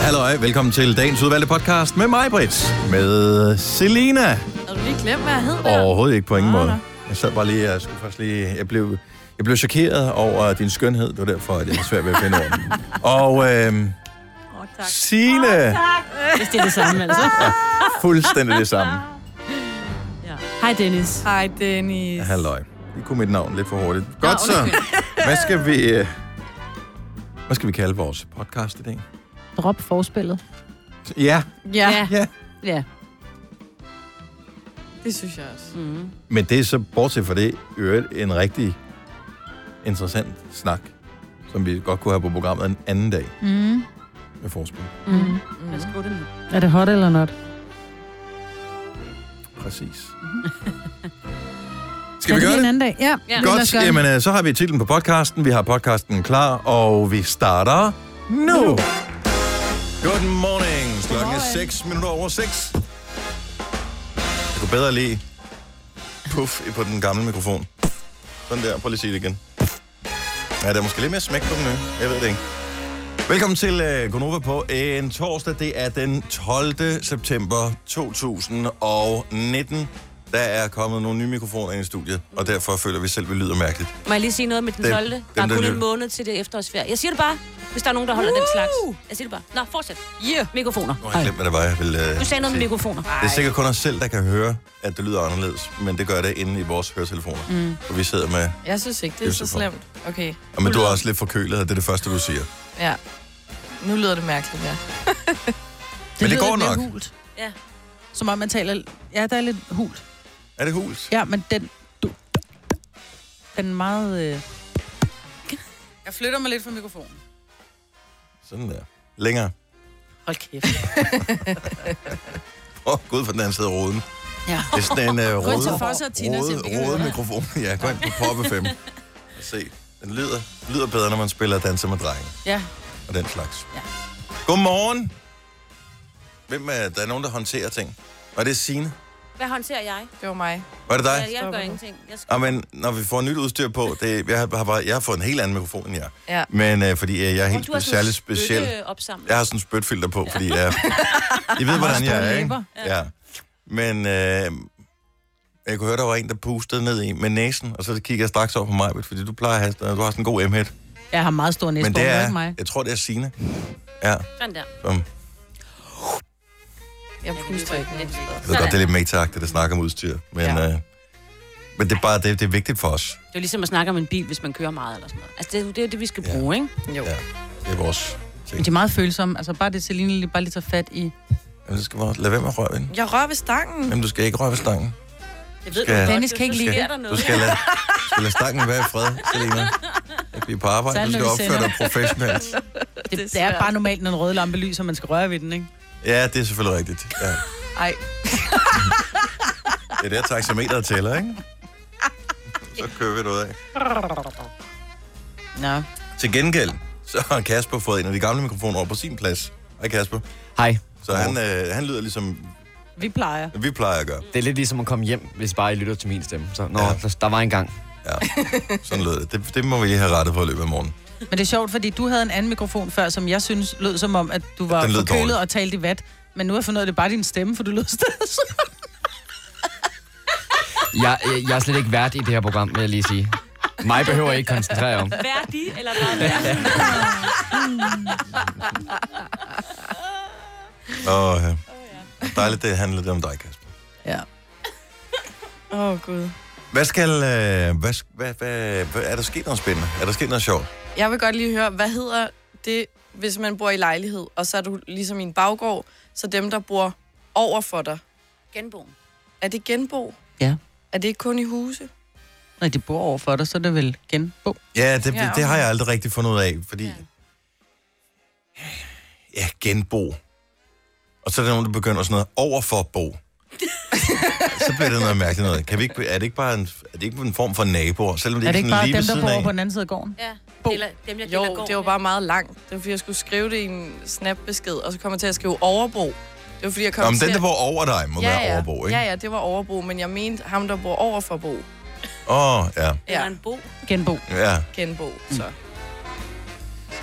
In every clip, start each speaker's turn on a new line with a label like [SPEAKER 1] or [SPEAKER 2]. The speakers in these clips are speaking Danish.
[SPEAKER 1] halløj. Velkommen til dagens udvalgte podcast med mig, Britt. Med Selina.
[SPEAKER 2] Havde du lige glemt, hvad jeg hed der?
[SPEAKER 1] Overhovedet ikke på ingen måde. Jeg sad bare lige, jeg skulle først lige, jeg blev, jeg blev chokeret over din skønhed. Det var derfor, at jeg havde svært ved at finde orden. Og øhm,
[SPEAKER 2] Oh, tak.
[SPEAKER 1] Signe,
[SPEAKER 3] Hvis det er det samme, altså.
[SPEAKER 1] fuldstændig det samme.
[SPEAKER 3] Ja. Hej, Dennis.
[SPEAKER 2] Hej, Dennis.
[SPEAKER 1] Halløj. I kunne mit navn lidt for hurtigt. Godt så. Hvad skal vi, øh, hvad skal vi kalde vores podcast i dag?
[SPEAKER 3] Drop forspillet.
[SPEAKER 1] Ja,
[SPEAKER 2] Ja,
[SPEAKER 3] Ja.
[SPEAKER 1] ja.
[SPEAKER 3] Ja.
[SPEAKER 2] det synes jeg også.
[SPEAKER 3] Mm.
[SPEAKER 1] Men det er så, bortset fra det, i øvrigt en rigtig interessant snak, som vi godt kunne have på programmet en anden dag
[SPEAKER 2] Mm.
[SPEAKER 1] med forspil.
[SPEAKER 3] Mm.
[SPEAKER 2] Mm.
[SPEAKER 3] Lad os gå det nu.
[SPEAKER 4] Er det hot eller not?
[SPEAKER 1] Præcis. Skal vi
[SPEAKER 4] det
[SPEAKER 1] gøre
[SPEAKER 4] en
[SPEAKER 1] det?
[SPEAKER 4] anden dag? Ja,
[SPEAKER 3] Ja.
[SPEAKER 4] lad os
[SPEAKER 1] Godt,
[SPEAKER 4] gøre det.
[SPEAKER 1] jamen øh, så har vi titlen på podcasten, vi har podcasten klar, og vi starter nu. Good morning. Klokken er 6 minutter over 6. Jeg kunne bedre lige puff på den gamle mikrofon. Sådan der, prøv lige at sige det igen. Ja, der er måske lidt mere smæk på den nye. Jeg ved det ikke. Velkommen til øh, Gonova på en torsdag. Det er den 12. september 2019. Der er kommet nogle nye mikrofoner ind i studiet, og derfor føler vi selv, at vi lyder mærkeligt.
[SPEAKER 5] Må jeg lige sige noget med den
[SPEAKER 1] Dem-
[SPEAKER 5] 12. Der
[SPEAKER 1] dem,
[SPEAKER 5] er
[SPEAKER 1] der
[SPEAKER 5] kun
[SPEAKER 1] lytter.
[SPEAKER 5] en måned til det efterårsferie. Jeg siger det bare, hvis der er nogen, der holder den slags. Jeg siger det bare. Nå, fortsæt.
[SPEAKER 2] Yeah.
[SPEAKER 5] Mikrofoner.
[SPEAKER 1] Nu har jeg glemt, hvad det var, jeg ville øh,
[SPEAKER 5] Du sagde noget med
[SPEAKER 1] sige.
[SPEAKER 5] mikrofoner.
[SPEAKER 1] Det er sikkert kun os selv, der kan høre, at det lyder anderledes, men det gør det inde i vores høretelefoner. Mm. Og vi sidder med...
[SPEAKER 2] Jeg synes ikke, det er så
[SPEAKER 1] Josefov.
[SPEAKER 2] slemt. Okay,
[SPEAKER 1] Og men du er også lidt forkølet, og det er det første, du siger.
[SPEAKER 2] ja. Nu lyder det mærkeligt, ja.
[SPEAKER 4] Det
[SPEAKER 1] Men det
[SPEAKER 4] lyder
[SPEAKER 1] går
[SPEAKER 4] lidt mere
[SPEAKER 1] nok.
[SPEAKER 4] Hult.
[SPEAKER 5] Ja.
[SPEAKER 4] Som om man taler... Ja, der er lidt hult.
[SPEAKER 1] Er det hus?
[SPEAKER 4] Ja, men den... Du, den er meget... Øh... Jeg flytter mig lidt fra mikrofonen.
[SPEAKER 1] Sådan der. Længere.
[SPEAKER 3] Hold kæft.
[SPEAKER 1] Åh, oh, gud for den anden side af roden.
[SPEAKER 4] Ja.
[SPEAKER 1] Det er sådan en uh,
[SPEAKER 4] Gå ind
[SPEAKER 1] røde,
[SPEAKER 4] til Foss og Tina, se om vi kan
[SPEAKER 1] røde,
[SPEAKER 4] høre
[SPEAKER 1] røde
[SPEAKER 4] dig.
[SPEAKER 1] mikrofon. Ja, gå ind på Poppe 5. Og se. Den lyder, lyder bedre, når man spiller danser med drenge.
[SPEAKER 4] Ja.
[SPEAKER 1] Og den slags.
[SPEAKER 4] Ja.
[SPEAKER 1] Godmorgen. Hvem er, der er nogen, der håndterer ting. Var det Signe?
[SPEAKER 5] Hvad håndterer jeg?
[SPEAKER 2] Det var mig.
[SPEAKER 1] Var det dig?
[SPEAKER 5] Jeg, jeg
[SPEAKER 2] stopper
[SPEAKER 5] gør
[SPEAKER 2] nu.
[SPEAKER 5] ingenting. Jeg skal...
[SPEAKER 1] Ja, Ah, men når vi får nyt udstyr på, det, jeg, har, har bare, jeg har fået en helt anden mikrofon end jer.
[SPEAKER 2] Ja.
[SPEAKER 1] Men øh, fordi øh, jeg er helt
[SPEAKER 5] Du har
[SPEAKER 1] spe-
[SPEAKER 5] sådan
[SPEAKER 1] særligt
[SPEAKER 5] en
[SPEAKER 1] speciel.
[SPEAKER 5] spytteopsamling.
[SPEAKER 1] Jeg har sådan en spytfilter på, fordi jeg... I ved, hvordan jeg er, ikke?
[SPEAKER 4] læber.
[SPEAKER 1] Ja. Men øh, jeg kunne høre, der var en, der pustede ned i med næsen, og så kiggede jeg straks over på mig, fordi du plejer at have, du har sådan en god m
[SPEAKER 4] Jeg har meget stor næsebord,
[SPEAKER 1] Men det
[SPEAKER 4] ikke
[SPEAKER 1] er,
[SPEAKER 4] mig.
[SPEAKER 1] jeg tror, det er Signe. Ja,
[SPEAKER 5] Sådan der.
[SPEAKER 1] som,
[SPEAKER 2] Jeg puster ikke.
[SPEAKER 5] Lidt.
[SPEAKER 1] Ah, jeg ved godt, det er lidt meta der snakker om udstyr, men,
[SPEAKER 2] Ja.
[SPEAKER 1] øh, men det er bare, det, det er vigtigt for os.
[SPEAKER 3] Det er jo ligesom at snakke om en bil, hvis man kører meget eller sådan noget. Altså, det, er jo- det er jo det, vi skal
[SPEAKER 1] Ja.
[SPEAKER 3] bruge, ikke?
[SPEAKER 2] Jo.
[SPEAKER 1] Ja, det er vores
[SPEAKER 4] Men
[SPEAKER 1] ting.
[SPEAKER 4] de er meget følsomme. Altså bare det, Celine lige, bare lige tager fat i.
[SPEAKER 1] Jamen, så skal man lade være med at røre ved den.
[SPEAKER 2] Jeg rører ved stangen.
[SPEAKER 1] Jamen, du skal ikke røre ved stangen.
[SPEAKER 5] Jeg ved
[SPEAKER 1] Skal-
[SPEAKER 5] godt,
[SPEAKER 4] Dennis kan ikke
[SPEAKER 5] du
[SPEAKER 1] lide
[SPEAKER 5] sker
[SPEAKER 1] det.
[SPEAKER 5] der
[SPEAKER 1] Du
[SPEAKER 5] noget.
[SPEAKER 1] skal lade, du skal lade stangen være i fred, Selina. Ikke blive på arbejde, du
[SPEAKER 4] Særligt, når
[SPEAKER 1] skal
[SPEAKER 4] vi
[SPEAKER 1] opføre dig professionelt.
[SPEAKER 4] Det, det, det er bare normalt, når en rød lampe lyser, man skal røre ved den, ikke?
[SPEAKER 1] Ja, det er selvfølgelig rigtigt. Ja.
[SPEAKER 2] Ej,
[SPEAKER 1] Det er der taxameteret tæller, ikke? Så kører vi noget af.
[SPEAKER 4] Nå.
[SPEAKER 1] Til gengæld, så har Kasper fået en af de gamle mikrofoner over på sin plads. Hej Kasper.
[SPEAKER 6] Hej.
[SPEAKER 1] Så han, øh, han lyder ligesom
[SPEAKER 4] Vi plejer.
[SPEAKER 1] vi plejer at gøre.
[SPEAKER 6] Det er lidt ligesom at komme hjem, hvis bare I lytter til min stemme. Så, nå,
[SPEAKER 1] Ja.
[SPEAKER 6] ja. der, der var en gang.
[SPEAKER 1] Sådan lød det. det. Det må vi lige have rettet på i løbet af morgenen.
[SPEAKER 4] Men det er sjovt, fordi du havde en anden mikrofon før, som jeg synes lød som om, at du var
[SPEAKER 1] Den lød
[SPEAKER 4] forkølet
[SPEAKER 1] dårligt.
[SPEAKER 4] og talte i vat. Men nu har jeg fundet ud af, at det er bare din stemme, for du lød stadig
[SPEAKER 6] Jeg, jeg, jeg er slet ikke vært i det her program, vil jeg lige sige. Mig behøver jeg ikke koncentrere jer om.
[SPEAKER 5] Værdig eller bare værdig?
[SPEAKER 1] Og øh, dejligt, det handler det om dig, Kasper.
[SPEAKER 4] Ja.
[SPEAKER 2] åh oh, gud.
[SPEAKER 1] Hvad skal... Øh, hvad, sk- hvad, hvad, hvad, er der sket noget spændende? Er der sket noget sjovt?
[SPEAKER 2] Jeg vil godt lige høre, hvad hedder det, hvis man bor i lejlighed, og så er du ligesom i en baggård, så dem, der bor over for dig,
[SPEAKER 5] Genboen.
[SPEAKER 2] er det genbo?
[SPEAKER 4] Ja.
[SPEAKER 2] Er det ikke kun i huse?
[SPEAKER 4] Når de bor over for dig, så er det vel genbo.
[SPEAKER 1] Ja, det,
[SPEAKER 2] Ja,
[SPEAKER 1] ja,
[SPEAKER 2] okay.
[SPEAKER 1] det har jeg aldrig rigtig fundet ud af, fordi... Ja.
[SPEAKER 5] Ja.
[SPEAKER 1] ja, genbo. Og så er der nogen, der begynder sådan noget overfor bo. så bliver det noget mærkeligt noget. Kan vi ikke, er, det ikke bare en, er det ikke en form for naboer? Selvom det
[SPEAKER 4] Er det
[SPEAKER 1] ikke
[SPEAKER 4] ikke
[SPEAKER 1] sådan
[SPEAKER 4] bare
[SPEAKER 1] lige ved
[SPEAKER 4] dem, der
[SPEAKER 1] siden
[SPEAKER 4] bor over
[SPEAKER 1] af.
[SPEAKER 4] på den anden side af gården?
[SPEAKER 5] Ja.
[SPEAKER 4] Bo.
[SPEAKER 5] Deler, dem, jeg deler
[SPEAKER 2] Jo,
[SPEAKER 5] gård
[SPEAKER 2] det var
[SPEAKER 5] med.
[SPEAKER 2] bare meget langt. Det var fordi, jeg skulle skrive det i en snapbesked, og så kom jeg til at skrive overbo. Det var fordi, jeg kom
[SPEAKER 1] Nå, men
[SPEAKER 2] til
[SPEAKER 1] den, der
[SPEAKER 2] at-
[SPEAKER 1] bor over dig, må ja, være
[SPEAKER 2] ja.
[SPEAKER 1] overbo, ikke?
[SPEAKER 2] Ja,
[SPEAKER 1] Åh,
[SPEAKER 2] ja, det var overbo, men jeg mente ham, der bor over for bo.
[SPEAKER 1] ja. Oh, ja.
[SPEAKER 5] Eller
[SPEAKER 2] Ja,
[SPEAKER 5] en bo.
[SPEAKER 4] Genbo.
[SPEAKER 1] ja.
[SPEAKER 2] genbo, så.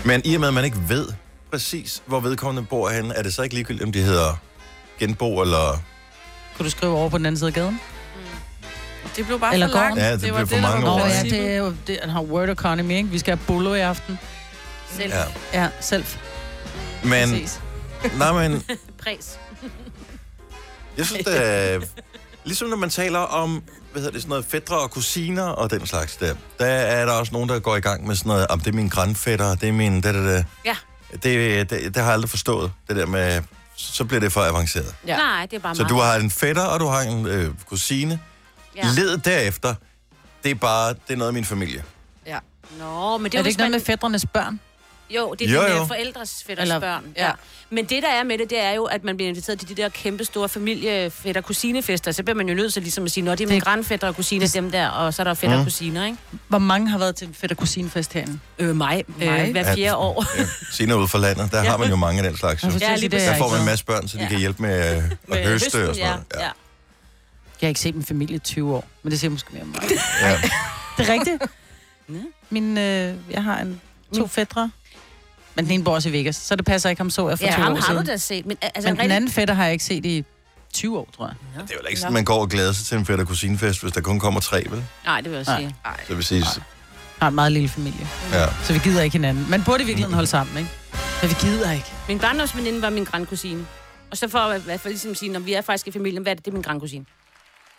[SPEAKER 1] Men i og med, at man ikke ved præcis, hvor vedkommende bor henne, er det så ikke ligegyldigt, om de hedder genbo eller...
[SPEAKER 4] Kunne du skrive over på den anden side af gaden?
[SPEAKER 5] Mm.
[SPEAKER 2] Det blev bare
[SPEAKER 4] Eller
[SPEAKER 2] for langt.
[SPEAKER 4] gården?
[SPEAKER 1] Ja, det blev for mange
[SPEAKER 4] Nå
[SPEAKER 1] år.
[SPEAKER 4] ja,
[SPEAKER 1] ikke?
[SPEAKER 4] det er jo det, han har word economy, ikke? Vi skal have bolo i aften.
[SPEAKER 5] Selv.
[SPEAKER 1] Ja.
[SPEAKER 4] Ja, selv.
[SPEAKER 1] Men, nej, men
[SPEAKER 5] Præs.
[SPEAKER 1] jeg synes, det er... Ligesom når man taler om, hvad hedder det, sådan noget fædre og kusiner og den slags der, der er der også nogen, der går i gang med sådan noget, om det er min grandfætter, det er min... Det, det, det.
[SPEAKER 5] Ja.
[SPEAKER 1] Det, det, det, har jeg aldrig forstået, det der med... Så bliver det for avanceret.
[SPEAKER 5] ja. Nej, det er bare
[SPEAKER 1] Så
[SPEAKER 5] mig.
[SPEAKER 1] du har en fætter, og du har en øh, kusine. Ja.
[SPEAKER 5] Ja.
[SPEAKER 1] Led derefter, det er bare, det er noget af min familie.
[SPEAKER 2] Ja.
[SPEAKER 5] Nå, men det
[SPEAKER 4] Det er,
[SPEAKER 5] er,
[SPEAKER 4] er det
[SPEAKER 5] hvis
[SPEAKER 4] ikke noget
[SPEAKER 5] man...
[SPEAKER 4] med fædrenes børn?
[SPEAKER 5] Jo, det er
[SPEAKER 1] Jo,
[SPEAKER 5] jo,
[SPEAKER 1] jo.
[SPEAKER 5] jo. forældres fætters
[SPEAKER 4] Eller-
[SPEAKER 5] Eller... børn.
[SPEAKER 2] ja.
[SPEAKER 5] Ja. Men det, der er med det, det er jo, at man bliver inviteret til de der kæmpe store familiefætter kusinefester. Så bliver man jo nødt til ligesom at sige, nå, det er mine grandfætter og kusiner, dem der, og så er der fætter
[SPEAKER 1] Mm.
[SPEAKER 5] og kusiner, ikke?
[SPEAKER 4] Hvor mange har været til en fætter kusinefest herinde?
[SPEAKER 5] Øh, mig.
[SPEAKER 4] Mig?
[SPEAKER 5] Øh, hver
[SPEAKER 1] Ja.
[SPEAKER 5] fjerde år.
[SPEAKER 1] Ja. Senere ude for landet, der ja. har man jo mange af den slags. Jo.
[SPEAKER 4] Jeg,
[SPEAKER 5] Ja,
[SPEAKER 4] ja,
[SPEAKER 5] lige
[SPEAKER 4] lige det,
[SPEAKER 1] Der
[SPEAKER 4] jeg,
[SPEAKER 1] får man en
[SPEAKER 4] ikke
[SPEAKER 1] masse børn, så de ja.
[SPEAKER 5] Ja.
[SPEAKER 1] kan hjælpe med øh, at med høste
[SPEAKER 5] høsten,
[SPEAKER 1] og sådan noget.
[SPEAKER 5] ja. ja.
[SPEAKER 4] jeg har ikke set min familie i 20 år, men det siger måske mere om mig.
[SPEAKER 1] Ja.
[SPEAKER 4] Det er rigtigt. Min, øh, jeg har en, to fædre, men den ene bor også i Vegas, så det passer ikke, ham så jeg for
[SPEAKER 5] Ja,
[SPEAKER 4] to
[SPEAKER 5] ham
[SPEAKER 4] år
[SPEAKER 5] har
[SPEAKER 4] siden.
[SPEAKER 5] du da set. Men, altså,
[SPEAKER 4] Men
[SPEAKER 5] men
[SPEAKER 4] den
[SPEAKER 5] rigtig...
[SPEAKER 4] anden fætter har jeg ikke set i 20 år, tror jeg.
[SPEAKER 1] Det er jo da ikke sådan, man går og glæder sig til en fætter kusinefest, hvis der kun kommer tre, vel?
[SPEAKER 5] Nej, det vil jeg
[SPEAKER 4] Nej.
[SPEAKER 5] sige.
[SPEAKER 1] Så det vil sige,
[SPEAKER 4] Har en meget lille familie,
[SPEAKER 1] ja.
[SPEAKER 4] så vi gider ikke hinanden. Man burde i virkeligheden holde sammen, ikke? Men vi gider ikke.
[SPEAKER 5] Min barndomsveninde var min grandkusine. Og så for at i hvert fald ligesom sige, når vi er faktisk i familien, hvad er det, det er min grandkusine.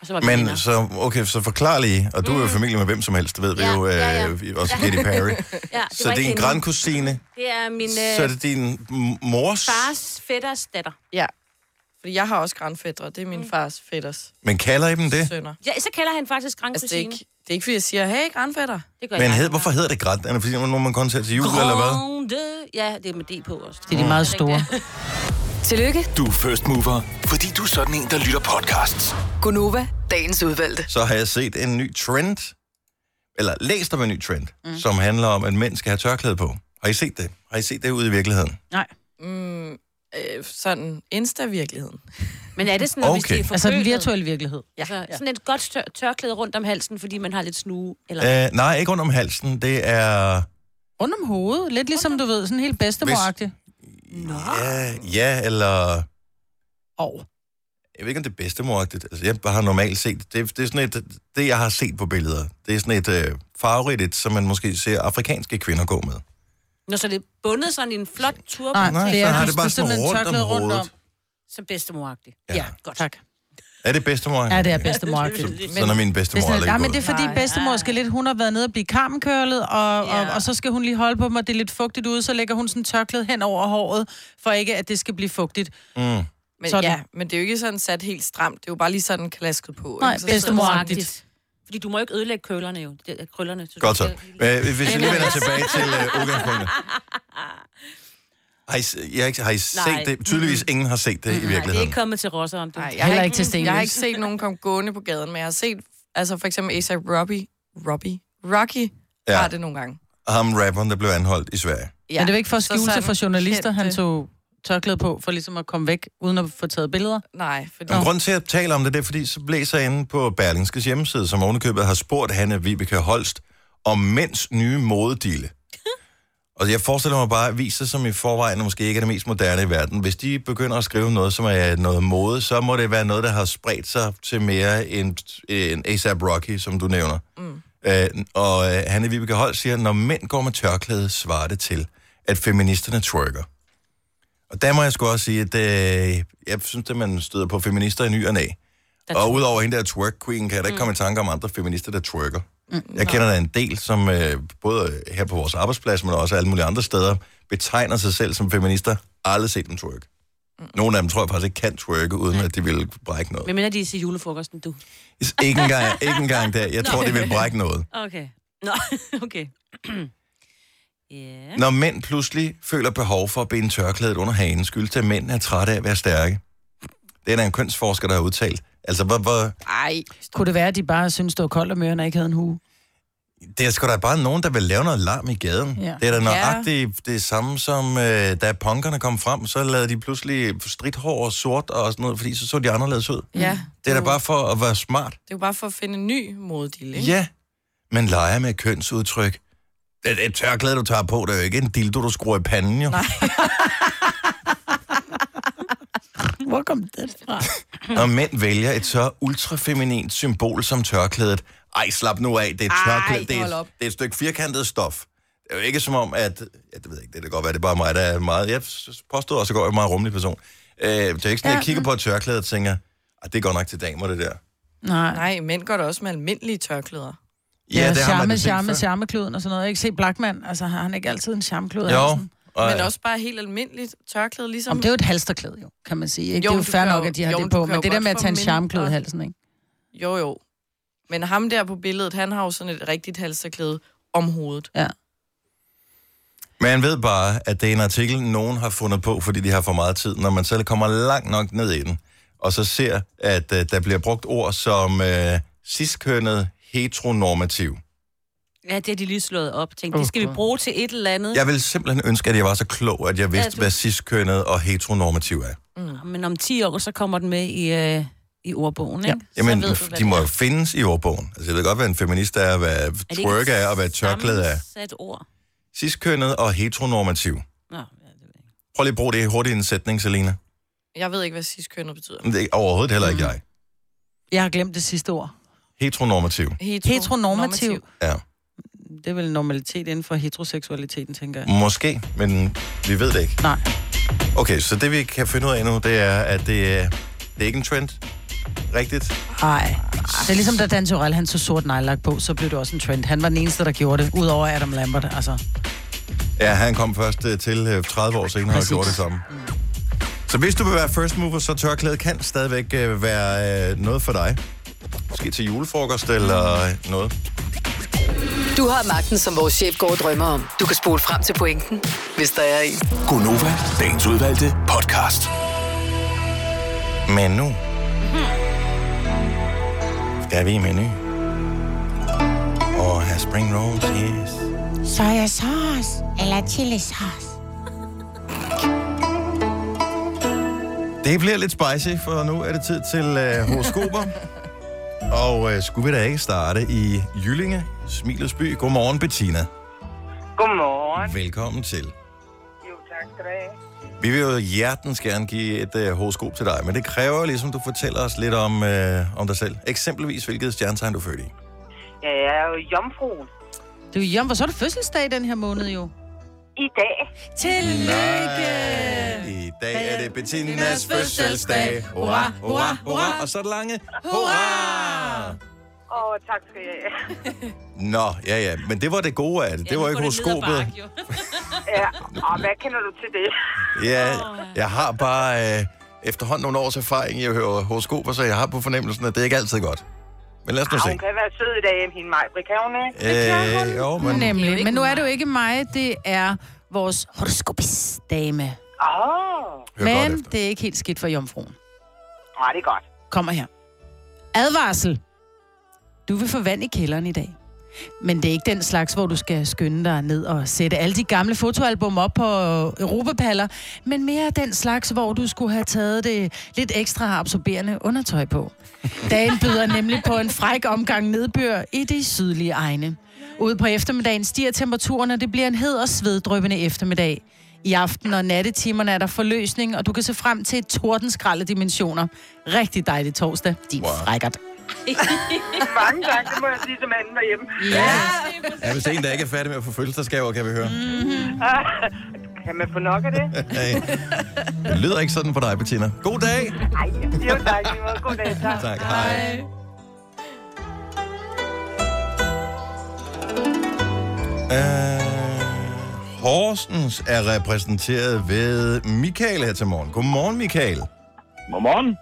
[SPEAKER 5] Og så var vi venner.
[SPEAKER 1] Men så, okay, så forklar lige, og du er jo i familie med hvem som helst, ved vi
[SPEAKER 5] Mm. Ja,
[SPEAKER 1] jo, øh,
[SPEAKER 5] ja,
[SPEAKER 1] også Katy Perry.
[SPEAKER 5] Ja, det
[SPEAKER 1] Så
[SPEAKER 5] var
[SPEAKER 1] det er en
[SPEAKER 5] ikke hende.
[SPEAKER 1] grandkusine,
[SPEAKER 5] Det er min
[SPEAKER 1] så er
[SPEAKER 5] øh,
[SPEAKER 1] det din m- mors,
[SPEAKER 5] fars fætters datter. Mm.
[SPEAKER 2] Ja. Fordi jeg har også grandfædre. Det er min fars fætters
[SPEAKER 1] men kalder I dem det?
[SPEAKER 2] sønner.
[SPEAKER 5] Ja, så kalder han faktisk
[SPEAKER 2] Altså, det er,
[SPEAKER 5] grandkusine.
[SPEAKER 2] ikke, det er ikke, fordi jeg siger, hey, grandfætter.
[SPEAKER 5] det gør
[SPEAKER 1] Men
[SPEAKER 5] jeg.
[SPEAKER 1] hed, hvorfor hedder det græn? Er det fordi, når man kun ser til jul, eller hvad?
[SPEAKER 5] Grande. Ja, det er med D på også.
[SPEAKER 4] Det er de meget store.
[SPEAKER 7] Tillykke,
[SPEAKER 8] Du er first mover, fordi du er sådan en, der lytter podcasts.
[SPEAKER 7] Gunova, dagens udvalgte.
[SPEAKER 1] så har jeg set en ny trend, eller læst om en ny trend, mm. som handler om, at mænd skal have tørklæde på. Har I set det? Har I set det ude i virkeligheden?
[SPEAKER 4] Nej.
[SPEAKER 2] Mm, øh, sådan Insta-virkeligheden.
[SPEAKER 5] Men er det sådan, okay. hvis
[SPEAKER 1] Okay.
[SPEAKER 5] det er for
[SPEAKER 4] Altså den virtuelle virkelighed.
[SPEAKER 5] Ja. Så sådan et godt tør- tørklæde rundt om halsen, fordi man har lidt snue. Eller...
[SPEAKER 1] Øh, nej, ikke rundt om halsen. Det er...
[SPEAKER 4] Rundt om hovedet. Lidt ligesom, du ved, sådan helt bedstemoragtigt. Ah.
[SPEAKER 1] Ja, ja, eller...
[SPEAKER 4] Og
[SPEAKER 1] Jeg ved ikke, om det er bedstemoragtigt. Altså, jeg har normalt set... Det, det er sådan et... Det, jeg har set på billeder, det er sådan et øh, farverigt, som man måske ser afrikanske kvinder gå med.
[SPEAKER 5] Når så er det er bundet sådan i en flot turban,
[SPEAKER 4] Nej,
[SPEAKER 1] Nej,
[SPEAKER 4] det
[SPEAKER 1] så
[SPEAKER 4] er,
[SPEAKER 1] har
[SPEAKER 4] du
[SPEAKER 1] det bare
[SPEAKER 4] skal
[SPEAKER 1] sådan
[SPEAKER 4] simpelthen
[SPEAKER 1] rundt om
[SPEAKER 4] tørklæde rundt
[SPEAKER 1] hovedet.
[SPEAKER 4] om.
[SPEAKER 5] så bedstemoragtigt.
[SPEAKER 1] Ja.
[SPEAKER 5] godt.
[SPEAKER 4] Tak.
[SPEAKER 1] Er det bedstemor?
[SPEAKER 4] Ja, det er bedstemoragtigt.
[SPEAKER 1] Sådan er min
[SPEAKER 4] Det er
[SPEAKER 1] bedstemor
[SPEAKER 4] sådan,
[SPEAKER 1] aldrig
[SPEAKER 4] nej, men
[SPEAKER 1] gået.
[SPEAKER 4] det er fordi bedstemor skal lidt, hun har været nede og blive karmenkørlet, og, og,
[SPEAKER 5] Ja.
[SPEAKER 4] og, så skal hun lige holde på mig, det er lidt fugtigt ude, så lægger hun sådan tørklæde hen over håret, for ikke at det skal blive fugtigt.
[SPEAKER 1] Mm.
[SPEAKER 2] Men,
[SPEAKER 4] Sådan.
[SPEAKER 2] ja, men det er jo ikke sådan sat helt stramt. Det er jo bare lige sådan klasket på.
[SPEAKER 4] Nej,
[SPEAKER 2] ikke? Altså, Så
[SPEAKER 4] bedstemor.
[SPEAKER 5] Bedstemoragtigt. Fordi du må jo ikke ødelægge køllerne jo. Det er krøllerne. Så du
[SPEAKER 1] Godt så.
[SPEAKER 5] skal-
[SPEAKER 1] Øh, hvis vi lige vender tilbage til øh, udgangspunktet. Har I, s- jeg, har ikke- har I set
[SPEAKER 5] Nej.
[SPEAKER 1] det? Tydeligvis ingen har set det i
[SPEAKER 5] Nej, det er
[SPEAKER 1] virkeligheden.
[SPEAKER 5] ikke kommet til rosser om du.
[SPEAKER 2] Nej,
[SPEAKER 5] Nej.
[SPEAKER 2] jeg har
[SPEAKER 4] Heller
[SPEAKER 2] ikke,
[SPEAKER 4] ikke til
[SPEAKER 2] jeg har
[SPEAKER 4] Stenløs.
[SPEAKER 2] ikke set nogen komme gående på gaden, men jeg har set, altså for eksempel A$AP Robbie, Robbie, Rocky
[SPEAKER 1] Ja.
[SPEAKER 2] ja. har det nogle gange.
[SPEAKER 1] Ham rapperen, der blev anholdt i Sverige.
[SPEAKER 2] Ja.
[SPEAKER 4] Ja. Men det var ikke for at
[SPEAKER 2] Så
[SPEAKER 4] skjule sig
[SPEAKER 2] sådan
[SPEAKER 4] for journalister, han
[SPEAKER 2] kendte-
[SPEAKER 4] tog tørklæde på, for ligesom at komme væk, uden at få taget billeder.
[SPEAKER 2] Nej, fordi...
[SPEAKER 1] Men grunden til, at jeg taler om det, det er, fordi så blæser jeg inde på Berlingskes hjemmeside, som ovenikøbet har spurgt Hanne Vibeke Holst om mænds nye modedille. Og jeg forestiller mig bare, at viser, som i forvejen måske ikke er det mest moderne i verden, hvis de begynder at skrive noget, som er noget mode, så må det være noget, der har spredt sig til mere end, end A$AP Rocky, som du nævner. Mm. Øh, og øh, Hanne Vibeke Holst siger, når mænd går med tørklæde, svarer det til, at feministerne twerker. Og der må jeg sgu også sige, at øh, jeg synes, at man støder på feminister i ny og næ. Og udover hende der twerk queen, kan jeg da ikke komme i tanke om andre feminister, der twerker. Jeg kender da en del, som øh, både her på vores arbejdsplads, men også alle mulige andre steder, betegner sig selv som feminister. Aldrig set dem twerk. Nogle af dem tror jeg faktisk ikke kan twerke, uden at de vil brække noget.
[SPEAKER 5] Men mener de er til julefrokosten, du?
[SPEAKER 1] Ikke engang, ikke engang der. Jeg tror, de vil brække noget.
[SPEAKER 5] Okay. Nå, okay. Ja.
[SPEAKER 1] Når mænd pludselig føler behov for at binde tørklædet under hagen, skyldes det, at mænd er trætte af at være stærke. Det er der en kønsforsker, der har udtalt. Altså, hvor, hvor,
[SPEAKER 2] Ej,
[SPEAKER 4] Kunne det være, at de bare synes, det var koldt om ørerne og ikke havde en hue?
[SPEAKER 1] Det er sgu da bare nogen, der vil lave noget larm i gaden. Ja.
[SPEAKER 4] Ja.
[SPEAKER 1] Det er da nøjagtigt det samme som, øh, da punkerne kom frem, så lavede de pludselig stridthår og sort og sådan noget, fordi så så de anderledes ud.
[SPEAKER 2] ja.
[SPEAKER 1] Det er da
[SPEAKER 2] jo-
[SPEAKER 1] bare for at være smart.
[SPEAKER 2] Det er jo bare for at finde en ny modedille, ikke?
[SPEAKER 1] Ja, man leger med kønsudtryk. Et, et tørklæde, du tager på, det er jo ikke en dildo, du skruer i panden, jo. Nej.
[SPEAKER 4] Hvor kom det fra?
[SPEAKER 1] Når mænd vælger et så ultrafeminint symbol som tørklædet, ej, slap nu af, det er et tørklæde, det er,
[SPEAKER 2] hold
[SPEAKER 1] det
[SPEAKER 2] op.
[SPEAKER 1] er et stykke firkantet stof. Det er jo ikke som om, at... Ja, det ved jeg ikke, det kan godt være, det er bare mig, der er meget... Jeg s- påstod også, at jeg er en meget rummelig person. Øh, det er ikke sådan, at jeg kigger på et tørklæde og tænker, at det er godt nok til damer, det der.
[SPEAKER 4] Nej.
[SPEAKER 2] Nej, mænd gør det også med almindelige tørklæder.
[SPEAKER 4] Ja, ja
[SPEAKER 1] det har man
[SPEAKER 4] charme,
[SPEAKER 1] da tænkt
[SPEAKER 4] charme,
[SPEAKER 1] før.
[SPEAKER 4] charmekluden og sådan noget. Ikke se Blackman, altså har han ikke altid en charmeklud? han er
[SPEAKER 1] Jo,
[SPEAKER 4] sådan-
[SPEAKER 1] og,
[SPEAKER 2] Men også bare helt almindeligt tørklæde, ligesom...
[SPEAKER 4] Om det er jo et halsterklæde, jo, kan man sige. Ikke?
[SPEAKER 2] Jo,
[SPEAKER 4] Jo, det er
[SPEAKER 2] men du
[SPEAKER 4] jo fair
[SPEAKER 2] kan
[SPEAKER 4] nok,
[SPEAKER 2] jo-
[SPEAKER 4] at de har
[SPEAKER 2] jo, men
[SPEAKER 4] det
[SPEAKER 2] du
[SPEAKER 4] på,
[SPEAKER 2] kan
[SPEAKER 4] men
[SPEAKER 2] jo
[SPEAKER 4] det der
[SPEAKER 2] godt
[SPEAKER 4] med at tage en
[SPEAKER 2] få
[SPEAKER 4] charmeklød i
[SPEAKER 2] mindre-
[SPEAKER 4] halsen, ikke?
[SPEAKER 2] Jo, jo. Men ham der på billedet, han har jo sådan et rigtigt halsterklæde om hovedet.
[SPEAKER 4] Ja.
[SPEAKER 1] Man ved bare, at det er en artikel, nogen har fundet på, fordi de har for meget tid, når man selv kommer langt nok ned i den, og så ser, at øh, der bliver brugt ord som øh, ciskønnet heteronormativ.
[SPEAKER 5] Ja, det har de lige slået op. Tænkte, det skal vi bruge til et eller andet.
[SPEAKER 1] Jeg ville simpelthen ønske, at jeg var så klog, at jeg vidste,
[SPEAKER 5] Mm. Ja, du-
[SPEAKER 1] hvad ciskønnet og heteronormativ er.
[SPEAKER 5] Ja. Men om 10 år, så kommer den med i, øh, i ordbogen, ikke? Ja.
[SPEAKER 1] Jamen,
[SPEAKER 5] så ved du, hvad
[SPEAKER 1] de må
[SPEAKER 5] det
[SPEAKER 1] jo findes i ordbogen. Altså, jeg ved godt, hvad en feminist er, hvad
[SPEAKER 5] ikke
[SPEAKER 1] twerk er, og hvad
[SPEAKER 5] et
[SPEAKER 1] tørklæde er.
[SPEAKER 5] sammensat ord.
[SPEAKER 1] Ciskønnet og heteronormativ.
[SPEAKER 5] Nå, ja, det ved jeg ikke.
[SPEAKER 1] Prøv lige at bruge det hurtigt i en sætning, Selina.
[SPEAKER 2] Jeg ved ikke, hvad cis-kønnet betyder.
[SPEAKER 1] Men Det er overhovedet heller
[SPEAKER 5] Mm.
[SPEAKER 1] ikke jeg.
[SPEAKER 4] Jeg har glemt det sidste ord.
[SPEAKER 1] Heteronormativ.
[SPEAKER 2] Hetero-
[SPEAKER 4] Heteronormativ.
[SPEAKER 2] normativ.
[SPEAKER 1] Ja.
[SPEAKER 4] Det er vel normalitet inden for heteroseksualiteten, tænker jeg.
[SPEAKER 1] Måske, men vi ved det ikke.
[SPEAKER 4] Nej.
[SPEAKER 1] Okay, så det vi kan finde ud af nu, det er, at det, er- det er ikke en trend. Rigtigt?
[SPEAKER 4] Nej. Det er ligesom, da Dan Tyrell, han så sort nejlagt på, så blev det også en trend. Han var den eneste, der gjorde det, udover Adam Lambert, altså.
[SPEAKER 1] Ja, han kom først øh, til øh, 30 år senere og gjorde det samme. Så hvis du vil være first mover, så tørklæde kan stadigvæk øh, være øh, noget for dig. Måske til julefrokost eller øh, noget.
[SPEAKER 7] Du har magten, som vores chef går og drømmer om. Du kan spole frem til pointen, hvis der er en.
[SPEAKER 8] Gonova, dagens udvalgte podcast.
[SPEAKER 1] Men nu skal vi i menu. Og have spring rolls, yes.
[SPEAKER 9] Soja sauce eller chili sauce.
[SPEAKER 1] Det bliver lidt spicy, for nu er det tid til øh, horoskoper. og øh, skulle vi da ikke starte i Jyllinge, Smilets by. Godmorgen, Bettina.
[SPEAKER 10] Godmorgen.
[SPEAKER 1] Velkommen til.
[SPEAKER 10] Jo, tak skal du have.
[SPEAKER 1] Vi vil jo hjertens gerne give et øh, horoskop til dig, men det kræver ligesom, du fortæller os lidt om, øh, om dig selv. Eksempelvis, hvilket stjernetegn du er født i.
[SPEAKER 10] Ja, jeg er jo jomfruen
[SPEAKER 4] Det er jo jommer, så er det fødselsdag i den her måned jo.
[SPEAKER 10] i dag.
[SPEAKER 1] I dag er det Bettinas fødselsdag. Hurra, hurra, hurra. Og så er det lange. Hurra!
[SPEAKER 10] Og tak skal jeg have.
[SPEAKER 1] Nå, ja, ja. Men det var det gode af det. Det var ikke horoskopet.
[SPEAKER 10] Ja, og hvad kender du til det?
[SPEAKER 1] Ja, jeg har bare øh, efterhånden nogle års erfaring i at høre horoskoper, så jeg har på fornemmelsen, at det ikke altid er godt. Men lad os nu
[SPEAKER 10] Ah,
[SPEAKER 1] se.
[SPEAKER 10] hun kan være sød i dag, hende mig, kan hun ikke?
[SPEAKER 1] Øh, jo, men
[SPEAKER 4] Nemlig. Men nu er det jo ikke mig, det er vores horoskopis-dame.
[SPEAKER 10] Åh,
[SPEAKER 1] hør godt
[SPEAKER 4] Men
[SPEAKER 1] efter.
[SPEAKER 4] det er ikke helt skidt for jomfruen.
[SPEAKER 10] oh, det er godt.
[SPEAKER 4] kommer her. Advarsel. Du vil få vand i kælderen i dag. Men det er ikke den slags, hvor du skal skynde dig ned og sætte alle de gamle fotoalbum op på europapaller, men mere den slags, hvor du skulle have taget det lidt ekstra absorberende undertøj på. Dagen byder nemlig på en fræk omgang nedbør i de sydlige egne. Ude på eftermiddagen stiger temperaturen, og det bliver en hed og sveddrøbende eftermiddag. I aften og nattetimerne er der forløsning, og du kan se frem til et tordenskrald af dimensioner. Rigtig dejlig torsdag, din wow.
[SPEAKER 1] Wow.
[SPEAKER 4] frækkert.
[SPEAKER 10] Mange tak, det må jeg sige til manden derhjemme.
[SPEAKER 1] Ja, hvis en, der ikke er færdig med at få fødselsdagsgaver, kan vi høre.
[SPEAKER 10] Kan man få nok af det?
[SPEAKER 1] Hey. Øh, Det lyder ikke sådan for dig, Bettina. God dag!
[SPEAKER 10] Nej, jo tak. i måde. God dag, tak.
[SPEAKER 1] Tak, hej. Øh, Horsens er repræsenteret ved Michael her til morgen. Godmorgen, Michael.
[SPEAKER 11] Godmorgen.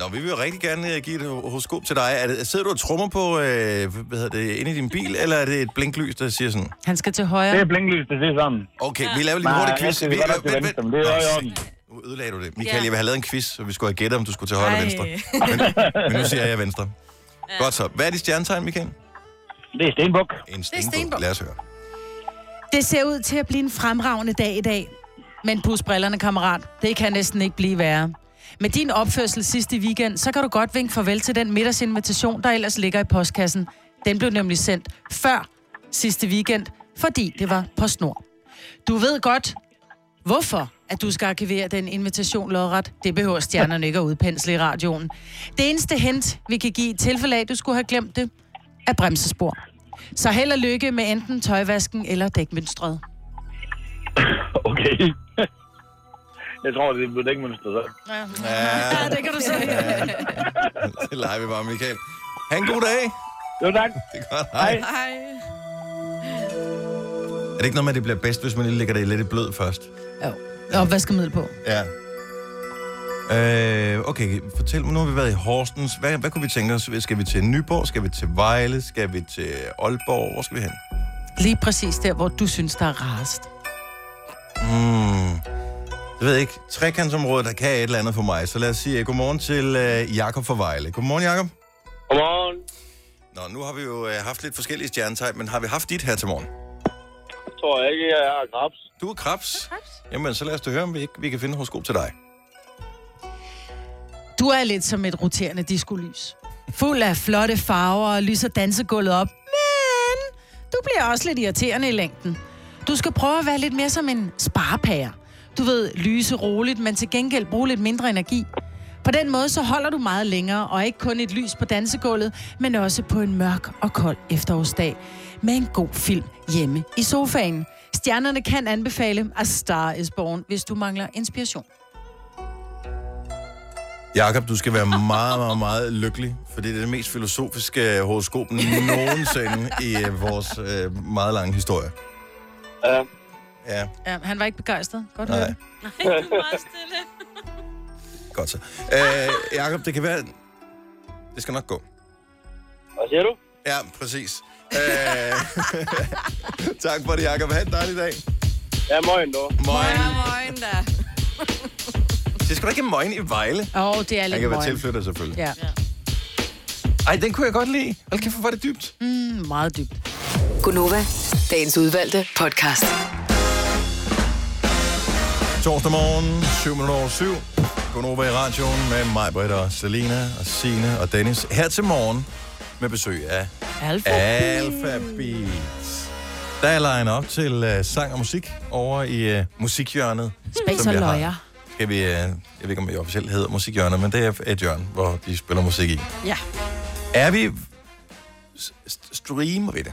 [SPEAKER 1] Nå, vi vil jo rigtig gerne øh, give et ho- horoskop til dig. Er det, sidder du og trummer på, øh, hvad hedder det, inde i din bil, eller er det et blinklys, der siger sådan?
[SPEAKER 4] Han skal til
[SPEAKER 11] Det
[SPEAKER 4] højre.
[SPEAKER 11] er blinklys, det er sådan.
[SPEAKER 1] Okay, vi laver lige en
[SPEAKER 11] Nej,
[SPEAKER 1] hurtig
[SPEAKER 11] jeg
[SPEAKER 1] quiz.
[SPEAKER 11] skal
[SPEAKER 1] Vi,
[SPEAKER 11] godt nok til
[SPEAKER 1] vent,
[SPEAKER 11] venstre,
[SPEAKER 1] vent.
[SPEAKER 11] men det er
[SPEAKER 1] Nå,
[SPEAKER 11] i orden.
[SPEAKER 1] se, Nu ødelagde du det. Michael, jeg vil have lavet en quiz, så vi skulle have gættet, om du skulle til højre eller venstre. Men, men nu siger jeg venstre. Godt så. Hvad er dit stjernetegn, Michael?
[SPEAKER 11] Det er Stenbuk.
[SPEAKER 1] En stenbog. Lad os høre.
[SPEAKER 4] Det ser ud til at blive en fremragende dag i dag. Men pus brillerne, kammerat. Det kan næsten ikke blive værre. Med din opførsel sidste weekend, så kan du godt vinke farvel til den middagsinvitation, der ellers ligger i postkassen. Den blev nemlig sendt før sidste weekend, fordi det var på snor. Du ved godt, hvorfor at du skal arkivere den invitation lodret. Det behøver stjernerne ikke at udpensle i radioen. Det eneste hint, vi kan give i tilfælde af, at du skulle have glemt det, er bremsespor. Så held og lykke med enten tøjvasken eller dækmønstret.
[SPEAKER 11] Okay. Jeg tror, det er blevet ikke mindst så.
[SPEAKER 1] Ja,
[SPEAKER 4] det kan du se.
[SPEAKER 1] det leger vi bare, Michael. Ha' en god dag.
[SPEAKER 11] Jo, tak.
[SPEAKER 1] Det er godt. Hej.
[SPEAKER 2] Hej.
[SPEAKER 1] Er det ikke noget med, at det bliver bedst, hvis man lige lægger det lidt i blød først?
[SPEAKER 4] Og vaskemiddel på.
[SPEAKER 1] Ja. Øh, okay, fortæl mig, nu har vi været i Horsens. Hvad, hvad kunne vi tænke os? Skal vi til Nyborg? Skal vi til Vejle? Skal vi til Aalborg? Hvor skal vi hen?
[SPEAKER 4] Lige præcis der, hvor du synes, der er rarest.
[SPEAKER 1] Mm. Jeg ved ikke. Trekantsområdet, der kan et eller andet for mig. Så lad os sige øh, godmorgen til øh, Jakob fra Vejle. Godmorgen, Jakob.
[SPEAKER 11] Godmorgen.
[SPEAKER 1] Nå, nu har vi jo øh, haft lidt forskellige stjernetegn, men har vi haft dit her til morgen?
[SPEAKER 11] Tror jeg ikke, jeg er krabs.
[SPEAKER 1] Du er krebs. Jamen, så lad os da høre, om vi, ikke, vi kan finde horoskop til dig.
[SPEAKER 4] Du er lidt som et roterende diskolys. Fuld af flotte farver og lyser dansegulvet op. Men du bliver også lidt irriterende i længden. Du skal prøve at være lidt mere som en sparepære. Du ved, lyse roligt, men til gengæld bruge lidt mindre energi. På den måde så holder du meget længere, og ikke kun et lys på dansegulvet, men også på en mørk og kold efterårsdag med en god film hjemme i sofaen. Stjernerne kan anbefale A Star is Born, hvis du mangler inspiration.
[SPEAKER 1] Jakob, du skal være meget, meget, meget lykkelig, for det er det mest filosofiske horoskop nogensinde i øh, vores øh, meget lange historie.
[SPEAKER 11] Ja.
[SPEAKER 1] Ja,
[SPEAKER 4] Ja, han var ikke begejstret. Godt
[SPEAKER 1] Nej.
[SPEAKER 4] hørt.
[SPEAKER 1] godt så. Øh, Jakob, det kan være... Det skal nok gå.
[SPEAKER 11] Hvad siger du?
[SPEAKER 1] Ja, præcis. Øh, tak for det, Jacob. Ha' en dejlig dag.
[SPEAKER 11] Ja, morgen dog.
[SPEAKER 1] Moin.
[SPEAKER 2] Morgen da.
[SPEAKER 1] Det skal da ikke moin i Vejle.
[SPEAKER 4] Åh, oh, det er
[SPEAKER 1] Han
[SPEAKER 4] lidt
[SPEAKER 1] kan være
[SPEAKER 4] møgen.
[SPEAKER 1] tilflytter, selvfølgelig.
[SPEAKER 4] Ja,
[SPEAKER 1] Ej, den kunne jeg godt lide. Hold kæft, hvor var det dybt.
[SPEAKER 4] mm, meget dybt.
[SPEAKER 7] Gunova, dagens udvalgte podcast.
[SPEAKER 1] Torsdag morgen, 7 minutter over 7. Gunova i radioen med mig, Britt og Selina og Sine og Dennis. Her til morgen med besøg af
[SPEAKER 4] Alfa.
[SPEAKER 1] Alpha Beats. Der er line op til uh, sang og musik over i uh, musikhjørnet.
[SPEAKER 4] Space
[SPEAKER 1] som
[SPEAKER 4] og
[SPEAKER 1] vi har.
[SPEAKER 4] løjer.
[SPEAKER 1] Skal vi, uh, jeg ved ikke, om det officielt hedder musikhjørnet, men det er et hjørne, hvor de spiller musik i.
[SPEAKER 4] Ja.
[SPEAKER 1] Er vi... s- st- Streamer vi det?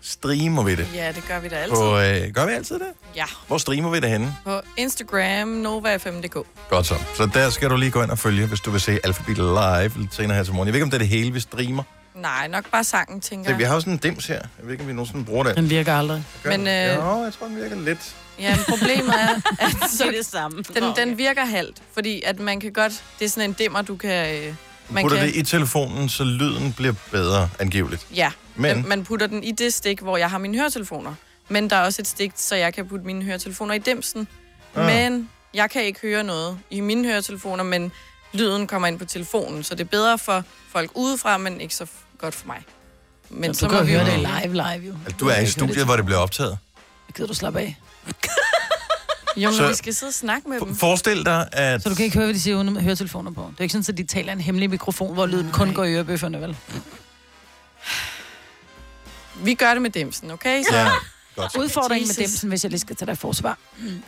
[SPEAKER 1] Streamer vi det?
[SPEAKER 2] Ja, det gør vi da altid.
[SPEAKER 1] På, øh, gør vi altid det?
[SPEAKER 2] Ja.
[SPEAKER 1] Hvor streamer vi det henne?
[SPEAKER 2] På Instagram, NovaFM.dk.
[SPEAKER 1] Godt så. Så der skal du lige gå ind og følge, hvis du vil se Alphabet Live lidt senere her til morgen. Jeg ved ikke, om det er det hele, vi streamer.
[SPEAKER 2] Nej, nok bare sangen, tænker
[SPEAKER 1] Ja. Vi
[SPEAKER 2] jeg.
[SPEAKER 1] har jo sådan en dims her. Jeg ved ikke, om vi nogensinde bruger den.
[SPEAKER 4] Den virker aldrig.
[SPEAKER 1] Gør
[SPEAKER 2] Men,
[SPEAKER 1] den?
[SPEAKER 2] øh,
[SPEAKER 1] Jo, jeg tror, den virker lidt.
[SPEAKER 2] Ja, men problemet er, at
[SPEAKER 5] Det er
[SPEAKER 2] så,
[SPEAKER 5] det samme.
[SPEAKER 2] den, den virker halvt. Fordi at man kan godt... Det er sådan en dimmer, du kan... øh,
[SPEAKER 1] Man
[SPEAKER 2] Man
[SPEAKER 1] Putter
[SPEAKER 2] kan,
[SPEAKER 1] det i telefonen, så lyden bliver bedre, angiveligt.
[SPEAKER 2] Ja,
[SPEAKER 1] Men-
[SPEAKER 2] men... man putter den i det stik, hvor jeg har mine høretelefoner. Men der er også et stik, så jeg kan putte mine høretelefoner i dimsen.
[SPEAKER 1] Ah.
[SPEAKER 2] Ah. Men jeg kan ikke høre noget i mine høretelefoner, men lyden kommer ind på telefonen, så det er bedre for folk udefra, men ikke så f- godt for mig. Men
[SPEAKER 4] Du kan jo
[SPEAKER 2] vi
[SPEAKER 4] høre
[SPEAKER 2] jo-
[SPEAKER 4] det live, live jo.
[SPEAKER 1] Altså, du er i studiet, hvor det bliver optaget.
[SPEAKER 4] Gider du slappe af?
[SPEAKER 2] Jo, men
[SPEAKER 1] Så-
[SPEAKER 2] vi skal sidde og snakke med dem.
[SPEAKER 1] F- forestil dig, at...
[SPEAKER 4] Så du kan ikke høre, hvad de siger uden høretelefoner på. Det er jo ikke sådan, at de taler i en hemmelig mikrofon, hvor lyden kun går i ørebøfferne, vel?
[SPEAKER 2] Vi gør det med dimsen, okay? Så
[SPEAKER 1] Ja, godt. så.
[SPEAKER 4] Udfordringen med
[SPEAKER 2] Jesus.
[SPEAKER 4] demsen, hvis jeg lige skal tage dig i forsvar,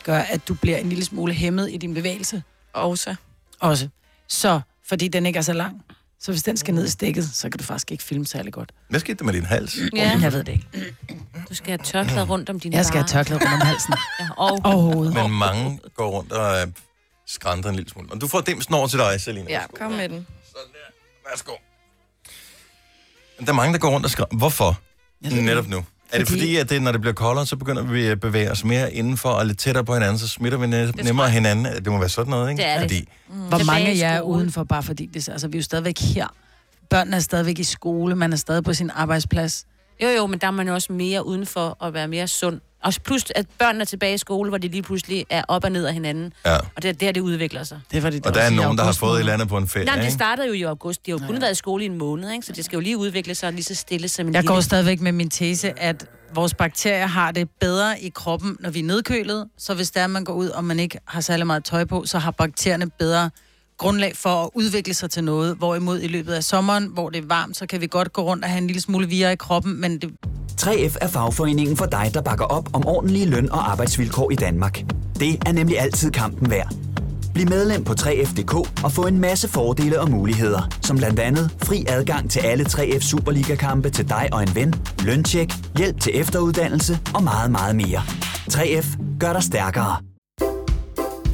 [SPEAKER 4] gør, at du bliver en lille smule hæmmet i din bevægelse
[SPEAKER 2] Og så.
[SPEAKER 4] også. Så, fordi den ikke er så lang. Så hvis den skal ned i stikket, så kan du faktisk ikke filme særlig godt.
[SPEAKER 1] Hvad skete der med din hals?
[SPEAKER 5] Ja.
[SPEAKER 4] Jeg ved det ikke.
[SPEAKER 5] Du skal have
[SPEAKER 1] Mm.
[SPEAKER 5] tørklæde rundt om dine
[SPEAKER 4] Jeg skal have
[SPEAKER 5] varer.
[SPEAKER 4] tørklæde rundt om halsen.
[SPEAKER 5] Ja, og
[SPEAKER 4] Og hovedet.
[SPEAKER 1] Men mange går rundt og øh, skrænter en lille smule. Og du får dimsen over til dig, Selina.
[SPEAKER 2] Ja, kom med den.
[SPEAKER 1] Værsgo. Der er mange, der går rundt og skriver. Hvorfor? Netop nu. Er det
[SPEAKER 4] Fordi-
[SPEAKER 1] fordi, at det, når det bliver koldere, så begynder vi at bevæge os mere indenfor og lidt tættere på hinanden, så smitter vi næ- nemmere hinanden? Det må være sådan noget, ikke?
[SPEAKER 5] Det er det.
[SPEAKER 1] Fordi,
[SPEAKER 3] Mm.
[SPEAKER 4] Hvor mange af
[SPEAKER 5] i
[SPEAKER 4] jer er
[SPEAKER 5] skole.
[SPEAKER 4] udenfor, bare fordi det, altså, vi er jo stadigvæk her. Børnene er stadigvæk i skole, man er stadig på sin arbejdsplads.
[SPEAKER 5] Jo, jo, men der er man jo også mere udenfor at være mere sund. Og plus, at børnene er tilbage i skole, hvor de lige pludselig er op og ned af hinanden.
[SPEAKER 1] ja.
[SPEAKER 5] Og det er der, det udvikler sig.
[SPEAKER 4] Det var det,
[SPEAKER 1] Og der er nogen, der har fået et eller andet på en ferie,
[SPEAKER 5] Nej, men det
[SPEAKER 1] ikke?
[SPEAKER 5] startede jo i august. De har jo kun været i skole i en måned, ikke? så det skal jo lige udvikle sig lige så stille som en
[SPEAKER 4] Jeg
[SPEAKER 5] lille.
[SPEAKER 4] går stadigvæk med min tese, at vores bakterier har det bedre i kroppen, når vi er nedkølet. Så hvis der man går ud, og man ikke har særlig meget tøj på, så har bakterierne bedre grundlag for at udvikle sig til noget. Hvorimod i løbet af sommeren, hvor det er varmt, så kan vi godt gå rundt og have en lille smule vira i kroppen, men det
[SPEAKER 12] 3F er fagforeningen for dig, der bakker op om ordentlige løn- og arbejdsvilkår i Danmark. Det er nemlig altid kampen værd. Bliv medlem på 3F.dk og få en masse fordele og muligheder, som blandt andet fri adgang til alle 3F Superliga-kampe til dig og en ven, løntjek, hjælp til efteruddannelse og meget, meget mere. 3F gør dig stærkere.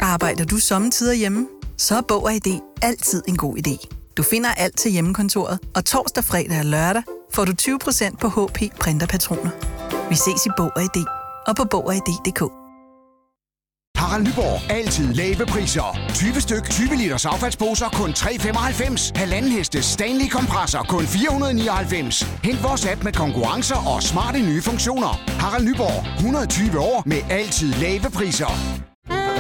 [SPEAKER 13] Arbejder du sommetider hjemme? Så er Bog og ID altid en god idé. Du finder alt til hjemmekontoret, og torsdag, fredag og lørdag får du 20% på HP printerpatroner. Vi ses i Bog og ID og på Bog og ID.dk.
[SPEAKER 14] Harald Nyborg. Altid lave priser. 20 styk, 20 liters affaldsposer kun 3,95. Halvanden heste Stanley kompresser kun 499. Hent vores app med konkurrencer og smarte nye funktioner. Harald Nyborg. 120 år med altid lave priser.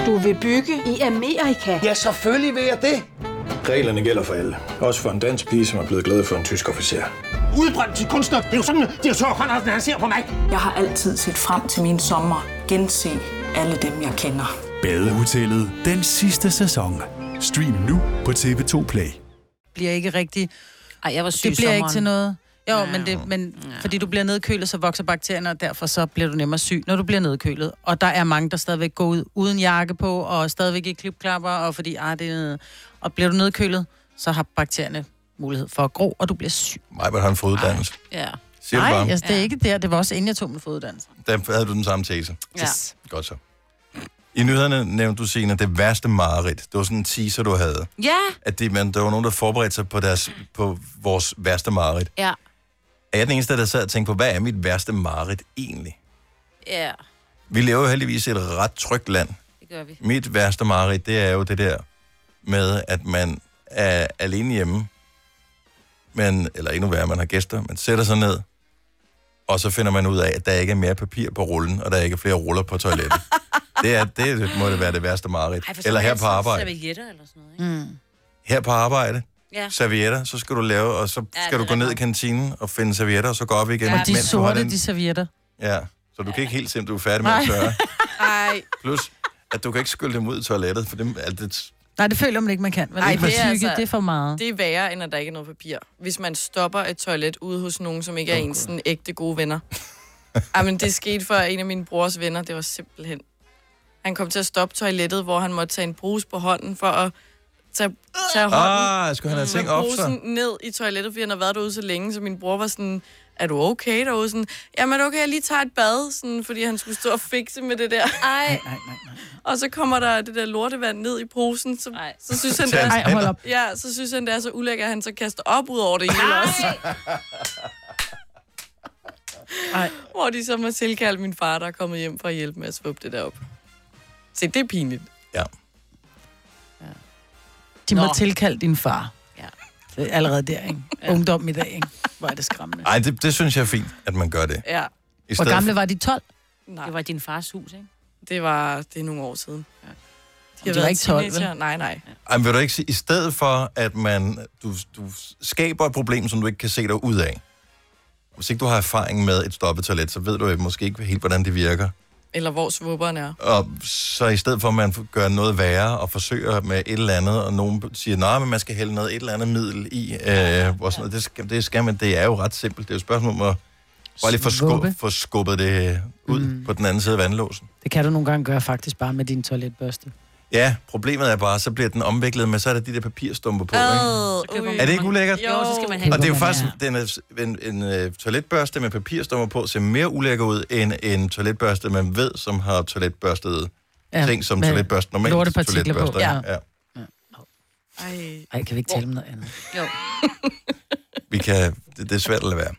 [SPEAKER 15] Du vil bygge i Amerika? Ja, selvfølgelig vil jeg det.
[SPEAKER 16] Reglerne gælder for alle. Også for en dansk pige, som er blevet glad for en tysk officer.
[SPEAKER 15] Udbrøndt til kunstner. Det er jo sådan, at de har han ser på mig. Jeg har altid set frem til min sommer. Gense alle dem, jeg kender.
[SPEAKER 17] Badehotellet den sidste sæson. Stream nu på TV2 Play.
[SPEAKER 4] bliver ikke rigtig...
[SPEAKER 3] Ej, jeg var syg
[SPEAKER 4] Det bliver ikke
[SPEAKER 3] sommeren.
[SPEAKER 4] til noget. Jo, ja. men, det, men ja. fordi du bliver nedkølet, så vokser bakterierne, og derfor så bliver du nemmere syg, når du bliver nedkølet. Og der er mange, der stadigvæk går ud uden jakke på, og stadigvæk i klipklapper, og fordi, ah, det er... Og bliver du nedkølet, så har bakterierne mulighed for at gro, og du bliver syg.
[SPEAKER 1] Mig, hvor har en foduddannelse.
[SPEAKER 4] Ja.
[SPEAKER 1] Siger du
[SPEAKER 4] Nej,
[SPEAKER 1] bare?
[SPEAKER 4] altså, det er ikke der. Det var også inden jeg tog min foduddannelse.
[SPEAKER 1] Der havde du den samme tese.
[SPEAKER 4] Ja.
[SPEAKER 1] Godt så. I nyhederne nævnte du, Signe, det værste mareridt. Det var sådan en teaser, du havde.
[SPEAKER 5] Ja.
[SPEAKER 1] At det, man, der var nogen, der forberedte sig på, deres, på vores værste mareridt.
[SPEAKER 5] Ja.
[SPEAKER 1] Er jeg den eneste, der sad og tænkte på, hvad er mit værste mareridt egentlig?
[SPEAKER 5] Ja,
[SPEAKER 1] Vi lever jo heldigvis i et ret trygt land.
[SPEAKER 5] det gør vi.
[SPEAKER 1] Mit værste mareridt, det er jo det der med, at man er alene hjemme, men, eller endnu værre, man har gæster, man sætter sig ned, og så finder man ud af, at der ikke er mere papir på rullen, og der ikke er flere ruller på toilettet. det, er, det må det være det værste mareridt.
[SPEAKER 5] Ej, for så
[SPEAKER 1] Eller
[SPEAKER 5] er
[SPEAKER 1] her
[SPEAKER 5] det
[SPEAKER 1] på
[SPEAKER 5] sådan
[SPEAKER 1] arbejde.
[SPEAKER 5] Servietter eller sådan noget.
[SPEAKER 4] Mm.
[SPEAKER 1] Her på arbejde,
[SPEAKER 5] Ja.
[SPEAKER 1] servietter, så skal du lave, og så
[SPEAKER 4] Ja,
[SPEAKER 1] skal du
[SPEAKER 4] det
[SPEAKER 1] gå ned i kantinen og finde servietter, og så gå op igen.
[SPEAKER 4] Ja, og de
[SPEAKER 1] mens du har
[SPEAKER 4] sorte,
[SPEAKER 1] den-
[SPEAKER 4] de servietter.
[SPEAKER 1] Ja, så du kan ikke helt se, om du er færdig med at
[SPEAKER 4] Nej.
[SPEAKER 1] tørre.
[SPEAKER 2] Ej.
[SPEAKER 1] Plus, at du kan ikke skylle dem ud i toilettet, for dem, alt det,
[SPEAKER 4] Nej, det føler man ikke, man kan. Vel? Ej, det, er altså... det er for meget.
[SPEAKER 2] Det er værre, end at der ikke er noget papir. Hvis man stopper et toilet ude hos nogen, som ikke er ens sådan ægte gode venner. Ej, men det skete for en af min brors venner. Det var simpelthen... Han kom til at stoppe toilettet, hvor han måtte tage en brus på hånden for at tage, tage hånden.
[SPEAKER 1] Ah, skulle han have
[SPEAKER 2] med
[SPEAKER 1] ting op, så?
[SPEAKER 2] brusen ned i toilettet, fordi han har været derude så længe, så min bror var sådan, er du okay derude? Sådan, Jamen okay, jeg lige tager et bad, sådan, fordi han skulle stå og fikse med det der. Ej. Nej,
[SPEAKER 4] nej,
[SPEAKER 2] Og så kommer der det der lortevand ned i posen, så, så synes han,
[SPEAKER 4] Til hans Ej, hold hænder. op.
[SPEAKER 2] Ja, så synes han, det er så ulækkert, at han så kaster op ud over det hele også.
[SPEAKER 4] Ej.
[SPEAKER 2] Hvor de så må tilkalde min far, der er kommet hjem for at hjælpe med at svøbe det der op. Se, det er pinligt.
[SPEAKER 4] De må
[SPEAKER 2] Nå.
[SPEAKER 4] tilkalde din far. Ja. Det er allerede der, ikke? Ungdom i dag, ikke? Hvor er det skræmmende.
[SPEAKER 1] Ej, det, det synes jeg er fint, at man gør det.
[SPEAKER 2] Ja.
[SPEAKER 1] I
[SPEAKER 4] Hvor
[SPEAKER 1] stedet
[SPEAKER 4] gamle
[SPEAKER 1] for-
[SPEAKER 4] var de? 12?
[SPEAKER 2] Nej.
[SPEAKER 5] Det var din fars hus, ikke?
[SPEAKER 2] Det var det er nogle år siden.
[SPEAKER 5] Ja.
[SPEAKER 2] De har
[SPEAKER 4] var
[SPEAKER 2] været
[SPEAKER 4] ikke 12, vel?
[SPEAKER 2] teenager. Nej, nej.
[SPEAKER 1] Ej, men vil du ikke sige, i stedet for, at man, du, du skaber et problem, som du ikke kan se dig ud af, hvis ikke du har erfaring med et stoppet toilet, så ved du jo måske ikke helt, hvordan det virker.
[SPEAKER 2] Eller hvor svupperen er.
[SPEAKER 1] Og så i stedet for, at man gør noget værre og forsøger med et eller andet, og nogen siger, nej, men man skal hælde noget et eller andet middel i, øh, og sådan noget. Det, skal, det skal man, det er jo ret simpelt. Det er jo et spørgsmål om at bare lige få, skub,
[SPEAKER 4] Skubbe.
[SPEAKER 1] få skubbet det ud mm. på den anden side af vandlåsen.
[SPEAKER 4] Det kan du nogle gange gøre faktisk bare med din toiletbørste.
[SPEAKER 1] Ja, problemet er bare, så bliver den omviklet, men så er der de der papirstumper på, ikke?
[SPEAKER 2] Øh,
[SPEAKER 1] Er det ikke ulækkert?
[SPEAKER 2] Jo, så skal man have
[SPEAKER 1] Og det er jo faktisk, den er, en, en, øh, toiletbørste med papirstummer på ser mere ulækker ud, end en toiletbørste, man ved, som har toiletbørstet
[SPEAKER 4] Ja,
[SPEAKER 1] ja, ting, som
[SPEAKER 4] med
[SPEAKER 1] toiletbørste normalt
[SPEAKER 4] lortepartikler på.
[SPEAKER 1] toiletbørster.
[SPEAKER 4] Ja.
[SPEAKER 1] Ja. Ja.
[SPEAKER 2] Ej.
[SPEAKER 4] Ej, kan vi ikke tale om noget andet?
[SPEAKER 5] Jo.
[SPEAKER 1] Vi kan, det, det er svært at lade være.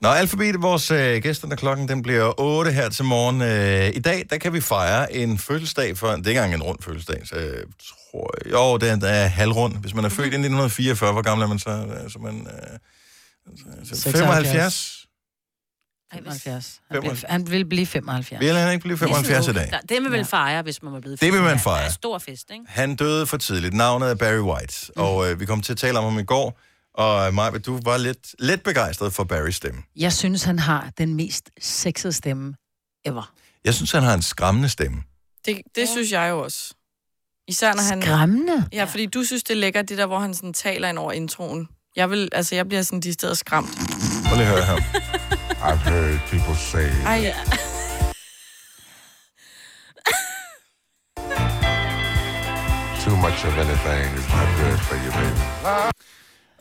[SPEAKER 1] Nå, alfabetet, vores øh, gæster, når klokken den bliver 8 her til morgen. Øh, I dag, der kan vi fejre en fødselsdag for, det er ikke engang en rund fødselsdag, så jeg tror jo, det er, det er halvrund. Hvis man er født i 1944, hvor gammel er man så? Øh, Så er man, øh, så- så 75?
[SPEAKER 4] Ej, 75. Han,
[SPEAKER 1] Femoghalvfjerds.
[SPEAKER 4] bliver, han vil blive 75.
[SPEAKER 1] Vil han ikke blive 75 i dag?
[SPEAKER 5] Der- Ligesom- Det vil man vel fejre, hvis man var blevet
[SPEAKER 1] Det vil man
[SPEAKER 5] 75.
[SPEAKER 1] fejre.
[SPEAKER 5] Det er en stor fest, ikke?
[SPEAKER 1] Han døde for tidligt. Navnet er Barry White, og øh, vi kom til at tale om ham i går. Og øh, Maja, du var lidt, lidt begejstret for Barrys stemme.
[SPEAKER 4] Jeg synes, han har den mest sexede stemme ever.
[SPEAKER 1] Jeg synes, han har en skræmmende stemme.
[SPEAKER 2] Det, det synes jeg jo også. Især når han...
[SPEAKER 4] Skræmmende?
[SPEAKER 2] Ja, fordi du synes, det er lækkert, det der, hvor han sådan taler ind over introen. Jeg, vil, altså, jeg bliver sådan de steder skræmt.
[SPEAKER 1] Prøv lige at høre her.
[SPEAKER 18] I've heard people say
[SPEAKER 2] Ej.
[SPEAKER 18] too much of anything is not good for you, baby.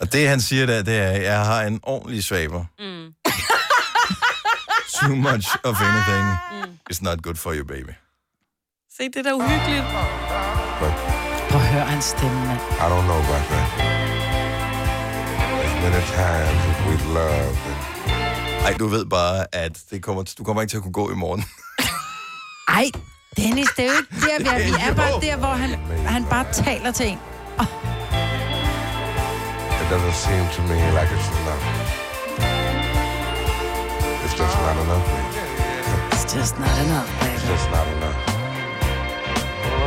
[SPEAKER 1] Og det, han siger der, det er, at jeg har en ordentlig svaber. Mm. Too much of anything mm. is not good for you, baby.
[SPEAKER 2] Se, det er da uhyggeligt.
[SPEAKER 4] Prøv at høre hans stemme, mand.
[SPEAKER 18] I don't know about that. As many times as we've loved and
[SPEAKER 1] Ej, du ved bare, at det kommer, du kommer ikke til at kunne gå i morgen.
[SPEAKER 4] Ej, Dennis, det er jo ikke der, vi er. Vi er bare der, hvor han, han bare taler til en.
[SPEAKER 18] it doesn't seem to me like it's enough. It's just not enough, baby.
[SPEAKER 4] It's just not enough, baby.
[SPEAKER 18] It's just not enough.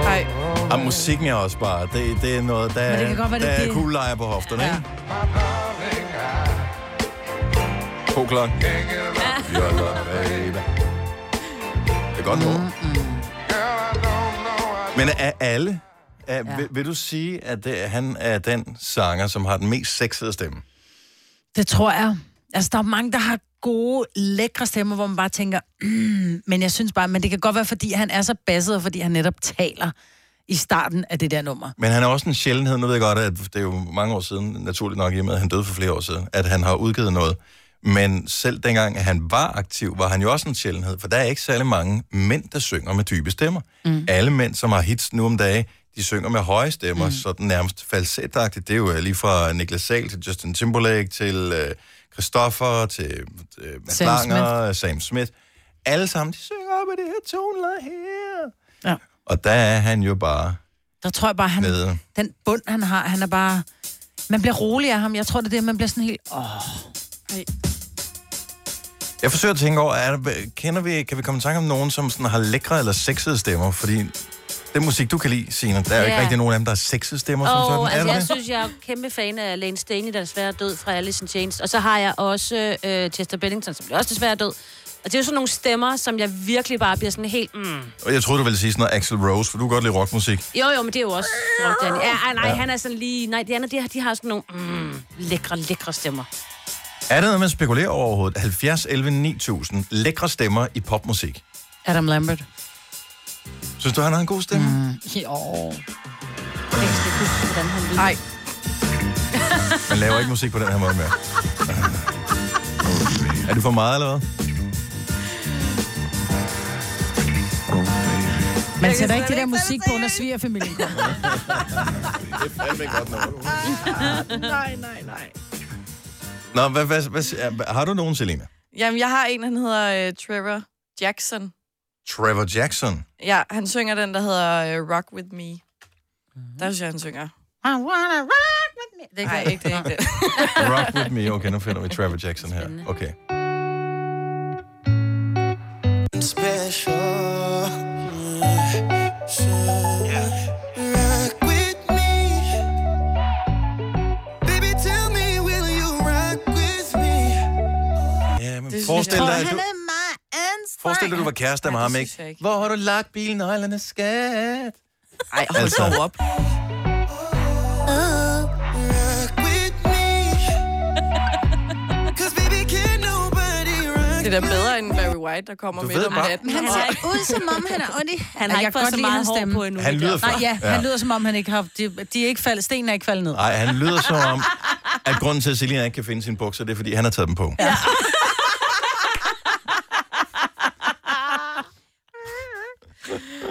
[SPEAKER 2] Ej.
[SPEAKER 1] Og musikken er også bare, det, det er noget, der,
[SPEAKER 4] Men det kan godt
[SPEAKER 1] er-
[SPEAKER 4] være,
[SPEAKER 1] der
[SPEAKER 4] det er
[SPEAKER 1] er
[SPEAKER 4] det.
[SPEAKER 1] kuglelejer på hofterne, ja. ikke? To klokken. You're gone, baby. Det er
[SPEAKER 4] Mm.
[SPEAKER 1] godt nummer. Men er alle, er, ja. vil, vil, du sige, at det, han er den sanger, som har den mest sexede stemme?
[SPEAKER 4] Det tror jeg. Altså, der er mange, der har gode, lækre stemmer, hvor man bare tænker, mm, men jeg synes bare, men det kan godt være, fordi han er så basset, og fordi han netop taler i starten af det der nummer.
[SPEAKER 1] Men han er også en sjældenhed. Nu ved jeg godt, at det er jo mange år siden, naturligt nok i og med, at han døde for flere år siden, at han har udgivet noget. Men selv dengang, at han var aktiv, var han jo også en sjældenhed, for der er ikke særlig mange mænd, der synger med dybe stemmer. Mm. Alle mænd, som har hits nu om dage, de synger med høje stemmer, mm. sådan nærmest falsetagtigt. Det er jo øh, lige fra Niklas Sahl til Justin Timberlake til øh, Christoffer til øh, Mads
[SPEAKER 19] Sam
[SPEAKER 1] Langer, Smith. Sam Smith. Alle sammen, de synger op i det her toneleje her.
[SPEAKER 4] Ja.
[SPEAKER 1] Og der er han jo bare
[SPEAKER 4] Der tror jeg bare, han,
[SPEAKER 1] nede.
[SPEAKER 4] den bund, han har, han er bare... Man bliver rolig af ham. Jeg tror, det er det, man bliver sådan helt... Åh.
[SPEAKER 1] Jeg forsøger at tænke over, er der, kender vi, kan vi komme i tanke om nogen, som sådan har lækre eller sexede stemmer? Fordi den musik, du kan lide, Signe, der er jo ikke
[SPEAKER 5] Ja.
[SPEAKER 1] rigtig nogen af dem, der er sexede stemmer. som sådan.
[SPEAKER 5] Og
[SPEAKER 1] er
[SPEAKER 5] altså,
[SPEAKER 1] der
[SPEAKER 5] jeg
[SPEAKER 1] det?
[SPEAKER 5] synes, jeg er kæmpe fan af Lane Staley, der desværre er død fra Alice in Chains. Og så har jeg også øh, Chester Bennington, som også desværre er død. Og det er jo sådan nogle stemmer, som jeg virkelig bare bliver sådan helt... Mm.
[SPEAKER 1] Og jeg troede, du ville sige sådan noget Axel Rose, for du kan godt lide rockmusik.
[SPEAKER 5] Jo, jo, men det er jo også rock, Danny. Ja, ej, nej,
[SPEAKER 1] Ja.
[SPEAKER 5] ja. han er sådan lige... Nej, de andre, de har, de har sådan nogle mm, lækre, lækre stemmer.
[SPEAKER 1] Er det noget, man spekulerer over overhovedet? 70, 11, 9000 lækre stemmer i popmusik.
[SPEAKER 4] Adam Lambert.
[SPEAKER 1] Synes du, han har en god stemme? Mm.
[SPEAKER 4] Jo.
[SPEAKER 2] Nej.
[SPEAKER 1] Man laver ikke musik på den her måde mere. Er det for meget, eller hvad?
[SPEAKER 4] Man sætter ikke det der musik på, når svigerfamilien kommer.
[SPEAKER 1] Det er fandme godt nok.
[SPEAKER 2] nej, nej, nej.
[SPEAKER 1] Nå, hvad, hvad, hvad, har du nogen, Selina?
[SPEAKER 2] Jamen, jeg har en, han hedder uh, Trevor Jackson.
[SPEAKER 1] Trevor Jackson.
[SPEAKER 2] Ja, han synger den, der hedder uh, Rock With Me. Der synes jeg, han synger. I wanna rock with me. Mhm. Ah, Det er ikke, ikke det. Ikke det.
[SPEAKER 1] Rock with me. Okay, nu finder vi Trevor Jackson her. Okay.
[SPEAKER 19] Special. Rock with me. Baby, tell me, will you rock with me?
[SPEAKER 1] Ja, men
[SPEAKER 19] Det synes
[SPEAKER 1] forestil
[SPEAKER 19] jeg-
[SPEAKER 1] dig,
[SPEAKER 19] Jeg
[SPEAKER 1] at
[SPEAKER 19] tror,
[SPEAKER 1] du,
[SPEAKER 19] han
[SPEAKER 1] forestil dig, at du var kæreste med ham, ikke? Hvor har du lagt bilen, Ejlerne skat? Altså.
[SPEAKER 2] Ej,
[SPEAKER 19] hold dog
[SPEAKER 2] op. Det er da bedre end Barry White, der kommer
[SPEAKER 1] Du
[SPEAKER 2] midt
[SPEAKER 1] ved
[SPEAKER 2] om
[SPEAKER 1] bare-
[SPEAKER 2] natten.
[SPEAKER 4] Han ser ud, som om han er ondt i...
[SPEAKER 5] Han har ikke fået så meget hår på endnu.
[SPEAKER 1] Han lyder
[SPEAKER 4] Nej,
[SPEAKER 1] fra-
[SPEAKER 4] ja, han
[SPEAKER 1] Ja.
[SPEAKER 4] lyder som om, han ikke har... De, de er ikke faldet, stenen er ikke faldet ned.
[SPEAKER 1] Nej, han lyder som om, at grunden til, at Selina ikke kan finde sine bukser, det er, fordi han har taget dem på. Ja.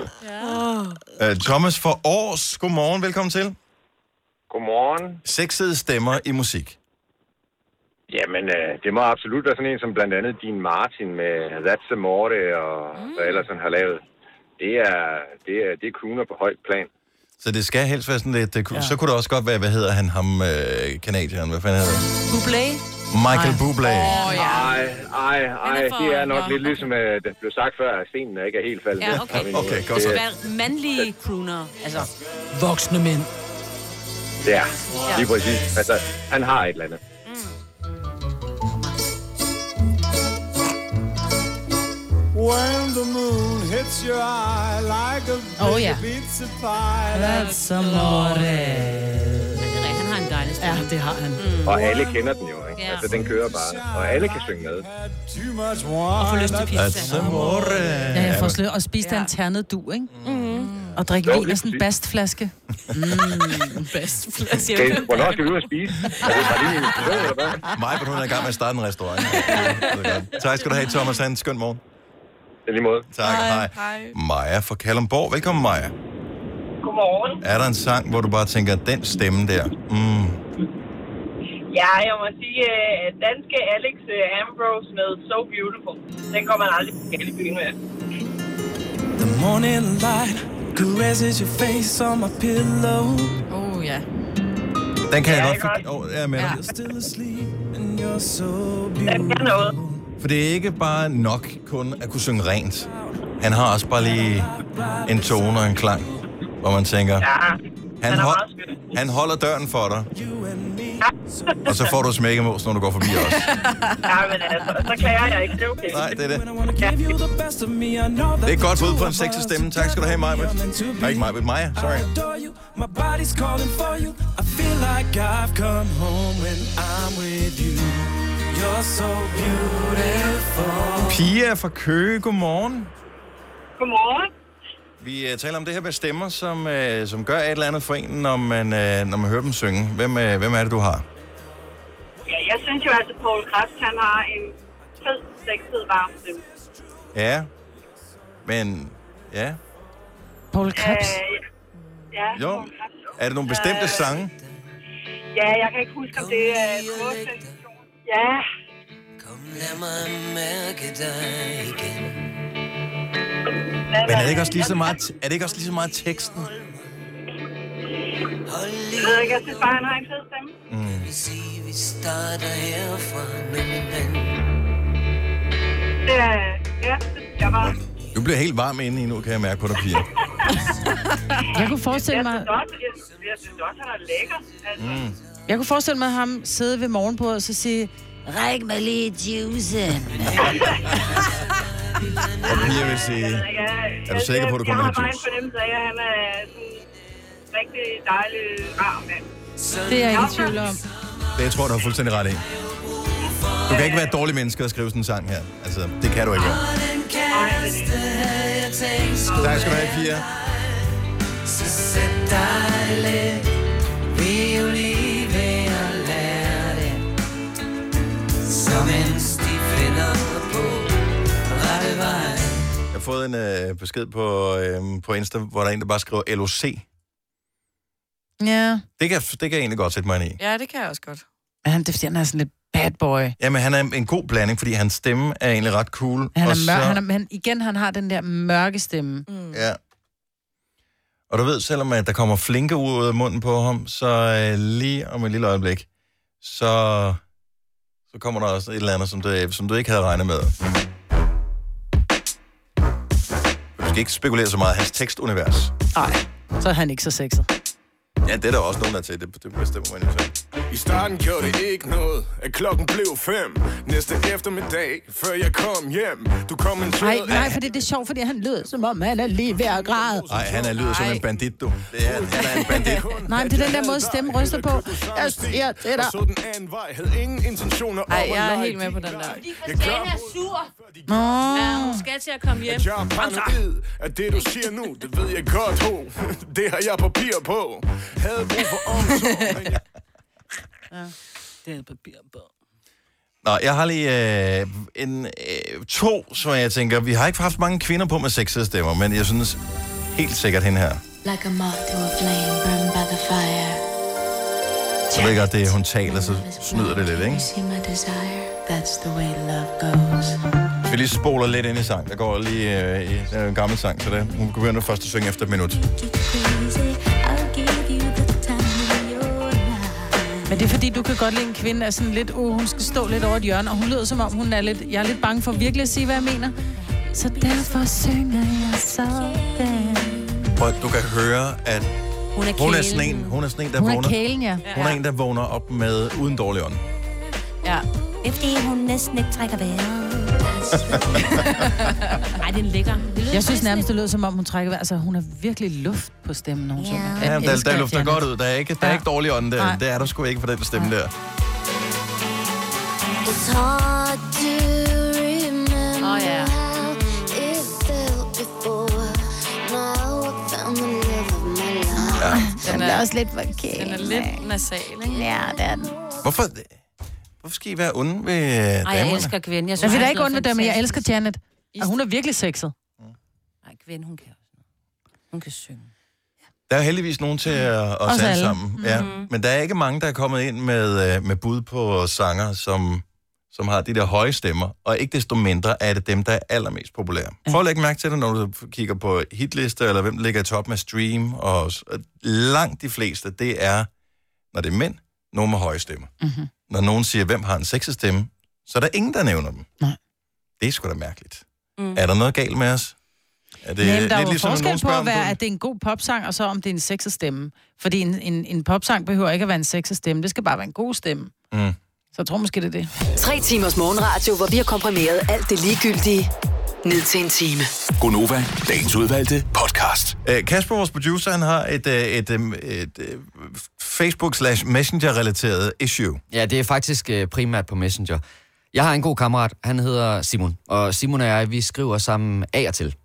[SPEAKER 1] Uh, Thomas for Års, godmorgen, velkommen til.
[SPEAKER 20] Godmorgen.
[SPEAKER 1] Sexede stemmer i musik.
[SPEAKER 20] Jamen, øh, det må absolut være sådan en som blandt andet Dean Martin med That's the Morte og mm. hvad ellers han har lavet. Det er, det er, det er crooner på højt plan.
[SPEAKER 1] Så det skal helst være sådan lidt... Det, ja. Så kunne det også godt være, hvad hedder han, ham øh, kanadieren, hvad fanden hedder han?
[SPEAKER 5] Bublé?
[SPEAKER 1] Michael Bublé.
[SPEAKER 20] Åh, ja. Ej, ej, ej,
[SPEAKER 5] Han er for-
[SPEAKER 20] det er nok
[SPEAKER 5] Nå.
[SPEAKER 20] lidt ligesom, øh, det blev sagt før, at stenen er ikke er helt faldet.
[SPEAKER 5] Ja,
[SPEAKER 20] ned.
[SPEAKER 5] okay.
[SPEAKER 20] Men, øh,
[SPEAKER 5] okay det skal være mandlige crooner. Altså,
[SPEAKER 4] Voksne mænd.
[SPEAKER 20] Ja, lige præcis. Altså, han har et eller andet.
[SPEAKER 19] When the moon hits your eye like a
[SPEAKER 4] Oh, yeah.
[SPEAKER 19] pizza pie,
[SPEAKER 4] That's amore.
[SPEAKER 5] han har en dejlig
[SPEAKER 21] dejlig stemme.
[SPEAKER 4] Ja, det har han.
[SPEAKER 21] Mm.
[SPEAKER 20] Og alle kender den jo, ikke? Altså, den kører bare. Og alle kan synge med.
[SPEAKER 4] Og få lyst til pizza.
[SPEAKER 20] Altså, more.
[SPEAKER 4] Ja, jeg får slø og spise ja. en ternet du, ikke? Mm. Og drikke
[SPEAKER 20] Jo,
[SPEAKER 4] vin
[SPEAKER 20] lige
[SPEAKER 4] af sådan en
[SPEAKER 20] præcis.
[SPEAKER 4] bastflaske. Mm, bastflaske.
[SPEAKER 1] Okay,
[SPEAKER 20] Hvornår skal vi ud og spise? Er det bare lige en prøve, eller hvad?
[SPEAKER 1] Mig på er i gang med at starte en restaurant. tak skal du have, Thomas. Ha' en skøn morgen.
[SPEAKER 20] I lige måde.
[SPEAKER 1] Tak, hej. hej. Maja fra Kalundborg. Velkommen, Maja.
[SPEAKER 19] Godmorgen.
[SPEAKER 1] Er der en sang, hvor du bare tænker, den stemme der? Mm.
[SPEAKER 19] Ja, jeg må sige, øh, at danske Alex øh, Ambrose med So Beautiful, den kommer man aldrig på Gallebyen med.
[SPEAKER 15] The morning light caresses your face on my pillow.
[SPEAKER 2] Oh, ja.
[SPEAKER 1] Den kan jeg godt for... Oh, jeg er med dig.
[SPEAKER 15] You're still asleep and you're so
[SPEAKER 19] Den kan noget.
[SPEAKER 1] For det er ikke bare nok kun at kunne synge rent. Han har også bare lige en tone og en klang, hvor man tænker, han,
[SPEAKER 19] han er
[SPEAKER 1] hold, han holder døren for dig, og så får du smække mås, når du går forbi os.
[SPEAKER 19] ja, men altså, så klager jeg ikke. Det er okay.
[SPEAKER 1] Nej, det er det.
[SPEAKER 15] give you the best of me. I know that
[SPEAKER 1] Det er et godt
[SPEAKER 15] the
[SPEAKER 1] bud
[SPEAKER 15] two
[SPEAKER 1] på en
[SPEAKER 15] of
[SPEAKER 1] sexet
[SPEAKER 15] us
[SPEAKER 1] stemme. Tak skal du have, Maja.
[SPEAKER 15] together
[SPEAKER 1] Nej, ikke Maja, Maja. Sorry.
[SPEAKER 15] adore you. My body's calling for you. I feel like I've come home when I'm with you. You're so beautiful.
[SPEAKER 1] Pia fra Køge, godmorgen.
[SPEAKER 19] Godmorgen.
[SPEAKER 1] Vi uh, taler om det her med stemmer, som, uh, som gør et eller andet for en, når man, uh, når man hører dem synge. Hvem, uh, hvem er det, du har?
[SPEAKER 19] Ja, jeg synes jo altså, Paul Krebs, han har en fed, sexet, varm stemme.
[SPEAKER 1] Ja. Men, ja.
[SPEAKER 4] Paul Krebs.
[SPEAKER 19] Øh, ja,
[SPEAKER 1] Jo.
[SPEAKER 19] Poul Krebs.
[SPEAKER 1] Er det nogle bestemte
[SPEAKER 19] Øh,
[SPEAKER 1] sange?
[SPEAKER 19] Ja, jeg kan ikke huske, om det er øh, Ja,
[SPEAKER 15] Lad mig mærke dig igen.
[SPEAKER 1] Men er det ikke også lige så meget, er det ikke også lige så meget teksten?
[SPEAKER 19] jeg ved ikke, jeg synes bare, han har en fed stemme.
[SPEAKER 1] Mm.
[SPEAKER 15] Vi siger, vi starter herfra nu, men
[SPEAKER 19] Det er, ja, det synes jeg bare.
[SPEAKER 1] Du bliver helt varm inde i nu, kan jeg mærke på dig, Pia.
[SPEAKER 4] Jeg kunne forestille mig...
[SPEAKER 19] Jeg synes også, jeg, jeg synes også, han er lækker. Altså,
[SPEAKER 1] Mm.
[SPEAKER 4] Jeg kunne forestille mig ham sidde ved morgenbordet og så sige, Ræk mig lige juicen.
[SPEAKER 1] Og Pia vil sige,
[SPEAKER 19] ja,
[SPEAKER 1] er du sikker på, at du kommer
[SPEAKER 19] Jeg
[SPEAKER 1] med
[SPEAKER 19] har bare en
[SPEAKER 1] juice?
[SPEAKER 19] fornemmelse af, at han er sådan en rigtig dejlig, rar mand.
[SPEAKER 4] Det er jeg ikke i tvivl om.
[SPEAKER 1] Det jeg tror jeg, du har fuldstændig ret i. Du kan ikke være et dårligt menneske og skrive sådan en sang her. Altså, det kan du ikke.
[SPEAKER 15] den kæreste, jeg tænkte skulle
[SPEAKER 1] Tak skal du have, Pia.
[SPEAKER 15] være. Så sæt dig lidt. Vi er jo lige ved at lære det. Som en sti finder på rette vej.
[SPEAKER 1] Jeg har fået en øh, besked på, øh, på Insta, hvor der er en, der bare skriver LOC.
[SPEAKER 4] Ja.
[SPEAKER 1] Det kan, det kan jeg egentlig godt sætte mig ind i.
[SPEAKER 2] Ja, det kan jeg også godt.
[SPEAKER 4] Men han, det er fordi, han er sådan lidt bad boy.
[SPEAKER 1] Jamen, han er en god blanding, fordi hans stemme er egentlig ret cool.
[SPEAKER 4] Han
[SPEAKER 1] og
[SPEAKER 4] er mørk, han er, han, igen, han har den der mørke stemme. Mm.
[SPEAKER 1] Ja. Og du ved, selvom at der kommer flinke ud af munden på ham, så øh, lige om et lille øjeblik, så, så kommer der også et eller andet, som du, øh, som du ikke havde regnet med. Du skal ikke spekulere så meget i hans tekstunivers.
[SPEAKER 4] Nej, så er han ikke så sexet.
[SPEAKER 1] Ja, det er der også nogen, der er til. Det, det bestemmer man jo selv.
[SPEAKER 8] I starten gjorde det ikke noget, at klokken blev fem. Næste eftermiddag, før jeg kom hjem, du kom en
[SPEAKER 4] Nej, nej, for det er sjovt, fordi han lød, som om han er lige ved at græde.
[SPEAKER 1] Nej, han er lyder som en bandit, du. Det er, han Han er en bandit.
[SPEAKER 4] Nej, men det er den der måde, stemmen ryster på. Jeg siger til
[SPEAKER 8] Og så
[SPEAKER 4] dig.
[SPEAKER 8] den anden vej, havde ingen intentioner om
[SPEAKER 2] Ej,
[SPEAKER 8] at
[SPEAKER 2] jeg er
[SPEAKER 8] lege
[SPEAKER 2] helt med på den der.
[SPEAKER 8] din
[SPEAKER 2] for
[SPEAKER 8] Jeg gør
[SPEAKER 2] fanden er
[SPEAKER 8] mod-
[SPEAKER 22] Sur.
[SPEAKER 4] Nå.
[SPEAKER 22] Ja, hun skal til at komme hjem.
[SPEAKER 8] At jeg er paranoid, at det du siger nu, det ved jeg godt, ho. Det har jeg papir på. Havde brug for omsorg, men jeg...
[SPEAKER 22] Det er papir på.
[SPEAKER 1] Nå, jeg har lige øh, en, øh, to, som jeg tænker, vi har ikke haft mange kvinder på med sexede stemmer, men jeg synes helt sikkert hende her.
[SPEAKER 5] Like a moth to a flame burned by the fire.
[SPEAKER 1] Så ved jeg godt, det er, hun taler, så snyder det lidt, ikke?
[SPEAKER 5] See my desire. That's the way love goes.
[SPEAKER 1] Vi lige spoler lidt ind i sang. Der går lige øh, i- der er en gammel sang, så det. Hun begynder først at synge efter et minut.
[SPEAKER 4] Men det er fordi, du kan godt lide en kvinde, er sådan lidt, uh, hun skal stå lidt over et hjørne, og hun lyder som om, hun er lidt, jeg er lidt bange for virkelig at sige, hvad jeg mener. Så derfor synger jeg sådan.
[SPEAKER 1] Prøv, du kan høre, at
[SPEAKER 4] Hun er
[SPEAKER 1] hun er
[SPEAKER 4] kælen.
[SPEAKER 1] sådan en, hun er sådan en der
[SPEAKER 4] Hun er
[SPEAKER 1] vågner.
[SPEAKER 4] kælen, ja.
[SPEAKER 1] Hun er en, der vågner op med uden dårlig ånd.
[SPEAKER 5] Ja. Det er fordi hun næsten ikke trækker vejret. Ej, den ligger. Det lyder
[SPEAKER 4] Jeg synes nærmest, det lød som om, hun trækker vejret. Altså, hun har virkelig luft på stemmen, når hun ja. synger.
[SPEAKER 1] Ja,
[SPEAKER 4] Jeg
[SPEAKER 1] der,
[SPEAKER 4] elsker
[SPEAKER 1] der lufter
[SPEAKER 4] Janet.
[SPEAKER 1] godt ud. Der er ikke, der er ikke dårlig ånd der.
[SPEAKER 4] Nej.
[SPEAKER 1] Det er der sgu ikke for den stemme der.
[SPEAKER 23] It's hard to remember
[SPEAKER 5] Oh, yeah.
[SPEAKER 23] how it felt before. Now I found the love of my life.
[SPEAKER 2] Den er også
[SPEAKER 23] lidt forkert.
[SPEAKER 2] Den er lidt nasal, ikke?
[SPEAKER 23] Ja, det er den.
[SPEAKER 1] Hvorfor, hvorfor skal I være onde ved øh, damerne?
[SPEAKER 4] Jeg,
[SPEAKER 5] kvinden. synes,
[SPEAKER 4] synes, jeg vil da
[SPEAKER 5] hun
[SPEAKER 4] ikke
[SPEAKER 5] lyder
[SPEAKER 4] undvære dem, jeg
[SPEAKER 5] fantastisk.
[SPEAKER 4] elsker Janet. Og hun er virkelig sexet.
[SPEAKER 5] Nej, kvinden, hun kan også noget. Hun kan synge.
[SPEAKER 1] Der er heldigvis nogen til at, os,
[SPEAKER 5] Os
[SPEAKER 1] alle
[SPEAKER 5] alle.
[SPEAKER 1] sammen. Ja. Men der er ikke mange, der er kommet ind med, øh, med bud på sanger, som, som har de der høje stemmer. Og ikke desto mindre er det dem, der er allermest populære. Prøv at lægge mærke til det, når du kigger på hitlister, eller hvem der ligger i toppen af stream. Og s- og langt de fleste, det er, når det er mænd, nogen med høje stemmer.
[SPEAKER 4] Mm-hmm.
[SPEAKER 1] Når nogen siger, hvem har en sexet stemme, så er der ingen, der nævner dem.
[SPEAKER 4] Nej.
[SPEAKER 1] Det er sgu da mærkeligt.
[SPEAKER 4] Mm.
[SPEAKER 1] Mm. Er der noget galt med os? Er det
[SPEAKER 4] Jamen, der er jo
[SPEAKER 1] når nogen
[SPEAKER 4] forskel på
[SPEAKER 1] spørger,
[SPEAKER 4] at
[SPEAKER 1] om
[SPEAKER 4] være,
[SPEAKER 1] du-
[SPEAKER 4] at det er en god popsang, og så om det er en sexet stemme. Fordi en, en, en popsang behøver ikke at være en sexet stemme. Det skal bare være en god stemme.
[SPEAKER 1] Mm.
[SPEAKER 4] Så jeg tror måske, det er det.
[SPEAKER 7] Tre timers morgenradio, hvor vi har komprimeret alt det ligegyldige ned til en time.
[SPEAKER 1] Gonova, dagens udvalgte podcast. Æ, Øh, Kasper, vores producer, han har et, øh, et, øh, et, øh, Facebook-slash-messenger-relateret issue.
[SPEAKER 6] Ja, det er faktisk øh, primært på Messenger. Jeg har en god kammerat, han hedder Simon, og Simon og jeg, vi skriver sammen af og til,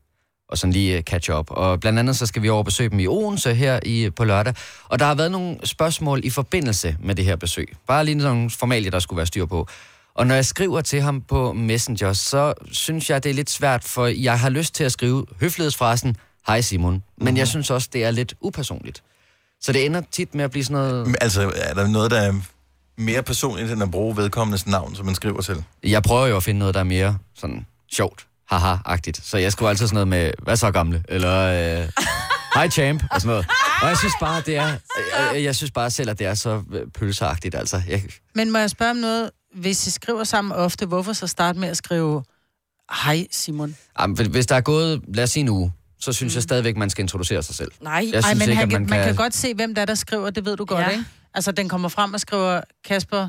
[SPEAKER 6] og sådan lige øh, catch up. Og blandt andet så skal vi over og besøge dem i Odense her i, på lørdag, og der har været nogle spørgsmål i forbindelse med det her besøg. Bare lige nogle formalier, der skulle være styr på. Og når jeg skriver til ham på Messenger, så synes jeg, det er lidt svært, for jeg har lyst til at skrive høflighedsfrasen, hej Simon, men jeg synes også, det er lidt upersonligt. Så det ender tit med at blive sådan noget...
[SPEAKER 1] Altså, er der noget, der er mere personligt, end at bruge vedkommendes navn, som man skriver til?
[SPEAKER 6] Jeg prøver jo at finde noget, der er mere sådan sjovt, haha-agtigt. Så jeg skriver altid sådan noget med, hvad så gamle? Eller, øh, hej champ, og sådan noget. Og jeg synes bare, det er, jeg, jeg synes bare selv, at det er så øh, pølseagtigt, altså. Jeg,
[SPEAKER 4] Men må jeg spørge om noget? Hvis I skriver sammen ofte, hvorfor så starte med at skrive, hej Simon?
[SPEAKER 6] jamen, hvis- hvis der er gået, lad os sige en uge, så synes mm. jeg stadigvæk, man skal introducere sig selv.
[SPEAKER 4] Nej,
[SPEAKER 6] jeg
[SPEAKER 4] Ej,
[SPEAKER 6] synes
[SPEAKER 4] men
[SPEAKER 6] ikke,
[SPEAKER 4] han,
[SPEAKER 6] at
[SPEAKER 4] kan,
[SPEAKER 6] man,
[SPEAKER 4] man
[SPEAKER 6] kan
[SPEAKER 4] kan godt se, hvem der er, der skriver, det ved du godt, ja. ikke? Altså, den kommer frem og skriver, Kasper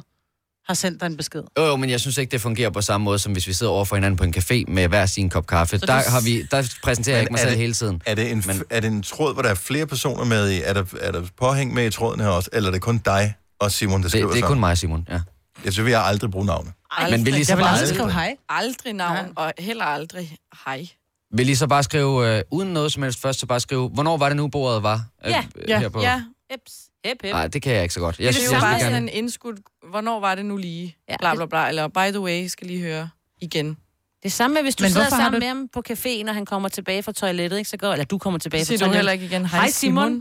[SPEAKER 4] har sendt dig en besked.
[SPEAKER 6] Jo, jo, men jeg synes ikke, det fungerer på samme måde, som hvis vi sidder over for hinanden på en café med hver sin kop kaffe.
[SPEAKER 1] Så
[SPEAKER 6] Der,
[SPEAKER 1] du-
[SPEAKER 6] har vi, der præsenterer jeg
[SPEAKER 1] Men
[SPEAKER 6] ikke mig
[SPEAKER 1] er
[SPEAKER 6] selv
[SPEAKER 1] det-
[SPEAKER 6] hele tiden.
[SPEAKER 1] Er det, en, men... er det en tråd, hvor der er flere personer med i? Er der, er der påhæng med i tråden her også? Eller er det kun dig og Simon, der skriver
[SPEAKER 6] det er
[SPEAKER 1] sammen?
[SPEAKER 6] kun mig, Simon, ja.
[SPEAKER 1] Jeg synes, vi har aldrig brugt navne.
[SPEAKER 2] Ej,
[SPEAKER 6] Men vil I så
[SPEAKER 2] jeg
[SPEAKER 6] bare
[SPEAKER 2] aldrig
[SPEAKER 6] aldrig-
[SPEAKER 2] skrive hej. Aldrig navn, og heller aldrig hej.
[SPEAKER 6] Vil I så bare skrive, øh, uden noget som helst først, så bare skrive, hvornår var det nu, bordet var? øh, øh, her på-
[SPEAKER 2] ja. Eps. Hep, hep.
[SPEAKER 6] Nej, det kan jeg ikke så godt. Jeg
[SPEAKER 2] det
[SPEAKER 6] synes,
[SPEAKER 2] er jo
[SPEAKER 6] jeg
[SPEAKER 2] bare
[SPEAKER 6] vil
[SPEAKER 2] sådan en
[SPEAKER 6] gerne...
[SPEAKER 2] indskud, hvornår var det nu lige? Ja. Bla, bla, bla. Eller by the way, skal lige høre igen.
[SPEAKER 5] Det samme med, hvis du
[SPEAKER 2] Men
[SPEAKER 5] Men sidder
[SPEAKER 2] hvorfor har
[SPEAKER 5] sammen du...
[SPEAKER 2] du-
[SPEAKER 5] med ham på caféen, og han kommer tilbage fra toilettet, ikke? Så går, eller du kommer tilbage fra
[SPEAKER 2] Siger du
[SPEAKER 5] toilettet.
[SPEAKER 2] heller ikke igen, "Hej,
[SPEAKER 5] Hej Simon.
[SPEAKER 2] Simon."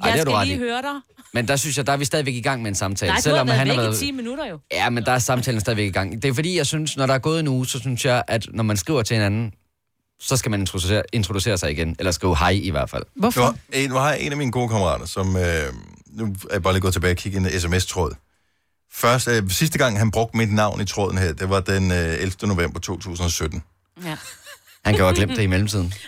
[SPEAKER 6] Ej,
[SPEAKER 5] Jeg
[SPEAKER 6] det har du
[SPEAKER 5] skal
[SPEAKER 6] ret
[SPEAKER 5] lige
[SPEAKER 6] i.
[SPEAKER 5] høre dig.
[SPEAKER 6] Men der synes jeg, der er vi stadigvæk i gang med en samtale.
[SPEAKER 5] Nej, du har været væk i 10 minutter jo.
[SPEAKER 6] Ja, men der er samtalen stadigvæk i gang. Det er fordi, jeg synes, når der er gået en uge, så synes jeg, at når man skriver til hinanden, så skal man introducere, introducere sig igen. Eller skrive hej i hvert fald.
[SPEAKER 1] Hvorfor? Nu har, en, nu har jeg en af mine gode kammerater, som... Øh, nu er jeg bare lige gået tilbage og kigge i en sms-tråd. Først, øh, sidste gang, han brugte mit navn i tråden her, det var den øh, 11. november 2017.
[SPEAKER 5] Ja.
[SPEAKER 6] Han kan jo have glemt det i mellemtiden.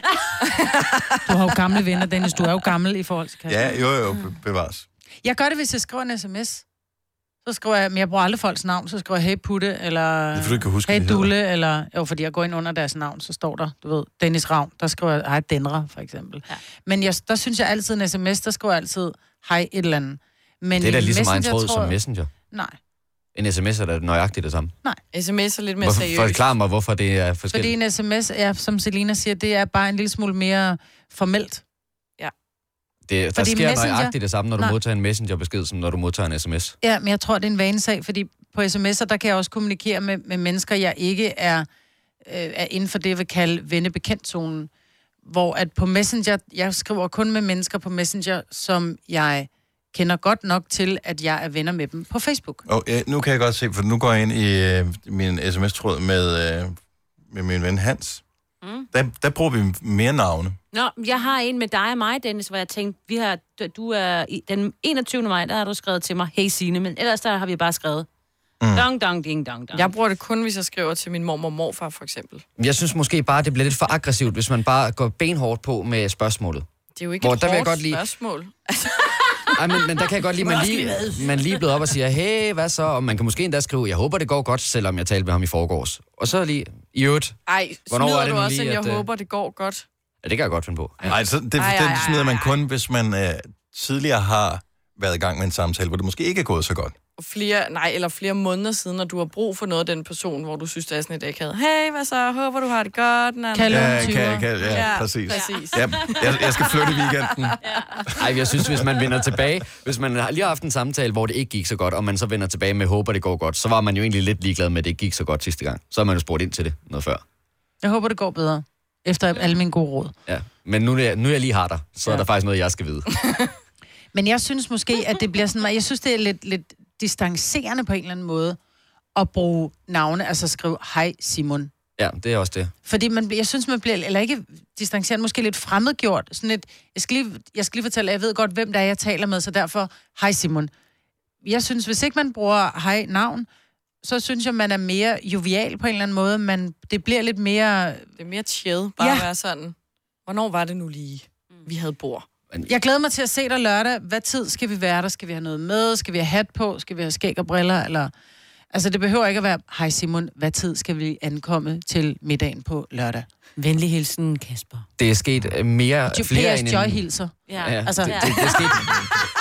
[SPEAKER 4] Du har jo gamle venner, Dennis. Du er jo gammel i forhold til Kasper.
[SPEAKER 1] Ja, jo, jo, be- bevares.
[SPEAKER 4] Jeg gør det, hvis jeg skriver en sms. Så skriver jeg, men jeg bruger aldrig folks navn, så skriver jeg, hey Putte, eller
[SPEAKER 1] fordi, du ikke kan huske,
[SPEAKER 4] hey
[SPEAKER 1] hvad de hedder.
[SPEAKER 4] Dulle, eller, jo, fordi jeg går ind under deres navn, så står der, du ved, Dennis Ravn, der skriver jeg, hej Denra, for eksempel. Ja. Men jeg, der synes jeg altid, en sms, der skriver jeg altid, hej et eller andet. Men
[SPEAKER 6] Men det er da
[SPEAKER 4] i
[SPEAKER 6] lige så meget en
[SPEAKER 4] Messenger,
[SPEAKER 6] tråd
[SPEAKER 4] tror
[SPEAKER 6] som
[SPEAKER 4] jeg-
[SPEAKER 6] Messenger.
[SPEAKER 4] Nej,
[SPEAKER 6] En sms er da nøjagtigt det samme.
[SPEAKER 2] Nej. Sms er lidt mere
[SPEAKER 6] Hvorfor,
[SPEAKER 2] seriøst.
[SPEAKER 6] forklar mig, hvorfor det er forskelligt.
[SPEAKER 4] fordi en sms, er, som Selina siger, det er bare en lille smule mere formelt.
[SPEAKER 6] Det, der
[SPEAKER 4] fordi
[SPEAKER 6] sker
[SPEAKER 4] Messenger-
[SPEAKER 6] nøjagtigt det samme, når du
[SPEAKER 4] Nej.
[SPEAKER 6] modtager en messengerbesked, som når du modtager en sms.
[SPEAKER 4] Ja, men jeg tror, det er en vanesag, fordi på sms'er, der kan jeg også kommunikere med, med mennesker, jeg ikke er, øh, er inden for det, jeg vil kalde vennebekendtzonen. Hvor at på Messenger, jeg skriver kun med mennesker på Messenger, som jeg kender godt nok til, at jeg er venner med dem på Facebook.
[SPEAKER 1] Og øh, nu kan jeg godt se, for nu går jeg ind i øh, min sms-tråd med, øh, med min ven Hans.
[SPEAKER 5] Mm.
[SPEAKER 1] Mm. Der, der bruger vi mere navne.
[SPEAKER 5] Nå, jeg har en med dig og mig, Dennis, hvor jeg tænkte, vi har, du er, i- den 21. maj, der har du skrevet til mig, hey Signe, men ellers der har vi bare skrevet, mm. dong, dong, ding, dong, dong.
[SPEAKER 2] Jeg bruger det kun, hvis jeg skriver til min mormor og morfar, for eksempel.
[SPEAKER 6] Jeg synes måske bare, det bliver lidt for aggressivt, hvis man bare går benhårdt på med spørgsmålet.
[SPEAKER 2] Det er jo ikke
[SPEAKER 6] Hvor
[SPEAKER 2] et
[SPEAKER 6] der vil jeg
[SPEAKER 2] hårdt
[SPEAKER 6] godt lide-
[SPEAKER 2] spørgsmål.
[SPEAKER 6] Ej, men, men der kan jeg godt lide,
[SPEAKER 19] Må
[SPEAKER 6] man
[SPEAKER 19] jeg også
[SPEAKER 6] lige,
[SPEAKER 19] lige med?
[SPEAKER 6] man lige blevet op og siger, hey, hvad så? Og man kan måske endda skrive, jeg håber, det går godt, selvom jeg talte med ham i forgårs. Og så lige, i øvrigt,
[SPEAKER 2] Ej,
[SPEAKER 6] Hvornår er
[SPEAKER 2] smider
[SPEAKER 6] det
[SPEAKER 2] du
[SPEAKER 6] nu
[SPEAKER 2] også,
[SPEAKER 6] lige,
[SPEAKER 2] at jeg
[SPEAKER 6] at, øh,
[SPEAKER 2] håber, det går godt.
[SPEAKER 6] ja, det kan jeg godt finde på. Ja.
[SPEAKER 1] Nej, så det,
[SPEAKER 2] Ej, ej,
[SPEAKER 1] den
[SPEAKER 2] ej,
[SPEAKER 1] smider man kun, hvis man øh, tidligere har været i gang med en samtale, hvor det måske ikke er gået så godt.
[SPEAKER 2] Flere, nej, eller flere måneder siden, når du har brug for noget af den person, hvor du synes, det er sådan et akavet. Hey, hvad så? Håber, du har det godt. Na, na, na."
[SPEAKER 1] ja, kan, kan, ja, præcis.
[SPEAKER 2] præcis.
[SPEAKER 1] Ja, jeg, jeg skal flytte i weekenden.
[SPEAKER 6] Ej, jeg synes, hvis man vender tilbage, hvis man har lige har haft en samtale, hvor det ikke gik så godt, og man så vender tilbage med, håber, det går godt, så var man jo egentlig lidt ligeglad med, at det ikke gik så godt sidste gang. Så har man jo spurgt ind til det noget før.
[SPEAKER 4] Jeg håber, det går bedre. Efter alle mine gode råd.
[SPEAKER 6] Ja. Men nu, er jeg- nu er jeg lige har dig, så ja. er der faktisk noget, jeg skal vide.
[SPEAKER 4] Men jeg synes måske, at det bliver sådan meget- Jeg synes, det er lidt, lidt distancerende på en eller anden måde at bruge navne, altså skrive, hej Simon.
[SPEAKER 6] Ja, det er også det.
[SPEAKER 4] Fordi man, jeg synes, man bliver, eller ikke distancerende, måske lidt fremmedgjort. Sådan et, jeg, skal lige, jeg skal lige fortælle, at jeg ved godt, hvem der er, jeg taler med, så derfor, hej Simon. Jeg synes, hvis ikke man bruger hej navn, så synes jeg, man er mere jovial på en eller anden måde. Man, det bliver lidt mere...
[SPEAKER 2] Det er mere chill, bare
[SPEAKER 4] Ja.
[SPEAKER 2] ja. at være sådan. Hvornår var det nu lige, vi havde bord?
[SPEAKER 4] Jeg glæder mig til at se dig lørdag. Hvad tid skal vi være der? Skal vi have noget med? Skal vi have hat på? Skal vi have skæg og briller? Eller... Altså, det behøver ikke at være, hej Simon, hvad tid skal vi ankomme til middagen på lørdag? Venlig hilsen, Kasper.
[SPEAKER 6] Det er sket øh, mere,
[SPEAKER 4] Jo,
[SPEAKER 6] flere
[SPEAKER 4] P.S.
[SPEAKER 6] end en-
[SPEAKER 4] Joy hilser.
[SPEAKER 6] Ja, ja, altså, det, det, det, er sket,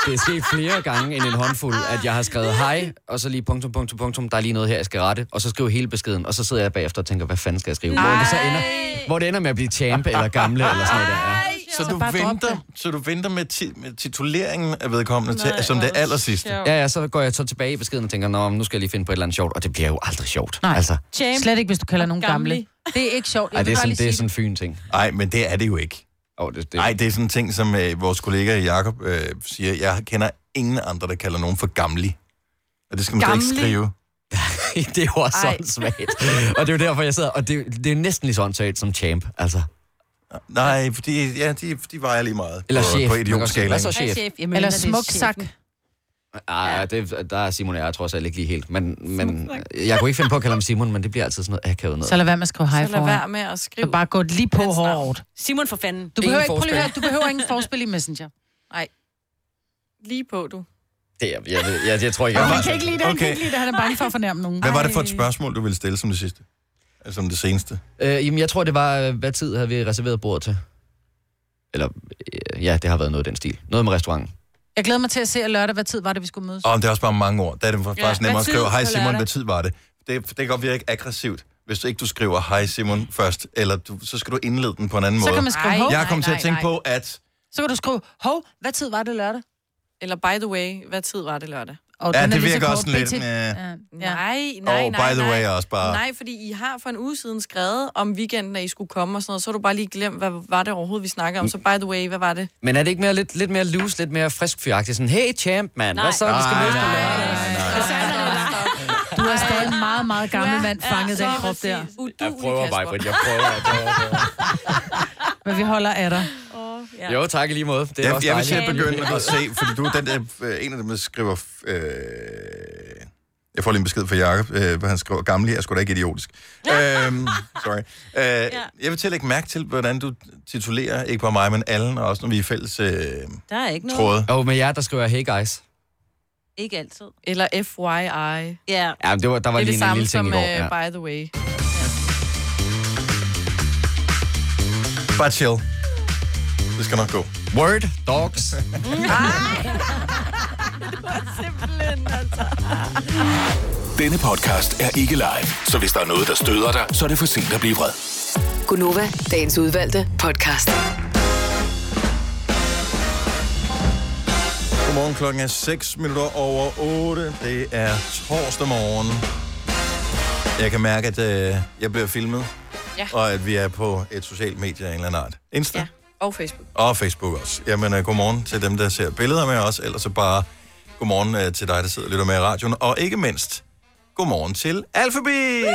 [SPEAKER 6] det er sket flere gange end en håndfuld, at jeg har skrevet hej, og så lige punktum, punktum, punktum, der er lige noget her, jeg skal rette, og så skriver hele beskeden, og så sidder jeg bagefter og tænker, hvad fanden skal jeg skrive? Hvor det, så ender, hvor det ender med at blive champ eller gamle eller sådan noget der. Ja.
[SPEAKER 1] Så du, venter, så du venter med, ti, med tituleringen af vedkommende til,
[SPEAKER 6] Nej,
[SPEAKER 1] som det aller sidste.
[SPEAKER 6] Ja, ja, så går jeg så tilbage i beskeden og tænker, Nå, men nu skal jeg lige finde på et eller andet sjovt, og det bliver jo aldrig sjovt.
[SPEAKER 4] Nej.
[SPEAKER 6] Altså,
[SPEAKER 4] Champ. Slet ikke, hvis du kalder nogen gamle.
[SPEAKER 6] Gamle.
[SPEAKER 4] Det er ikke sjovt.
[SPEAKER 6] ej,
[SPEAKER 4] Jeg
[SPEAKER 6] det
[SPEAKER 4] vil
[SPEAKER 6] er
[SPEAKER 4] bare
[SPEAKER 6] sådan,
[SPEAKER 4] lige
[SPEAKER 6] det er
[SPEAKER 4] sige
[SPEAKER 6] sådan en fyn ting.
[SPEAKER 1] Nej, men det er det jo ikke.
[SPEAKER 6] Oh, det, det.
[SPEAKER 1] Nej, det er sådan en ting, som øh, vores kollega Jakob øh, siger. Jeg kender ingen andre, der kalder nogen for gamlig. Og det skal man slet
[SPEAKER 6] Gamlig?
[SPEAKER 1] ikke skrive.
[SPEAKER 6] det er jo også
[SPEAKER 1] Ej.
[SPEAKER 6] sådan svagt. Og det er jo derfor, jeg sidder, og det, det er jo næsten lige sådan svagt som champ, altså.
[SPEAKER 1] Nej, fordi ja, de, de vejer lige meget.
[SPEAKER 6] Eller
[SPEAKER 1] på,
[SPEAKER 6] chef.
[SPEAKER 1] På
[SPEAKER 6] Man kan også sige,
[SPEAKER 1] idiotskalaen.
[SPEAKER 6] hvad så chef?
[SPEAKER 4] Jamen, Eller smuk sak.
[SPEAKER 6] Ej, det, der er Simon og jeg trods alt ikke lige helt. Men, men jeg kunne ikke finde på at kalde ham Simon, men det bliver altid sådan noget akavet noget.
[SPEAKER 4] Så lad være med at skrive hej
[SPEAKER 6] Så
[SPEAKER 4] for
[SPEAKER 6] lad være
[SPEAKER 2] med at skrive.
[SPEAKER 4] Så bare gå lige på hårdt.
[SPEAKER 5] Simon for fanden.
[SPEAKER 4] Du behøver, ikke, prøv lige at høre, du behøver ingen forspil i Messenger.
[SPEAKER 2] Nej. Lige på, du.
[SPEAKER 6] Det, jeg, jeg, ved- jeg, jeg tror ikke, jeg
[SPEAKER 4] Han kan ikke lide det, han kan
[SPEAKER 1] Okay.
[SPEAKER 4] ikke lide det. Han er bange for at fornærme nogen.
[SPEAKER 1] Hvad var det for et spørgsmål, du ville stille som det sidste? Altså, Som det seneste?
[SPEAKER 6] Øh, jamen, jeg tror, det var, øh, hvad tid havde vi reserveret bordet til? Eller, øh, ja, det har været noget i den stil. Noget med restauranten.
[SPEAKER 4] Jeg glæder mig til at se at lørdag, hvad tid var det, vi skulle mødes.
[SPEAKER 1] Og det er også bare mange ord. Der er det faktisk
[SPEAKER 4] Ja,
[SPEAKER 1] ja, nemmere
[SPEAKER 4] hvad
[SPEAKER 1] at
[SPEAKER 4] tid
[SPEAKER 1] skrive, hej
[SPEAKER 4] på
[SPEAKER 1] Simon,
[SPEAKER 4] lørdag?"
[SPEAKER 1] hvad tid var det? Det, det kan godt virke aggressivt, hvis du ikke du skriver hej Simon først, eller du, så skal du indlede den på en anden
[SPEAKER 4] Så
[SPEAKER 1] måde.
[SPEAKER 4] kan man skrive, Ej, hov.
[SPEAKER 1] Jeg
[SPEAKER 4] nej,
[SPEAKER 1] kom til at
[SPEAKER 4] nej,
[SPEAKER 1] tænke
[SPEAKER 4] nej.
[SPEAKER 1] på, at
[SPEAKER 4] Så kan du skrive, hov, hvad tid var det lørdag?
[SPEAKER 2] Eller by the way, hvad tid var det lørdag?
[SPEAKER 1] Og Ja, den er det lige så virker også kort, sådan lidt, BT. ja.
[SPEAKER 2] Nej, nej,
[SPEAKER 1] Og
[SPEAKER 2] nej,
[SPEAKER 1] by the
[SPEAKER 2] nej.
[SPEAKER 1] way er også bare-
[SPEAKER 2] Nej, fordi I har for en uge siden skrevet om weekenden, at I skulle komme og sådan noget, så har du bare lige glemt, hvad var det overhovedet, vi snakker om. Så by the way, hvad var det?
[SPEAKER 6] Men er det ikke mere, lidt, lidt mere loose, lidt mere frisk fyragtigt? Sådan, hey champ, mand, hvad så? Vi skal mødes på lørdag.
[SPEAKER 4] Du er stadig en meget, meget gammel mand fanget i den krop der.
[SPEAKER 6] Jeg prøver, bare, jeg prøver, jeg prøver.
[SPEAKER 4] Men vi holder af dig.
[SPEAKER 6] Ja. Jo, tak i lige måde. Det er
[SPEAKER 1] jeg,
[SPEAKER 6] også
[SPEAKER 1] jeg vil selv
[SPEAKER 6] dejligt.
[SPEAKER 1] begynde at se, fordi du er den der, øh, en af dem, der skriver... Øh, jeg får lige en besked fra Jacob, øh, hvor han skriver, gamle er sgu da ikke idiotisk. øhm, sorry. Øh, ja. Jeg vil til at lægge mærke til, hvordan du titulerer, ikke bare mig, men alle, og også når vi er i fælles øh,
[SPEAKER 5] Der er ikke noget.
[SPEAKER 1] tråde.
[SPEAKER 6] Jo, men jeg der skriver, hey guys.
[SPEAKER 5] Ikke altid.
[SPEAKER 2] Eller FYI.
[SPEAKER 5] Ja.
[SPEAKER 6] Ja, men det var, der var
[SPEAKER 2] det er
[SPEAKER 6] lige
[SPEAKER 2] det
[SPEAKER 6] en, en
[SPEAKER 2] samme
[SPEAKER 6] lille
[SPEAKER 2] som
[SPEAKER 6] ting i går. Ja.
[SPEAKER 2] uh, by the way.
[SPEAKER 1] Bare chill. Det skal nok gå.
[SPEAKER 6] Word, dogs.
[SPEAKER 8] Denne podcast er ikke live, så hvis der er noget, der støder dig, så er det for sent at blive vred.
[SPEAKER 7] Gunova, dagens udvalgte podcast.
[SPEAKER 1] Godmorgen, klokken er 6 minutter over 8. Det er torsdag morgen. Jeg kan mærke, at øh, jeg bliver filmet,
[SPEAKER 2] Ja.
[SPEAKER 1] og at vi er på et socialt medie af en eller anden art. Insta ja.
[SPEAKER 2] Og Facebook.
[SPEAKER 1] og Facebook også. Jamen, øh, godmorgen til dem, der ser billeder med os, ellers så bare godmorgen øh, til dig, der sidder og lytter med i radioen, og ikke mindst, godmorgen til Alphabeat!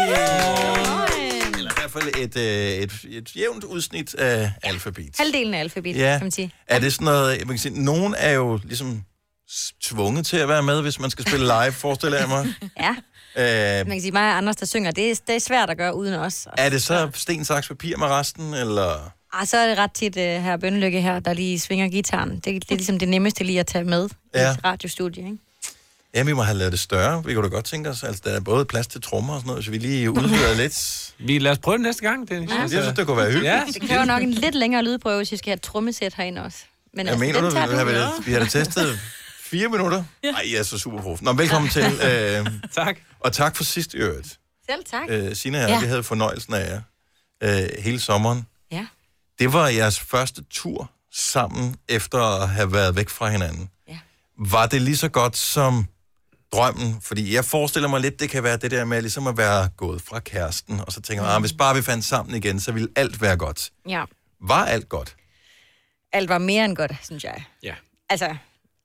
[SPEAKER 1] Eller i hvert fald et, øh, et, et jævnt udsnit af Alphabet.
[SPEAKER 9] Halvdelen af alfabet,
[SPEAKER 1] Ja.
[SPEAKER 9] ja. kan man sige.
[SPEAKER 1] Er det sådan noget, man kan sige, nogen er jo ligesom s- tvunget til at være med, hvis man skal spille live, forestiller jeg mig. Øhm,
[SPEAKER 9] Ja, man
[SPEAKER 1] Æh,
[SPEAKER 9] kan sige, mig og Anders, der synger, det er, det er svært at gøre uden os.
[SPEAKER 1] er det så sten, saks, papir med resten, eller...
[SPEAKER 9] Ah, så er det ret tit uh, her Bønlykke her, der lige svinger gitaren. Det, det er ligesom det nemmeste lige at tage med
[SPEAKER 1] Ja.
[SPEAKER 9] i et radiostudie, ikke?
[SPEAKER 1] Ja, vi må have lavet det større. Vi kunne da godt tænke os, altså der er både plads til trommer og sådan noget, så vi lige udvider lidt.
[SPEAKER 10] Vi lad os prøve det næste gang, Dennis. Altså,
[SPEAKER 1] Ja. Jeg synes, det kunne være hyggeligt.
[SPEAKER 10] Ja.
[SPEAKER 9] Det kræver nok en lidt længere lydprøve, hvis vi skal have et trommesæt herinde også. Men
[SPEAKER 1] jeg mener
[SPEAKER 9] altså, den
[SPEAKER 1] du,
[SPEAKER 9] tager
[SPEAKER 1] vi, har, vi, vi har da testet fire minutter? Nej, jeg er så super prof. Nå, velkommen til. Øh,
[SPEAKER 10] tak.
[SPEAKER 1] Og tak for sidst i øvrigt.
[SPEAKER 9] Selv tak.
[SPEAKER 1] Øh, Sina og jeg, ja. vi havde fornøjelsen af jer øh, hele sommeren.
[SPEAKER 9] Ja.
[SPEAKER 1] Det var jeres første tur sammen, efter at have været væk fra hinanden.
[SPEAKER 9] Ja.
[SPEAKER 1] Var det lige så godt som drømmen? Fordi jeg forestiller mig lidt, det kan være det der med ligesom at være gået fra kæresten, og så tænker man, ah, hvis bare vi fandt sammen igen, så ville alt være godt.
[SPEAKER 9] Ja,
[SPEAKER 1] Var alt godt?
[SPEAKER 9] alt var mere end godt, synes jeg.
[SPEAKER 10] Ja.
[SPEAKER 9] altså,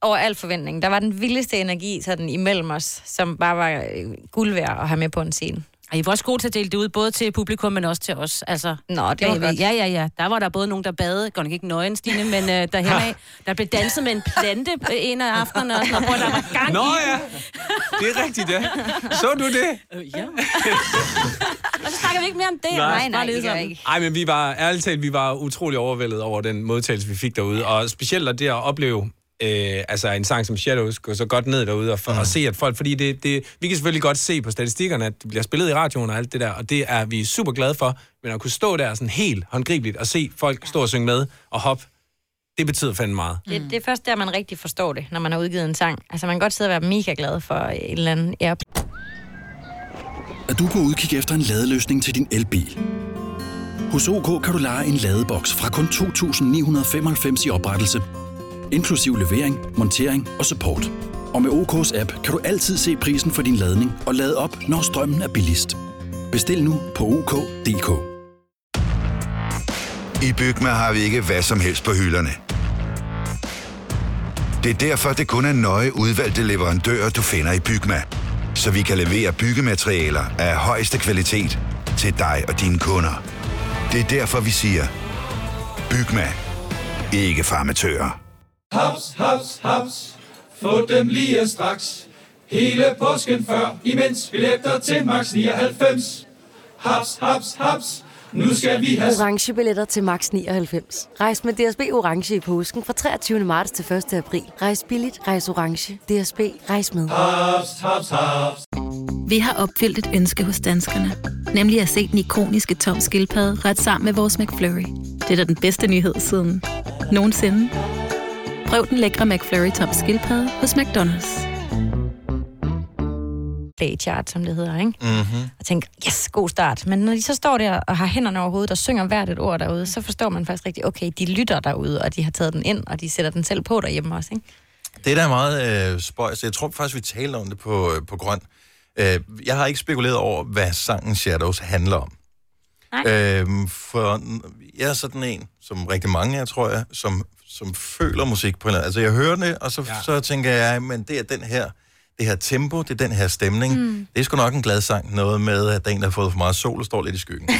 [SPEAKER 9] over al forventning. Der var den vildeste energi sådan imellem os, som bare var øh, guld værd at have med på en scene.
[SPEAKER 5] Og I var også gode til at dele det ud, både til publikum, men også til os. Altså,
[SPEAKER 9] Nå, det
[SPEAKER 5] der
[SPEAKER 9] var
[SPEAKER 5] var-
[SPEAKER 9] godt.
[SPEAKER 5] Ja, ja, ja. Der var der både nogen, der badede, godt nok ikke nøgen, Stine, men uh, der henad, der blev danset med en plante øh, en af aftenerne, og sådan noget, hvor der var gang
[SPEAKER 10] Nå
[SPEAKER 5] i.
[SPEAKER 10] ja, det er rigtigt, ja. Så du det?
[SPEAKER 5] Og så snakker vi ikke mere om det.
[SPEAKER 10] Nej.
[SPEAKER 5] Bare lidt sådan.
[SPEAKER 10] Ej, men vi var, ærligt talt, vi var utrolig overvældet over den modtagelse, vi fik derude. Og specielt at det at opleve øh, altså en sang som Shadows gå så godt ned derude og, for, og se, at folk... Fordi det, det, vi kan selvfølgelig godt se på statistikkerne, at det bliver spillet i radioen og alt det der, og det er vi super glade for. Men at kunne stå der sådan helt håndgribeligt og se folk stå og synge med og hoppe, det betyder fandme meget.
[SPEAKER 9] Det, det er først der, man rigtig forstår det, når man har udgivet en sang. Altså, man kan godt sidde og være mega glad for en eller anden app.
[SPEAKER 11] Er du på udkig efter en ladeløsning til din elbil? Hos OK kan du lege en ladeboks fra kun 2.995 i oprettelse, inklusiv levering, montering og support. Og med OK's app kan du altid se prisen for din ladning og lade op, når strømmen er billigst. Bestil nu på OK.dk.
[SPEAKER 12] I Bygma har vi ikke hvad som helst på hylderne. Det er derfor, det kun er nøje udvalgte leverandører, du finder i Bygma. Så vi kan levere byggematerialer af højeste kvalitet til dig og dine kunder. Det er derfor, vi siger, Bygma. Ikke farmatører.
[SPEAKER 24] Haps, haps, haps. Få dem lige straks. Hele påsken før, imens billetter til max 99. Haps, haps, haps. Nu skal vi have...
[SPEAKER 25] orange billetter til max 99. Rejs med DSB orange i påsken fra 23. marts til 1. april. Rejs billigt, rejs orange. DSB rejs med.
[SPEAKER 24] Haps, haps, haps.
[SPEAKER 26] Vi har opfyldt et ønske hos danskerne. Nemlig at se den ikoniske tom skildpadde ret sammen med vores McFlurry. Det er da den bedste nyhed siden nogensinde. Prøv den lækre McFlurry tom skildpadde hos McDonald's.
[SPEAKER 9] Play chart, som det hedder, ikke?
[SPEAKER 14] Mm.
[SPEAKER 12] Mm-hmm.
[SPEAKER 9] Og tænke, yes, god start. Men når de så står der og har hænderne over hovedet og synger hvert et ord derude, så forstår man faktisk rigtigt, okay, de lytter derude, og de har taget den ind, og de sætter den selv på derhjemme også, ikke?
[SPEAKER 1] Det der er meget øh, spøjs, jeg tror faktisk, vi talte om det på, øh, på Grøn. Øh, jeg har ikke spekuleret over, hvad sangen Shadows handler om. Øh, for n- jeg er sådan en, som rigtig mange af jer, tror jeg, som, som føler musik på en eller anden. Altså jeg hører det, og så, ja. så tænker jeg, men det er den her, det her tempo, det er den her stemning. Mm. Det er sgu nok en glad sang. Noget med, at der er en, der har fået for meget sol og står lidt i skyggen. det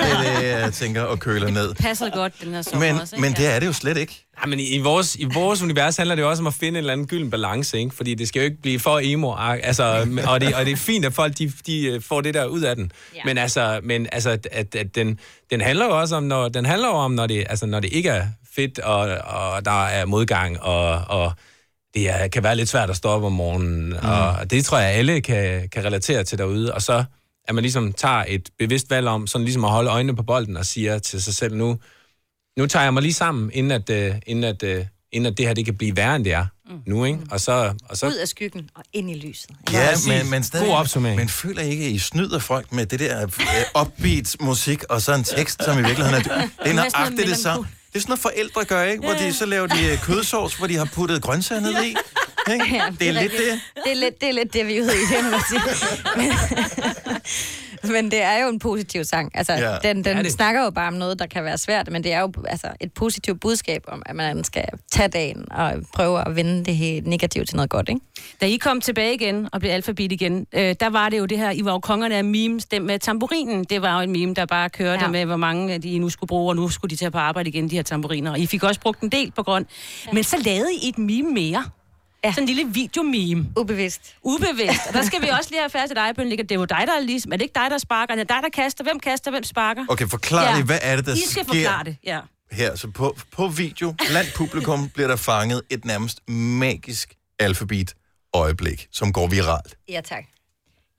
[SPEAKER 1] er det, jeg tænker og køler ned.
[SPEAKER 5] Passer godt, den her sommer
[SPEAKER 1] Men,
[SPEAKER 5] også, ikke?
[SPEAKER 1] men det er det jo slet ikke.
[SPEAKER 10] Ja, men i, i, vores, i vores univers handler det jo også om at finde en eller anden gylden balance, ikke? Fordi det skal jo ikke blive for emo, ah, altså, men- og, det, og det er fint, at folk de, de øh, får det der ud af den. Ja. Men altså, men, altså at, at, at den, den handler jo også om, når, den handler jo om, når det, altså, når det ikke er fedt, og, og der er modgang, og, og det er, kan være lidt svært at stå op om morgenen. Mm. Og det tror jeg, alle kan, kan relatere til derude. Og så, at man ligesom tager et bevidst valg om, sådan ligesom at holde øjnene på bolden og siger til sig selv nu, nu tager jeg mig lige sammen, inden at, øh, inden at, øh, inden at det her det kan blive værre, end det er mm. nu, ikke? Og så... Og
[SPEAKER 9] Ud
[SPEAKER 10] så
[SPEAKER 9] af skyggen og ind i lyset.
[SPEAKER 1] Ja,
[SPEAKER 10] præcis.
[SPEAKER 1] men, men stadig,
[SPEAKER 10] God opsummering.
[SPEAKER 1] Men føler I ikke, at I snyder folk med det der øh, upbeat musik, og så en tekst, som i virkeligheden er... Det er
[SPEAKER 10] noget
[SPEAKER 1] nøjagtigt det samme.
[SPEAKER 10] melankol-
[SPEAKER 1] Det er sådan noget, forældre gør, ikke? Hvor de, så laver de øh, kødsovs, hvor de har puttet grøntsager ned i. Ikke? Det er lidt det.
[SPEAKER 9] Det er lidt det, er lidt det vi er ude i, det må man sige. Men, men det er jo en positiv sang. Altså,
[SPEAKER 27] Ja.
[SPEAKER 9] ja. den,
[SPEAKER 27] Ja,
[SPEAKER 9] den
[SPEAKER 27] det-
[SPEAKER 9] snakker jo bare om noget, der kan være svært, men det er jo altså, et positivt budskab om, at man skal tage dagen og prøve at vende det helt negativt til noget godt, ikke?
[SPEAKER 5] Da I kom tilbage igen og blev alfabet igen, øh, der var det jo det her, I var jo kongerne af memes, den med tamburinen, det var jo en meme, der bare kørte ja. med, hvor mange af de I nu skulle bruge, og nu skulle de til at på arbejde igen, de her tamburiner. Og I fik også brugt en del på grund. Ja. Men så lavede I et meme mere. Ja. Sådan en lille videomeme.
[SPEAKER 9] Ubevidst.
[SPEAKER 5] Ubevidst. Og der skal vi også lige have færdig til dig, Bønne, at det er jo dig, der er ligesom. Er det ikke dig, der sparker? Det er dig, der kaster. Hvem kaster? Hvem sparker?
[SPEAKER 1] Okay, forklar lige, hvad er det, der
[SPEAKER 5] I skal
[SPEAKER 1] sker?
[SPEAKER 5] forklare det, ja.
[SPEAKER 1] her, så på, på video, blandt publikum, bliver der fanget et nærmest magisk alfabet øjeblik, som går viralt.
[SPEAKER 9] Ja, tak.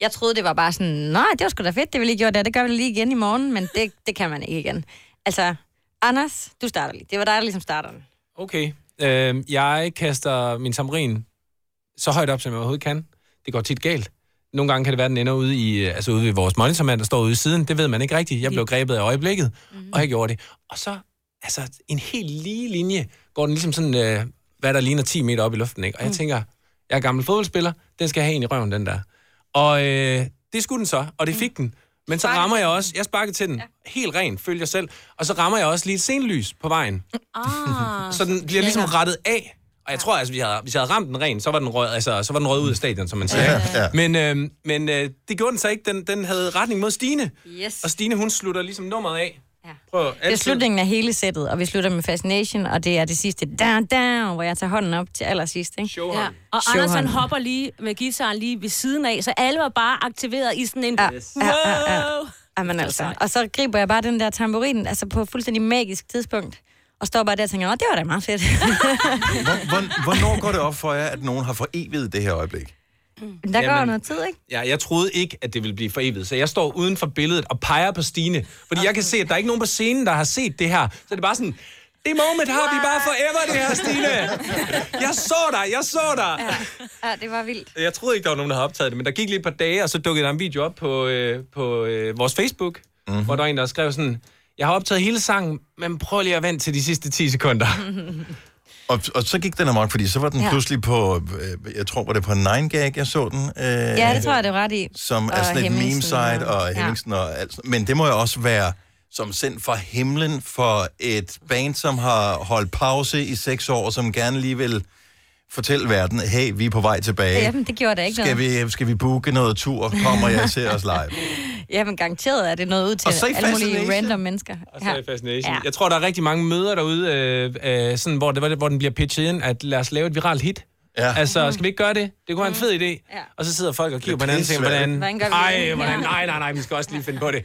[SPEAKER 9] Jeg troede, det var bare sådan, nej, det var sgu da fedt, det vi lige gjorde der. Det gør vi lige igen i morgen, men det, det kan man ikke igen. Altså, Anders, du starter lige. Det var dig, der ligesom starter den.
[SPEAKER 10] Okay. Øh, jeg kaster min tamrin så højt op, som jeg overhovedet kan. Det går tit galt. Nogle gange kan det være, at den ender ude, i, øh, altså ude ved vores monitormand, der står ude i siden. Det ved man ikke rigtigt. Jeg blev grebet af øjeblikket, mm. og jeg gjorde det. Og så, altså, en helt lige linje går den ligesom sådan, øh, hvad der ligner 10 meter op i luften, ikke? Og jeg
[SPEAKER 13] Mm.
[SPEAKER 10] tænker, jeg er gammel fodboldspiller, den skal jeg have en i røven, den der. Og øh, det skulle den så, og det fik den. Men så rammer jeg også, jeg Mm. sparkede til den, helt rent, følger selv, og så rammer jeg også lige et senlys på vejen.
[SPEAKER 5] Ah,
[SPEAKER 10] Så den bliver ligesom rettet af. Og jeg tror, altså, hvis jeg havde, hvis jeg havde ramt den ren, så var den rød, altså, så var den rød ud af stadion, som man siger.
[SPEAKER 1] Ja, ja.
[SPEAKER 10] Men, øh, men øh, det gjorde den så ikke. Den, den havde retning mod Stine.
[SPEAKER 9] Yes.
[SPEAKER 10] Og Stine, hun slutter ligesom nummeret af. Ja. Prøv altid.
[SPEAKER 9] Det er slutningen af hele sættet, og vi slutter med Fascination, og det er det sidste, down, down, hvor jeg tager hånden op til allersidst, ikke?
[SPEAKER 5] Ja. Og Anders han hopper lige med gitaren lige ved siden af, så alle var bare aktiveret i sådan en... Ja. Wow!
[SPEAKER 9] ja, ja. Jamen altså. Og så griber jeg bare den der tamburin, altså på et fuldstændig magisk tidspunkt, og står bare der og tænker, åh, det var da meget fedt.
[SPEAKER 1] Hvor, hvor, hvornår går det op for jer, at nogen har forevidet det her øjeblik?
[SPEAKER 9] Men der går jo
[SPEAKER 10] Jamen.
[SPEAKER 9] noget tid, ikke?
[SPEAKER 10] Ja, jeg troede ikke, at det ville blive for evigt, så jeg står uden for billedet og peger på Stine. Fordi jeg kan se, at der er ikke nogen på scenen, der har set det her. Så det er bare sådan, det moment har vi bare forever, det her, Stine. Jeg så dig, jeg så dig.
[SPEAKER 9] Ja, det var vildt.
[SPEAKER 10] Jeg troede ikke, der var nogen, der havde optaget det, men der gik lige et par dage, og så dukkede der en video op på, øh, på øh, vores Facebook, mm-hmm. hvor der var en, der skrev sådan, jeg har optaget hele sangen, men prøv lige at vente til de sidste 10 sekunder.
[SPEAKER 1] Og, og så gik den amok, fordi så var den
[SPEAKER 9] Ja.
[SPEAKER 1] ja. pludselig på, øh, jeg tror, var det på 9gag, jeg så den. Øh,
[SPEAKER 9] Ja, det tror jeg, det er ret i.
[SPEAKER 1] Som er
[SPEAKER 9] Og
[SPEAKER 1] sådan et
[SPEAKER 9] Hemmingsen
[SPEAKER 1] meme-site, og Hemmingsen og alt sådan. Men det må jo også være som sendt fra himlen for et band, som har holdt pause i seks år, som gerne lige vil fortælle verden, hey, vi er på vej
[SPEAKER 9] Ja.
[SPEAKER 1] tilbage.
[SPEAKER 9] Jamen, det gjorde der ikke
[SPEAKER 1] Skal
[SPEAKER 9] noget.
[SPEAKER 1] vi, skal vi booke noget tur? Kommer jeg og ser os live?
[SPEAKER 9] Altså, Jamen, garanteret er det noget ud til
[SPEAKER 1] Og så i
[SPEAKER 9] alle mulige
[SPEAKER 1] Fascination.
[SPEAKER 9] random mennesker.
[SPEAKER 10] Så er Fascination. Ja. Jeg tror, der er rigtig mange møder derude, øh, øh, sådan, hvor, det, hvor den bliver pitchet ind, at lad os lave et viralt hit.
[SPEAKER 1] Ja.
[SPEAKER 10] Altså, skal vi ikke gøre det? Det kunne være en fed idé. Ja. Og så sidder folk og kigger på hinanden og tænker, hvordan...
[SPEAKER 9] Mhm. Hvordan gør vi
[SPEAKER 10] Ej,
[SPEAKER 9] det?
[SPEAKER 10] hvordan?
[SPEAKER 9] Ja.
[SPEAKER 10] Nej, nej, nej, vi skal også lige finde på det.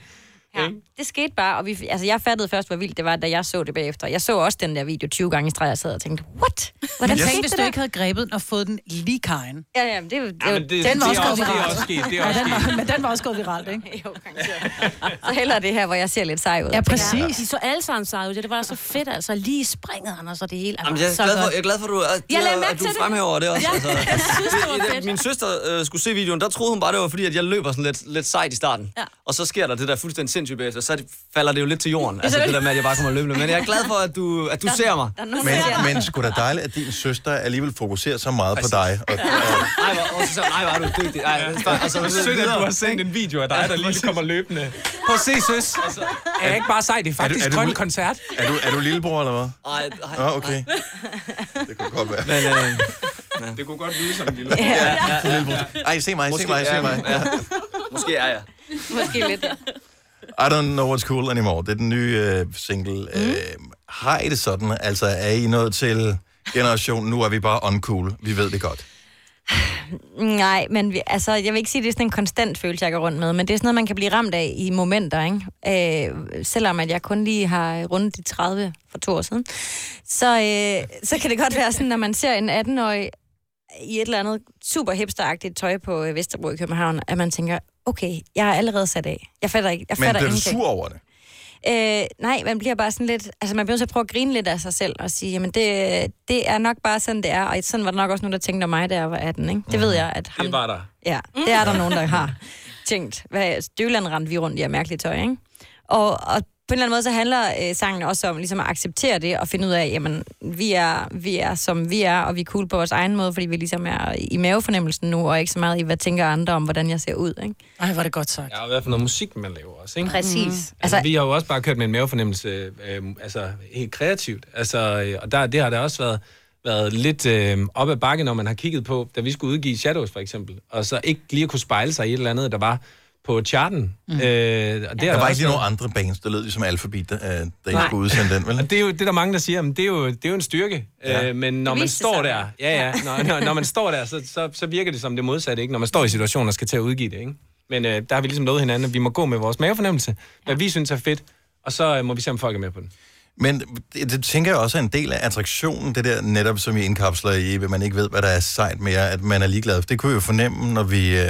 [SPEAKER 9] Ja, det skete bare, og vi, altså, jeg fattede først, hvor vildt det var, da jeg så det bagefter. Jeg så også den der video 20 gange i streg, og sad og tænkte, what?
[SPEAKER 4] Hvordan
[SPEAKER 9] Hvordan
[SPEAKER 4] yes.
[SPEAKER 9] skete
[SPEAKER 4] hvis
[SPEAKER 9] det
[SPEAKER 4] du
[SPEAKER 9] der?
[SPEAKER 4] ikke havde grebet den og fået den lige kajen?
[SPEAKER 9] Ja, ja, men det, det,
[SPEAKER 4] Ja,
[SPEAKER 9] ja, det,
[SPEAKER 4] men det-
[SPEAKER 9] den var
[SPEAKER 4] det
[SPEAKER 9] også gået
[SPEAKER 4] er også- det er
[SPEAKER 9] viralt.
[SPEAKER 4] også sket, det er Ja, også den var- sket. men den var også gået viralt,
[SPEAKER 9] ikke? jo, garanteret. Så hellere det her, hvor jeg ser lidt sej ud.
[SPEAKER 4] Ja, præcis.
[SPEAKER 5] De så alle sammen seje ud. Det var så fedt, altså. Lige i springet, Anders, og det hele. Altså,
[SPEAKER 13] Jamen, jeg, er
[SPEAKER 5] så
[SPEAKER 13] glad for,
[SPEAKER 5] godt.
[SPEAKER 13] jeg er glad for, at du, at,
[SPEAKER 5] Jeg lagde
[SPEAKER 13] at,
[SPEAKER 5] mærke
[SPEAKER 13] at du
[SPEAKER 5] til det.
[SPEAKER 13] fremhæver det også.
[SPEAKER 5] Ja,
[SPEAKER 13] altså.
[SPEAKER 5] jeg synes, det var
[SPEAKER 13] Da
[SPEAKER 5] fedt.
[SPEAKER 13] Min søster øh, skulle se videoen, der troede hun bare, det var fordi, at jeg løber sådan lidt, lidt sejt i starten. Ja. Og så sker der det der fuldstændig sindssygt bagefter, så er det- falder det jo lidt til jorden. Altså det der med, at jeg bare kommer løbende. Men jeg er glad for, at du, at du ser mig.
[SPEAKER 9] Der er
[SPEAKER 1] Men, men sgu da dejligt, at din søster alligevel fokuserer så meget på dig. Og,
[SPEAKER 13] Ej, hvor, og så, nej, hvor er du dygtig. Ej, altså,
[SPEAKER 10] Det er sødt, at du har sendt en video af dig, der lige kommer løbende. Prøv at se, søs. Er jeg ikke bare sej? Det er faktisk
[SPEAKER 1] Altså, er
[SPEAKER 10] er
[SPEAKER 1] du-
[SPEAKER 10] grøn koncert.
[SPEAKER 1] er, du, er du lillebror, eller hvad?
[SPEAKER 13] Ej,
[SPEAKER 1] Nå, okay. Det kunne godt være. Men,
[SPEAKER 13] øh,
[SPEAKER 10] Det kunne godt lyde som en lille.
[SPEAKER 1] Ja, ja, ja. Ej, se mig, se
[SPEAKER 13] Måske-
[SPEAKER 1] mig, se
[SPEAKER 13] ja,
[SPEAKER 1] mig.
[SPEAKER 13] ja. Måske er jeg.
[SPEAKER 9] Måske lidt.
[SPEAKER 1] I don't know what's cool anymore. Det er den nye øh, single.
[SPEAKER 13] Mhm.
[SPEAKER 1] Mm. Øh, har I det sådan? Altså, er I nået til generationen, nu er vi bare uncool. Vi ved det godt.
[SPEAKER 9] Nej, men vi, altså, jeg vil ikke sige, at det er sådan en konstant følelse, jeg går rundt med, men det er sådan noget, man kan blive ramt af i momenter, ikke? Øh, selvom at jeg kun lige har rundet de 30 for to år siden. Så, øh, så kan det godt være sådan, når man ser en 18-årig i et eller andet super hipsteragtigt tøj på øh, Vesterbro i København, at man tænker, okay, jeg er allerede sat af. Jeg fatter ikke. Jeg
[SPEAKER 1] Men
[SPEAKER 9] fatter
[SPEAKER 1] bliver du
[SPEAKER 9] ingenting.
[SPEAKER 1] sur over det?
[SPEAKER 9] Øh, nej, man bliver bare sådan lidt... Altså, man bliver nødt til at prøve at grine lidt af sig selv og sige, jamen, det, det er nok bare sådan, det er. Og sådan var der nok også nogen, der tænkte om mig, da jeg var 18, ikke?
[SPEAKER 4] Mm.
[SPEAKER 9] Det ved jeg, at ham...
[SPEAKER 10] Det var der.
[SPEAKER 9] Ja, det er der nogen, der har tænkt. Hvad, Støvland rendte vi rundt i af mærkeligt tøj, ikke? Og, og på en eller anden måde, så handler øh, sangen også om ligesom at acceptere det og finde ud af, jamen, vi er, vi er, som vi er, og vi er cool på vores egen måde, fordi vi ligesom er i mavefornemmelsen nu, og ikke så meget i, hvad tænker andre om, hvordan jeg ser ud, ikke?
[SPEAKER 4] Ej, var det godt sagt.
[SPEAKER 10] Ja, og hvad for noget musik, man laver også, ikke?
[SPEAKER 9] Præcis. Mm.
[SPEAKER 10] Altså, altså, vi har jo også bare kørt med en mavefornemmelse, øh, altså helt kreativt. Altså, øh, og der, det har da også været, været lidt øh, op ad bakke, når man har kigget på, da vi skulle udgive Shadows for eksempel, og så ikke lige kunne spejle sig i et eller andet, der var på charten. Mm. Øh, og der,
[SPEAKER 1] Der var ikke lige nogen andre bands, der lød ligesom Alphabet, der, øh, der ikke
[SPEAKER 10] Nej.
[SPEAKER 1] kunne udsende den, vel?
[SPEAKER 10] Og det er jo det, er der mange, der siger, men det er jo, det er jo en styrke.
[SPEAKER 1] Ja.
[SPEAKER 10] Ja. Øh, men når
[SPEAKER 1] Det
[SPEAKER 10] man
[SPEAKER 1] viste
[SPEAKER 10] står
[SPEAKER 1] sig.
[SPEAKER 10] der, ja, ja, når, når, når man står der, så, så, så virker det som det modsatte, ikke? Når man står i situationer og skal til at udgive det, ikke? Men øh, der har vi ligesom lovet hinanden, at vi må gå med vores mavefornemmelse, hvad vi synes er fedt, og så øh, må vi se, om folk er med på den.
[SPEAKER 1] Men det, det tænker jeg også er en del af attraktionen, det der netop, som I indkapsler i, at man ikke ved, hvad der er sejt mere, at man er ligeglad. Det kunne vi jo fornemme, når vi... Øh,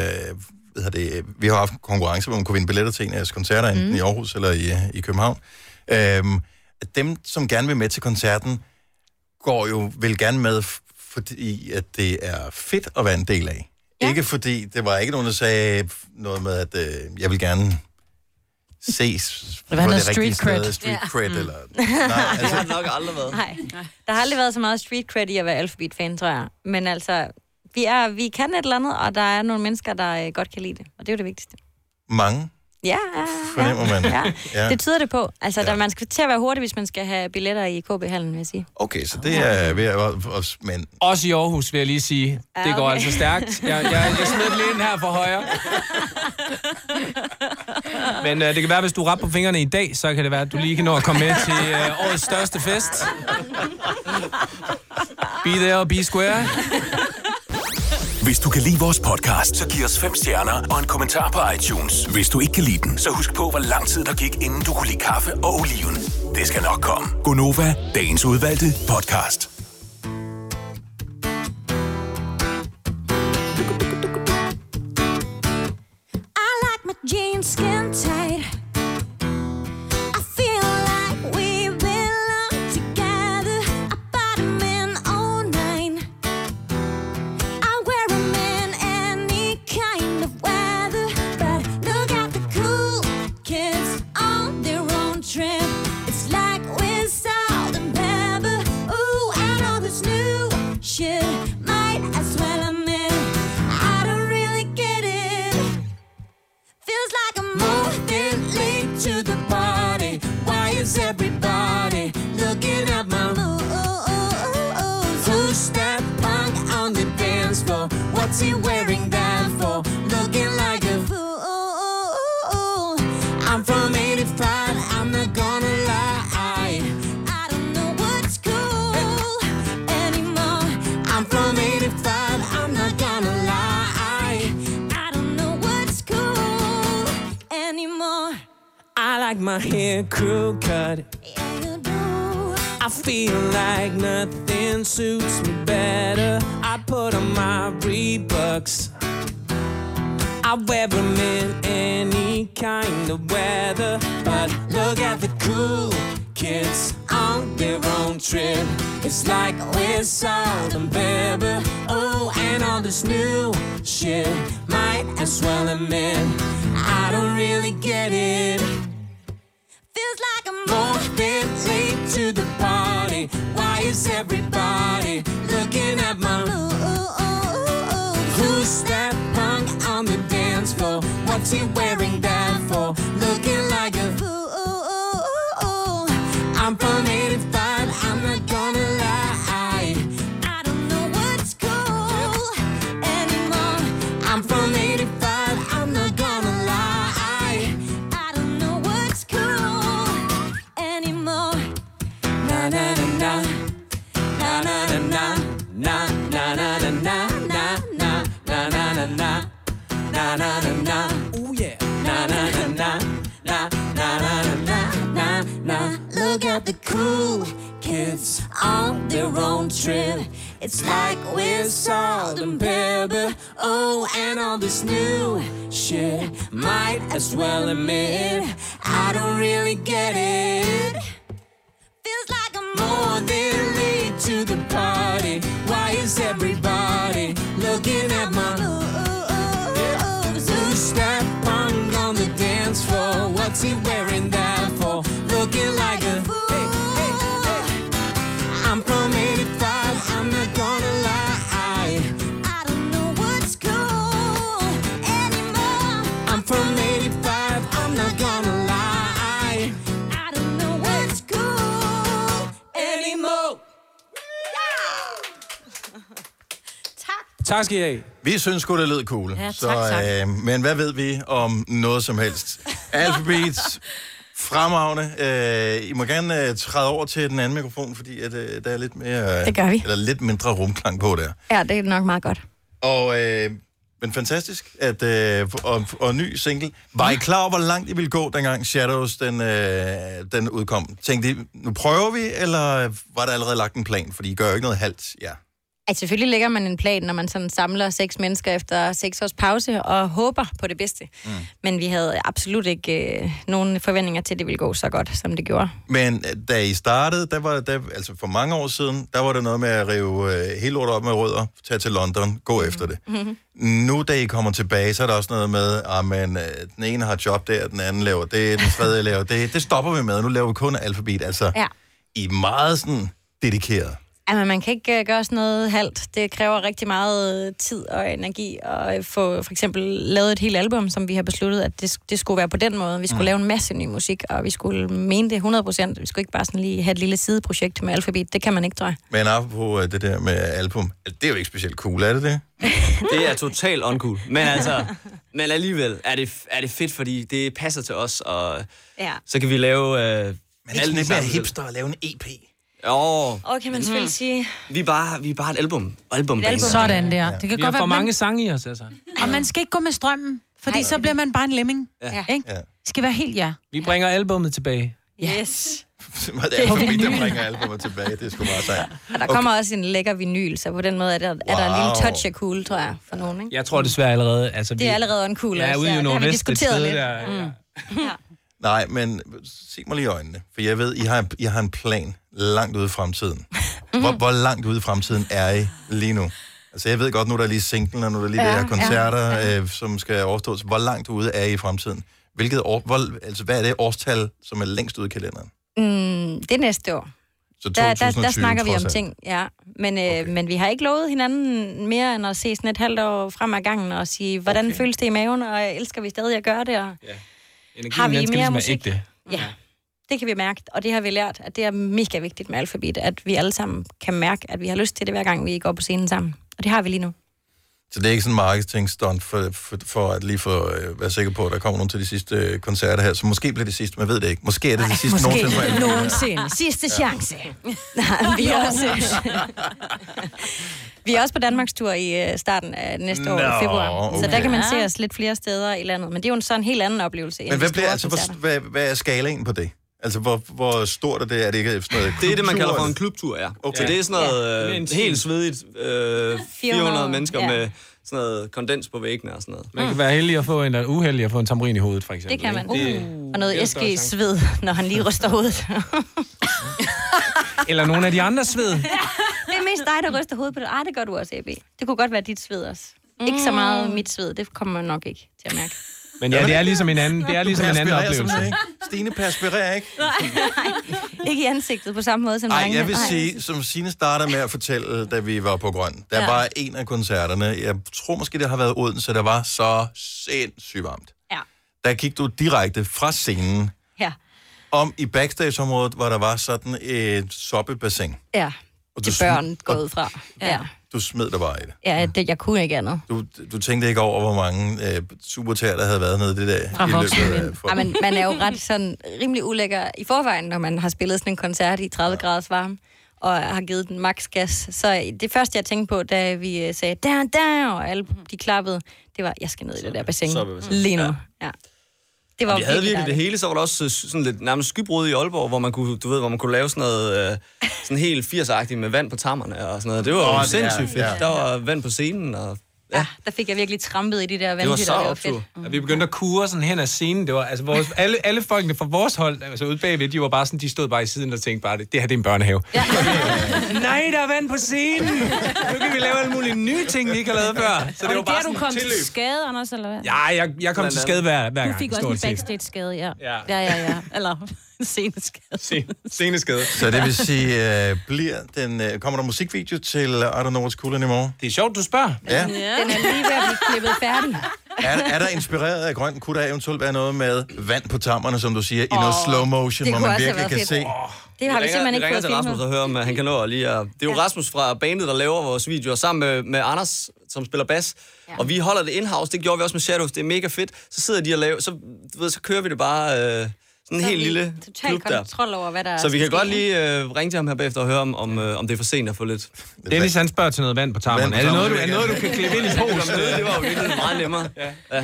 [SPEAKER 1] hvad hedder det, øh, vi har haft konkurrence, hvor man kunne vinde billetter til en af jeres koncerter, enten
[SPEAKER 3] Mm.
[SPEAKER 1] i Aarhus eller i, øh, i København. Øhm, at dem, som gerne vil med til koncerten, går jo vil gerne med, f- fordi at det er fedt at være en del af. Ja. Ikke fordi, det var ikke nogen, der sagde noget med, at øh, jeg vil gerne ses
[SPEAKER 4] vil have
[SPEAKER 1] på
[SPEAKER 4] noget
[SPEAKER 1] det rigtige
[SPEAKER 4] street cred.
[SPEAKER 1] sted, street
[SPEAKER 9] Ja.
[SPEAKER 1] cred,
[SPEAKER 9] Mm.
[SPEAKER 1] eller
[SPEAKER 9] Nej,
[SPEAKER 1] altså-
[SPEAKER 13] Det har det nok aldrig været.
[SPEAKER 9] Nej. Der har aldrig været så meget street cred i at være Alphabet-fan, tror jeg. Men altså, vi, er, vi kan et eller andet, og der er nogle mennesker, der øh, godt kan lide det. Og det er jo det vigtigste.
[SPEAKER 1] mange,
[SPEAKER 9] Ja, ja,
[SPEAKER 1] fornemmer man.
[SPEAKER 9] ja. ja.
[SPEAKER 1] Ja.
[SPEAKER 9] det tyder det på. Altså, ja. der, man skal til at være hurtig, hvis man skal have billetter i KB-hallen, vil jeg sige.
[SPEAKER 1] Okay, så det er ved at... også- Men
[SPEAKER 10] Også i Aarhus, vil jeg lige sige.
[SPEAKER 9] Ja,
[SPEAKER 10] Det går
[SPEAKER 9] okay.
[SPEAKER 10] altså stærkt. Jeg, jeg, jeg smed det lige ind her for højre. Men øh, det kan være, hvis du er ret på fingrene i dag, så kan det være, at du lige kan nå at komme med til øh, årets største fest. Be there og be square.
[SPEAKER 8] Hvis du kan lide vores podcast, så giv os fem stjerner og en kommentar på iTunes. Hvis du ikke kan lide den, så husk på, hvor lang tid der gik, inden du kunne lide kaffe og oliven. Det skal nok komme.
[SPEAKER 11] Gonova,
[SPEAKER 8] Dagens udvalgte podcast.
[SPEAKER 14] I like my jeans skin tight. I feel like we belong together. I bought them in 09. I wear them in any kind of weather. But look at the cool kids on their own trip. It's like we're salt and pepper. Ooh, and all this new shit. Might as well admit, I don't really get it. Feels like I'm moving late to the party. Why is everybody looking at my moves? Who's that punk on the dance floor? What's he wearing that for? Looking like a fool. I'm from 85, I'm not gonna lie. I don't know what's cool anymore. I'm from 85, I'm not gonna lie. I don't know what's cool anymore.
[SPEAKER 15] I like my hair crew cut.
[SPEAKER 14] I
[SPEAKER 15] feel like nothing suits me better. I put on my Reeboks. I wear them in any kind of weather. But look at the cool kids on their own trip. It's like we're salt and pepper. Oh, and all this new shit. Might as well admit, I don't really get it.
[SPEAKER 14] Feels like I'm
[SPEAKER 15] Moving late to the party. Why is everybody looking at my moves? Who's that punk on the dance floor? What's he wearing that for? Looking like a fool. I'm from 85. I'm not gonna lie. I don't know what's cool anymore. I'm from 85. I'm not gonna lie.
[SPEAKER 14] I don't know what's cool anymore. Na na na na. Na na na na.
[SPEAKER 15] na na na na na na na na na na na na na na na Ooh yeah na na na na na na na na na na na
[SPEAKER 14] Look at the cool kids on their own trip. It's like we're salt and pepper. Oh, and all this new shit.
[SPEAKER 15] might as well admit I don't really get it feels like I'm more than late to the party why is everybody looking at my moves who's that punk on the dance floor what's he wearing that for looking like a
[SPEAKER 14] I'm from 85, I'm not gonna lie. I don't know what's cool anymore. I'm from 85, I'm not gonna lie. I don't know what's cool anymore. Ja! tak
[SPEAKER 10] Tak skal I have.
[SPEAKER 1] Vi synes sgu, det lød cool.
[SPEAKER 10] Ja, tak,
[SPEAKER 1] så,
[SPEAKER 10] tak.
[SPEAKER 1] Øh, men hvad ved vi om noget som helst? Alphabet, fremragende. Øh, I må gerne øh, træde over til den anden mikrofon, fordi at, øh, der er lidt mere...
[SPEAKER 9] Det gør vi.
[SPEAKER 1] Eller lidt mindre rumklang på der.
[SPEAKER 9] Ja, det er nok meget godt.
[SPEAKER 1] Og, øh, men fantastisk, at, øh, og, og ny single. Var I klar over, hvor langt I ville gå, dengang Shadows den, øh, den udkom? Tænkte I, nu prøver vi, eller var der allerede lagt en plan? Fordi I gør jo ikke noget halvt, ja.
[SPEAKER 9] Altså, selvfølgelig lægger man en plan, når man sådan samler seks mennesker efter seks års pause og håber på det bedste. Mm. Men vi havde absolut ikke øh, nogen forventninger til, at det ville gå så godt, som det gjorde.
[SPEAKER 1] Men øh, da I startede, der var der, altså for mange år siden, der var der noget med at rive øh, hele lortet op med rødder, tage til London, gå efter det. Nu, da I kommer tilbage, så er der også noget med, at man, øh, den ene har job der, den anden laver det, den tredje laver det. Det stopper vi med. Nu laver vi kun alfabet. Altså,
[SPEAKER 9] Ja.
[SPEAKER 1] I er meget sådan dedikeret.
[SPEAKER 9] Jamen, man kan ikke øh, gøre sådan noget halvt. Det kræver rigtig meget øh, tid og energi at øh, få for eksempel lavet et helt album, som vi har besluttet, at det, det skulle være på den måde. Vi skulle
[SPEAKER 3] Mm.
[SPEAKER 9] mm. lave en masse ny musik, og vi skulle mene det 100%. Vi skulle ikke bare sådan lige have et lille sideprojekt med alfabet. Det kan man ikke, tror jeg.
[SPEAKER 1] Men apropos øh, det der med album, altså, det er jo ikke specielt cool, er det det?
[SPEAKER 13] Det er totalt uncool. Men altså, men alligevel er det, er det fedt, fordi det passer til os, og
[SPEAKER 9] Ja.
[SPEAKER 13] så kan vi lave... Øh, men
[SPEAKER 1] ikke sådan lidt mere hipster at lave en E EP?
[SPEAKER 13] Jo,
[SPEAKER 9] Og kan man selvfølgelig sige...
[SPEAKER 13] vi er bare, vi er bare et album. album
[SPEAKER 4] Sådan der. Det kan
[SPEAKER 10] vi
[SPEAKER 4] godt
[SPEAKER 10] har
[SPEAKER 4] være,
[SPEAKER 10] for
[SPEAKER 4] at man-
[SPEAKER 10] mange sange i os, altså.
[SPEAKER 4] Og man skal ikke gå med strømmen, fordi så bliver man bare en lemming.
[SPEAKER 10] Ja.
[SPEAKER 4] Ikke?
[SPEAKER 1] Ja.
[SPEAKER 4] Skal være helt jer.
[SPEAKER 10] Vi bringer albummet tilbage.
[SPEAKER 9] Yes.
[SPEAKER 1] det er alfabet, der bringer albumet tilbage. Det er sgu meget sejt.
[SPEAKER 9] Og der okay. kommer også en lækker vinyl, så på den måde er der, wow. er der en lille
[SPEAKER 10] Wow.
[SPEAKER 9] touch af cool, tror jeg, for nogen. Ikke?
[SPEAKER 10] Jeg tror desværre allerede... Altså,
[SPEAKER 9] Det er allerede en cool
[SPEAKER 10] Ja,
[SPEAKER 9] også,
[SPEAKER 10] ude i
[SPEAKER 9] ja. Det har vi
[SPEAKER 10] Nordvest, et
[SPEAKER 9] diskuteret
[SPEAKER 10] sted
[SPEAKER 9] lidt. Mm.
[SPEAKER 10] Der, ja.
[SPEAKER 1] Nej, men se mig lige i øjnene, for jeg ved, I har, I har en plan langt ude i fremtiden.
[SPEAKER 9] Mhm.
[SPEAKER 1] Hvor, hvor langt ude i fremtiden er I lige nu? Altså, jeg ved godt, nu er der lige singlen, og nu er der lige ja,
[SPEAKER 16] Ja,
[SPEAKER 1] de her
[SPEAKER 16] ja,
[SPEAKER 1] koncerter, ja, Øh, som skal overstås. Hvor langt ude er I i fremtiden? Hvilket år, hvor, altså, hvad er det årstal, som er længst ude i kalenderen?
[SPEAKER 9] Mm, det er næste år.
[SPEAKER 1] Så
[SPEAKER 9] der, der, der
[SPEAKER 1] 2020
[SPEAKER 9] snakker vi
[SPEAKER 1] trods
[SPEAKER 9] om
[SPEAKER 1] alt.
[SPEAKER 9] ting, ja. Men, øh, okay. men vi har ikke lovet hinanden mere end at se sådan et halvt år frem ad gangen og sige, hvordan okay. føles det i maven, og elsker vi stadig at gøre det? Og ja.
[SPEAKER 10] Energien,
[SPEAKER 9] Har vi
[SPEAKER 10] den skal ligesom
[SPEAKER 9] mere
[SPEAKER 10] være
[SPEAKER 9] musik?
[SPEAKER 10] ægte.
[SPEAKER 9] ja, det kan vi mærke, og det har vi lært, at det er mega vigtigt med alfabet, at vi alle sammen kan mærke, at vi har lyst til det, hver gang vi går på scenen sammen. Og det har vi lige nu.
[SPEAKER 1] Så det er ikke sådan en marketingstunt for, for, for at lige for, øh, være sikker på, at der kommer nogen til de sidste øh, koncerter her. Så måske bliver det sidste, man ved det ikke. Måske er det det sidste nogensinde. for alle.
[SPEAKER 9] nogensinde. Sidste chance. Nej, vi er også... vi er også på Danmarks tur i øh, starten af næste år,
[SPEAKER 1] Nå,
[SPEAKER 9] i februar. Okay. Så
[SPEAKER 1] okay.
[SPEAKER 9] der kan man se os lidt flere steder i landet. Men det er jo en sådan helt anden oplevelse. end
[SPEAKER 1] Men hvad,
[SPEAKER 9] de
[SPEAKER 1] bliver,
[SPEAKER 9] store
[SPEAKER 1] altså,
[SPEAKER 9] koncerter.
[SPEAKER 1] hvor, hvad, hvad er skalaen på det? Altså, hvor, hvor stort er det? Er det ikke sådan noget
[SPEAKER 13] Det er det, man
[SPEAKER 1] klubtur,
[SPEAKER 13] kalder for
[SPEAKER 1] eller?
[SPEAKER 13] en klubtur, ja.
[SPEAKER 1] Okay.
[SPEAKER 13] Okay. Så det er sådan
[SPEAKER 1] Ja.
[SPEAKER 13] noget
[SPEAKER 1] Det er en
[SPEAKER 13] øh,
[SPEAKER 1] time.
[SPEAKER 13] helt svedigt øh, 400 mennesker
[SPEAKER 9] ja.
[SPEAKER 13] med sådan noget kondens på væggene og sådan noget.
[SPEAKER 10] Man kan være heldig at få en, og uheldig at få en tamrin i hovedet, for eksempel.
[SPEAKER 9] Mm. Det kan man.
[SPEAKER 10] ikke?
[SPEAKER 9] Uh, og noget
[SPEAKER 10] det er større
[SPEAKER 9] æske sved, når han lige ryster hovedet. Uh.
[SPEAKER 10] Det- Eller nogle af de andre sved.
[SPEAKER 9] det er mest dig, der ryster hovedet på det. Ah, det gør du også, AB. Det kunne godt være dit sved også. Ikke så meget mit sved, det kommer man nok ikke til at mærke.
[SPEAKER 10] Men ja, det er ligesom en anden, det er
[SPEAKER 1] Du
[SPEAKER 10] ligesom en anden
[SPEAKER 1] perspirerer sådan
[SPEAKER 10] oplevelse.
[SPEAKER 1] noget, ikke? Stine perspirerer ikke.
[SPEAKER 9] ikke i ansigtet på samme måde som
[SPEAKER 1] Ej,
[SPEAKER 9] drengene.
[SPEAKER 1] jeg vil sige, som Signe starter med at fortælle, da vi var på Grøn. Der
[SPEAKER 9] Ja.
[SPEAKER 1] var en af koncerterne, jeg tror måske, det har været Odense, der var så sindssygt varmt.
[SPEAKER 9] Ja.
[SPEAKER 1] Der gik du direkte fra scenen
[SPEAKER 9] Ja.
[SPEAKER 1] om i backstageområdet, hvor der var sådan et soppebassin.
[SPEAKER 9] Ja,
[SPEAKER 1] Og
[SPEAKER 9] til
[SPEAKER 1] sm-
[SPEAKER 9] børn går ud fra. Ja,
[SPEAKER 1] Du smed dig bare i det.
[SPEAKER 9] ja det, jeg kunne ikke andet.
[SPEAKER 1] Du, du tænkte ikke over, hvor mange øh, supertager, der havde været nede i det der. i løbet af, for...
[SPEAKER 9] Ja, men man er jo ret sådan rimelig ulækker i forvejen, når man har spillet sådan en koncert i 30 ja. graders varme og har givet den max gas. Så det første, jeg tænkte på, da vi øh, sagde, der, der, og alle de klappede, det var, jeg skal ned i det der bassin
[SPEAKER 13] så er det-
[SPEAKER 9] lige nu. Ja. ja. Det var
[SPEAKER 13] vi havde virkelig det
[SPEAKER 9] dejligt.
[SPEAKER 13] hele, så var der også øh, sådan lidt nærmest skybrud i Aalborg, hvor man kunne, du ved, hvor man kunne lave sådan noget øh, sådan helt 80 med vand på tammerne og sådan noget. Det var
[SPEAKER 1] Åh, det
[SPEAKER 13] oh,
[SPEAKER 1] er-
[SPEAKER 13] sindssygt fedt.
[SPEAKER 1] ja.
[SPEAKER 13] Der var vand på scenen, og
[SPEAKER 9] Der fik jeg virkelig trampet i de der
[SPEAKER 10] Det var
[SPEAKER 9] vandhytter,
[SPEAKER 10] så optur.
[SPEAKER 9] Mm.
[SPEAKER 10] Og vi begyndte at kure sådan hen ad scenen. Det var, altså, vores, alle, alle folkene fra vores hold, altså ude bagved, de var bare sådan, de stod bare i siden og tænkte bare, det det her det er en børnehave. Ja. Nej, der er vand på scenen! Nu kan vi lave alle mulige nye ting, vi ikke har lavet før. Så det
[SPEAKER 5] Og
[SPEAKER 10] var
[SPEAKER 5] det
[SPEAKER 10] bare
[SPEAKER 5] der,
[SPEAKER 10] sådan et
[SPEAKER 5] du kom til
[SPEAKER 10] tilløb.
[SPEAKER 5] skade, Anders, eller hvad?
[SPEAKER 10] Ja, jeg, jeg kom til skade hver, hver
[SPEAKER 5] Du
[SPEAKER 10] gang,
[SPEAKER 5] fik også en
[SPEAKER 10] stort set.
[SPEAKER 5] backstage-skade, ja.
[SPEAKER 10] Ja.
[SPEAKER 5] Ja, ja, ja. Eller en sceneskade.
[SPEAKER 10] Se- Seneskade.
[SPEAKER 1] Så det vil sige, øh, bliver den, øh, kommer der musikvideo til øh, I Don't Know What's Cool Anymore?
[SPEAKER 10] Det er sjovt, du spørger.
[SPEAKER 1] Ja.
[SPEAKER 9] Den er lige ved at blive klippet færdig.
[SPEAKER 1] Er, er der inspireret af grøn? Kunne der eventuelt være noget med vand på tammerne, som du siger, oh, i noget
[SPEAKER 9] Åh,
[SPEAKER 1] slow motion,
[SPEAKER 9] det
[SPEAKER 1] hvor
[SPEAKER 9] kunne
[SPEAKER 1] man
[SPEAKER 9] også have
[SPEAKER 1] virkelig kan
[SPEAKER 9] været
[SPEAKER 1] se?
[SPEAKER 9] fedt. Det har vi, simpelthen ikke
[SPEAKER 13] ringer
[SPEAKER 9] fået
[SPEAKER 13] til Rasmus
[SPEAKER 9] filmet.
[SPEAKER 13] og hører, om øh, han kan nå at lige at... Det er jo Rasmus fra bandet, der laver vores videoer, sammen med, med Anders, som spiller bas. Ja. Og vi holder det in-house, det gjorde vi også med Shadows, det er mega fedt. Så sidder de og laver... Så, du ved, så kører vi det bare... Øh, sådan en
[SPEAKER 9] Så
[SPEAKER 13] helt
[SPEAKER 9] vi
[SPEAKER 13] lille
[SPEAKER 9] Total
[SPEAKER 13] klub der.
[SPEAKER 9] kontrol over, hvad der
[SPEAKER 13] Så vi kan
[SPEAKER 9] skal
[SPEAKER 13] godt
[SPEAKER 9] ske.
[SPEAKER 13] lige øh, ringe til ham her bagefter og høre, om, om, øh, om det er for sent at få lidt...
[SPEAKER 10] Dennis, han spørger til noget vand på tarmen. Er det noget, du, er det noget, du kan klippe ind i posen?
[SPEAKER 13] Det var jo virkelig meget nemmere. Ja.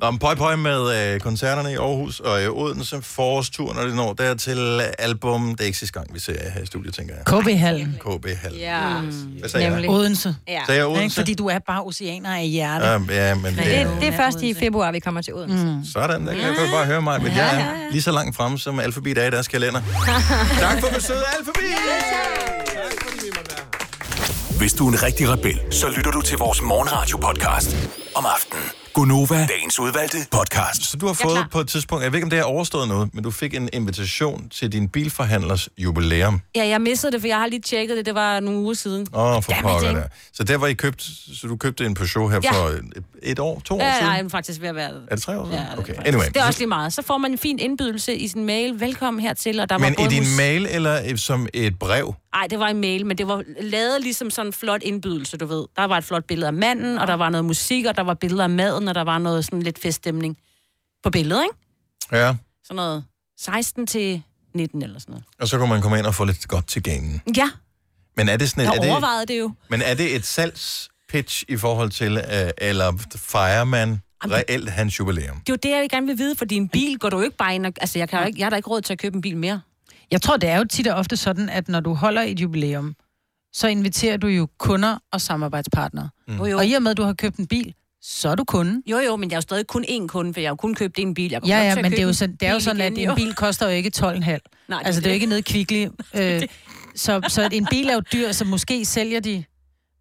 [SPEAKER 1] Nå, men pøj, pøj med øh, koncerterne i Aarhus og øh, Odense. Forårsturen, når det når der til album. Det er ikke sidste gang, vi ser jer her i studiet, tænker jeg.
[SPEAKER 4] KB-hallen.
[SPEAKER 1] KB Hal.
[SPEAKER 4] Ja.
[SPEAKER 9] Mm.
[SPEAKER 1] Hvad sagde jeg?
[SPEAKER 4] Odense.
[SPEAKER 1] Ja. Sagde jeg Odense?
[SPEAKER 4] Ikke? Fordi du er bare oceaner af hjerte.
[SPEAKER 1] Ja, ja, men øh,
[SPEAKER 9] Men
[SPEAKER 1] det er
[SPEAKER 9] det, det er først i februar, vi kommer til Odense. Mm.
[SPEAKER 1] sådan, der kan jeg godt bare høre mig, men jeg er lige så langt frem, som alfabet er i deres kalender. tak for besøget, Alphabet!
[SPEAKER 8] Hvis du er en rigtig rebel, så lytter du til vores morgenradio-podcast om aftenen. Gunova, dagens udvalgte podcast.
[SPEAKER 1] Så du har fået på et tidspunkt, jeg ved ikke, om det er overstået noget, men du fik en invitation til din bilforhandlers jubilæum.
[SPEAKER 5] Ja, jeg missede det, for jeg har lige tjekket det. Det var nogle uger siden.
[SPEAKER 1] Åh, oh, for
[SPEAKER 5] Goddammit,
[SPEAKER 1] pokker
[SPEAKER 5] ikke?
[SPEAKER 1] der. Så der var I købt, så du købte en Peugeot her
[SPEAKER 5] Ja.
[SPEAKER 1] for et, et år, to år
[SPEAKER 5] Ja,
[SPEAKER 1] siden?
[SPEAKER 5] nej, men faktisk ved at være...
[SPEAKER 1] Er det tre år siden? Ja, okay, anyway.
[SPEAKER 5] Anyway. Det er også lige meget. Så får man en fin indbydelse i sin mail. Velkommen hertil, og der var
[SPEAKER 1] men i
[SPEAKER 5] både
[SPEAKER 1] din
[SPEAKER 5] mus-
[SPEAKER 1] mail eller øh, som et brev?
[SPEAKER 5] Nej, det var en mail, men det var lavet ligesom sådan en flot indbydelse, du ved. Der var et flot billede af manden, og der var noget musik, og der var billeder af maden, og der var noget sådan lidt feststemning på billedet, ikke?
[SPEAKER 1] Ja.
[SPEAKER 5] Sådan noget 16 til 19 eller sådan noget.
[SPEAKER 1] Og så kunne man komme ind og få lidt godt til gamen.
[SPEAKER 5] Ja,
[SPEAKER 1] Men er det sådan et,
[SPEAKER 5] jeg
[SPEAKER 1] er det,
[SPEAKER 5] overvejede det jo.
[SPEAKER 1] men er det et salgspitch i forhold til, øh, eller fejrer man reelt hans jubilæum?
[SPEAKER 5] Det er jo det, jeg gerne vil vide, for din bil går du jo ikke bare ind og... Altså, jeg, kan jo ikke, jeg har da ikke råd til at købe en bil mere.
[SPEAKER 4] Jeg tror, det er jo tit og ofte sådan, at når du holder et jubilæum, så inviterer du jo kunder og samarbejdspartnere.
[SPEAKER 5] Mm.
[SPEAKER 4] Mm.
[SPEAKER 5] Jo, jo.
[SPEAKER 4] Og i og med, at du har købt en bil, så er du kunde.
[SPEAKER 5] Jo, jo, men jeg er jo stadig kun én kunde, for jeg har jo kun købt én bil. Jeg kommer
[SPEAKER 4] Ja,
[SPEAKER 5] nok til
[SPEAKER 4] ja,
[SPEAKER 5] at
[SPEAKER 4] men det er
[SPEAKER 5] købe
[SPEAKER 4] jo
[SPEAKER 5] en
[SPEAKER 4] sådan, det er jo
[SPEAKER 5] bil
[SPEAKER 4] sådan
[SPEAKER 5] igen
[SPEAKER 4] at
[SPEAKER 5] i
[SPEAKER 4] en
[SPEAKER 5] år.
[SPEAKER 4] bil koster jo ikke 12,5.
[SPEAKER 5] Nej, det er
[SPEAKER 4] altså, det er
[SPEAKER 5] det.
[SPEAKER 4] jo ikke nede kvickly. Øh, så, så en bil er jo dyr, så måske sælger de...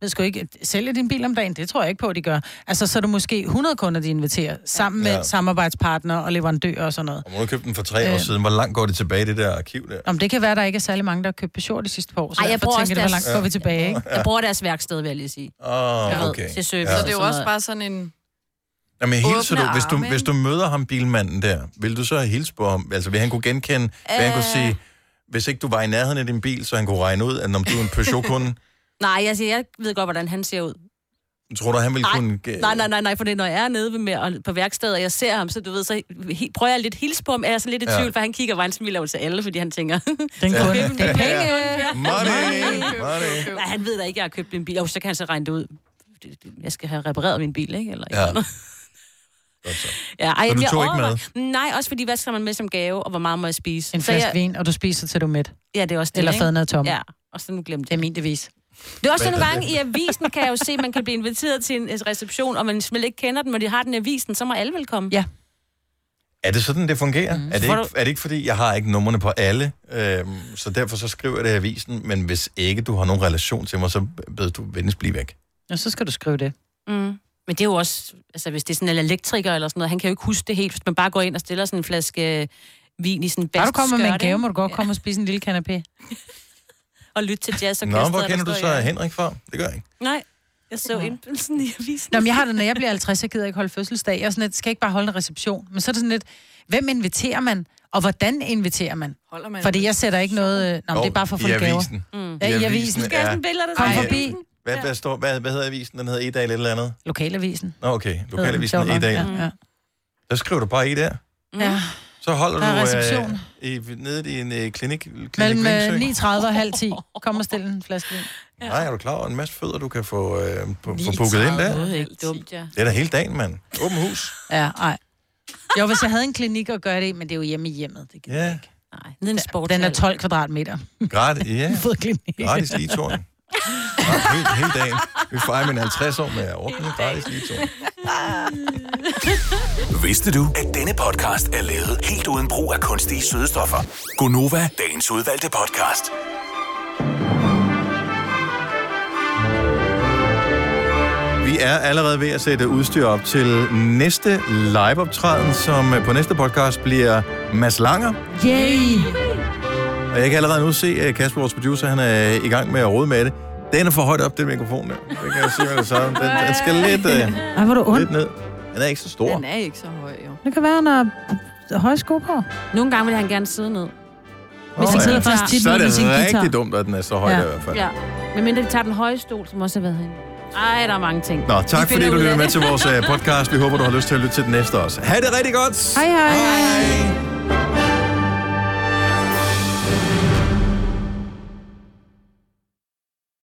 [SPEAKER 4] Jeg skal ikke sælge din bil om dagen, det tror jeg ikke på, at de gør. Altså, så er det måske 100 kunder, de inviterer, sammen med
[SPEAKER 1] Ja.
[SPEAKER 4] ja. samarbejdspartnere og leverandører og sådan noget.
[SPEAKER 1] Og må du købte den for tre øh. år
[SPEAKER 4] Øh.
[SPEAKER 1] siden. Hvor langt går det tilbage i det der arkiv der?
[SPEAKER 4] Om det kan være, at der ikke er særlig mange, der har købt Peugeot de sidste par år, så
[SPEAKER 5] Ej,
[SPEAKER 4] Ej,
[SPEAKER 5] jeg
[SPEAKER 4] jeg
[SPEAKER 5] bruger
[SPEAKER 4] derfor
[SPEAKER 5] også
[SPEAKER 4] tænker jeg, hvor
[SPEAKER 1] deres-
[SPEAKER 4] langt går vi tilbage, ikke?
[SPEAKER 1] Ja.
[SPEAKER 5] Jeg bruger deres værksted, vil jeg lige sige.
[SPEAKER 4] Ah,
[SPEAKER 1] Åh,
[SPEAKER 5] Jeg
[SPEAKER 1] oh,
[SPEAKER 5] ved,
[SPEAKER 1] okay.
[SPEAKER 5] til service
[SPEAKER 2] Så
[SPEAKER 1] Ja.
[SPEAKER 2] det er jo også bare sådan en...
[SPEAKER 1] Jamen, hilser
[SPEAKER 2] åbne
[SPEAKER 1] du, hvis, du,
[SPEAKER 2] arme, ikke?
[SPEAKER 1] hvis du møder ham, bilmanden der, vil du så hilse på ham? Altså, vil han kunne genkende, øh... vil han kunne sige, hvis ikke du var i nærheden af din bil, så han kunne regne ud, at om du er en Peugeot-kunde,
[SPEAKER 5] Nej, jeg, siger, jeg ved godt, hvordan han ser ud.
[SPEAKER 1] tror du, han ville
[SPEAKER 5] Nej,
[SPEAKER 1] kunne... ge-
[SPEAKER 5] Nej, nej, nej, nej, for det, er, når jeg er nede ved med, og på værkstedet, og jeg ser ham, så du ved, så he, prøver jeg lidt hils på ham, er jeg så lidt i
[SPEAKER 1] Ja.
[SPEAKER 5] tvivl, for han kigger bare en smil over til alle, fordi han tænker...
[SPEAKER 4] Den
[SPEAKER 1] kunde.
[SPEAKER 5] Det er penge.
[SPEAKER 1] Ja. Money, money.
[SPEAKER 5] Nej, han ved da ikke, jeg har købt en bil. Jo, så kan han så regne det ud. Det- det- Jeg skal have repareret min bil, ikke? Eller,
[SPEAKER 1] Ja.
[SPEAKER 5] ja, ej,
[SPEAKER 4] Så du
[SPEAKER 5] jeg
[SPEAKER 4] tog ikke
[SPEAKER 5] overvejer- Nej, også fordi, hvad skal man med som gave, og hvor meget må jeg spise?
[SPEAKER 4] En
[SPEAKER 5] Så
[SPEAKER 4] flaske
[SPEAKER 5] jeg-
[SPEAKER 4] vin, og du spiser til du er mæt.
[SPEAKER 5] Ja, det er også det,
[SPEAKER 4] Eller
[SPEAKER 5] ikke?
[SPEAKER 4] faden er tom.
[SPEAKER 5] Ja, og så nu glemte
[SPEAKER 4] Det er min devis.
[SPEAKER 5] Det er også
[SPEAKER 4] Hvad
[SPEAKER 5] nogle
[SPEAKER 4] er det?
[SPEAKER 5] gange i avisen, kan jeg jo se, at man kan blive inviteret til en en reception, og man slet ikke kender den, men de har den i avisen, så må alle velkommen.
[SPEAKER 4] Ja.
[SPEAKER 1] Er det sådan, det fungerer? Mm. Er, det
[SPEAKER 5] Får
[SPEAKER 1] ikke,
[SPEAKER 5] du-
[SPEAKER 1] er det ikke, fordi jeg har ikke numrene på alle, øhm, så derfor så skriver jeg det i avisen, men hvis ikke du har nogen relation til mig, så ved du venligst blive væk.
[SPEAKER 4] Og så skal du skrive det.
[SPEAKER 5] Mm. Men det er jo også, altså hvis det er sådan en elektriker eller sådan noget, han kan jo ikke huske det helt, hvis man bare går ind og stiller sådan en flaske øh, vin i sådan en
[SPEAKER 4] Bare
[SPEAKER 5] bast
[SPEAKER 4] du kommer med en
[SPEAKER 5] skørte,
[SPEAKER 4] gave,
[SPEAKER 5] ikke?
[SPEAKER 4] må du godt komme og spise en lille kanapé.
[SPEAKER 5] Og lytte til jazz og
[SPEAKER 1] Nå, hvor kender du så Henrik fra? Det gør jeg ikke.
[SPEAKER 5] Nej, jeg så indbydelsen i avisen.
[SPEAKER 4] Nå, men jeg har det, når jeg bliver 50, jeg gider ikke holde fødselsdag. Jeg er sådan lidt, skal jeg ikke bare holde en reception. Men så er det sådan lidt, hvem inviterer man, og hvordan inviterer man?
[SPEAKER 2] Holder man
[SPEAKER 4] Fordi jeg sætter ikke noget... øh, Nå, men det er bare for at få
[SPEAKER 1] I
[SPEAKER 4] lidt gaver.
[SPEAKER 1] avisen.
[SPEAKER 4] Mm. Ja, i avisen.
[SPEAKER 1] ja.
[SPEAKER 4] Kom
[SPEAKER 1] Ej,
[SPEAKER 4] forbi.
[SPEAKER 1] Hvad, hvad, står, hvad, hvad hedder avisen? Den hedder E-dag eller et eller andet?
[SPEAKER 4] Lokalavisen.
[SPEAKER 1] Nå, okay.
[SPEAKER 4] Hedder
[SPEAKER 1] Lokalavisen
[SPEAKER 4] den.
[SPEAKER 1] E-dag.
[SPEAKER 4] Ja, ja.
[SPEAKER 1] Der skriver du bare i der.
[SPEAKER 5] Mm.
[SPEAKER 4] Ja.
[SPEAKER 1] Så holder
[SPEAKER 4] Der er
[SPEAKER 1] du
[SPEAKER 4] reception.
[SPEAKER 1] øh, i, nede i en øh, klinik. klinik
[SPEAKER 4] Mellem
[SPEAKER 1] Ringsø.
[SPEAKER 4] øh, 9.30 og halv 10. Kom og stil en flaske vin.
[SPEAKER 1] Nej, er du klar over en masse fødder, du kan få, øh, på, få booket ind der?
[SPEAKER 5] Det er ikke dumt, ja.
[SPEAKER 1] Det er da hele dagen, mand. Åben hus.
[SPEAKER 4] Ja, ej. Jo, hvis jeg havde en klinik at gøre det i, men det er jo hjemme i hjemmet. Det
[SPEAKER 1] Ja,
[SPEAKER 5] Nede i en
[SPEAKER 4] den er
[SPEAKER 5] sportshal.
[SPEAKER 4] 12 kvadratmeter.
[SPEAKER 1] gratis. Ja.
[SPEAKER 4] Fodklinik.
[SPEAKER 1] Gratis ligetoren. Ja, hele, hele dagen. Vi fejrer min 50 år med at ordne gratis ligetoren.
[SPEAKER 8] Vidste du, at denne podcast er lavet helt uden brug af kunstige sødestoffer? Gunova, dagens udvalgte podcast.
[SPEAKER 1] Vi er allerede ved at sætte udstyr op til næste liveoptræden, som øh, på næste podcast bliver Mads Langer.
[SPEAKER 4] Yay!
[SPEAKER 1] Og jeg kan allerede nu se, at Kasper, vores producer, han er i gang med at rode med det. Den er for højt op, den mikrofon der. Det kan jeg sige med det samme. Den, den skal lidt, øh,
[SPEAKER 4] Ej, hvor er du ond.
[SPEAKER 1] lidt ned. Den er ikke så stor.
[SPEAKER 2] Den er ikke så høj, jo.
[SPEAKER 4] Det kan være, når høje sko på.
[SPEAKER 5] Nogle gange vil han gerne sidde ned.
[SPEAKER 4] Hvis
[SPEAKER 1] Åh,
[SPEAKER 4] den sidder
[SPEAKER 1] ja.
[SPEAKER 4] først tit
[SPEAKER 1] Så er
[SPEAKER 4] ned med
[SPEAKER 1] det
[SPEAKER 4] sin guitar.
[SPEAKER 1] rigtig dumt, at den er så høj der i hvert fald.
[SPEAKER 5] Ja. Men mindre vi tager den høje stol, som også har været herinde. Ej, der er mange ting.
[SPEAKER 1] Nå, tak
[SPEAKER 5] Vi
[SPEAKER 1] fordi
[SPEAKER 5] finder
[SPEAKER 1] du
[SPEAKER 5] ud
[SPEAKER 1] lytter
[SPEAKER 5] af
[SPEAKER 1] med
[SPEAKER 5] det.
[SPEAKER 1] til vores øh, podcast. Vi håber, du har lyst til at lytte til den næste også. Ha' det rigtig godt!
[SPEAKER 4] Hej, hej. hej.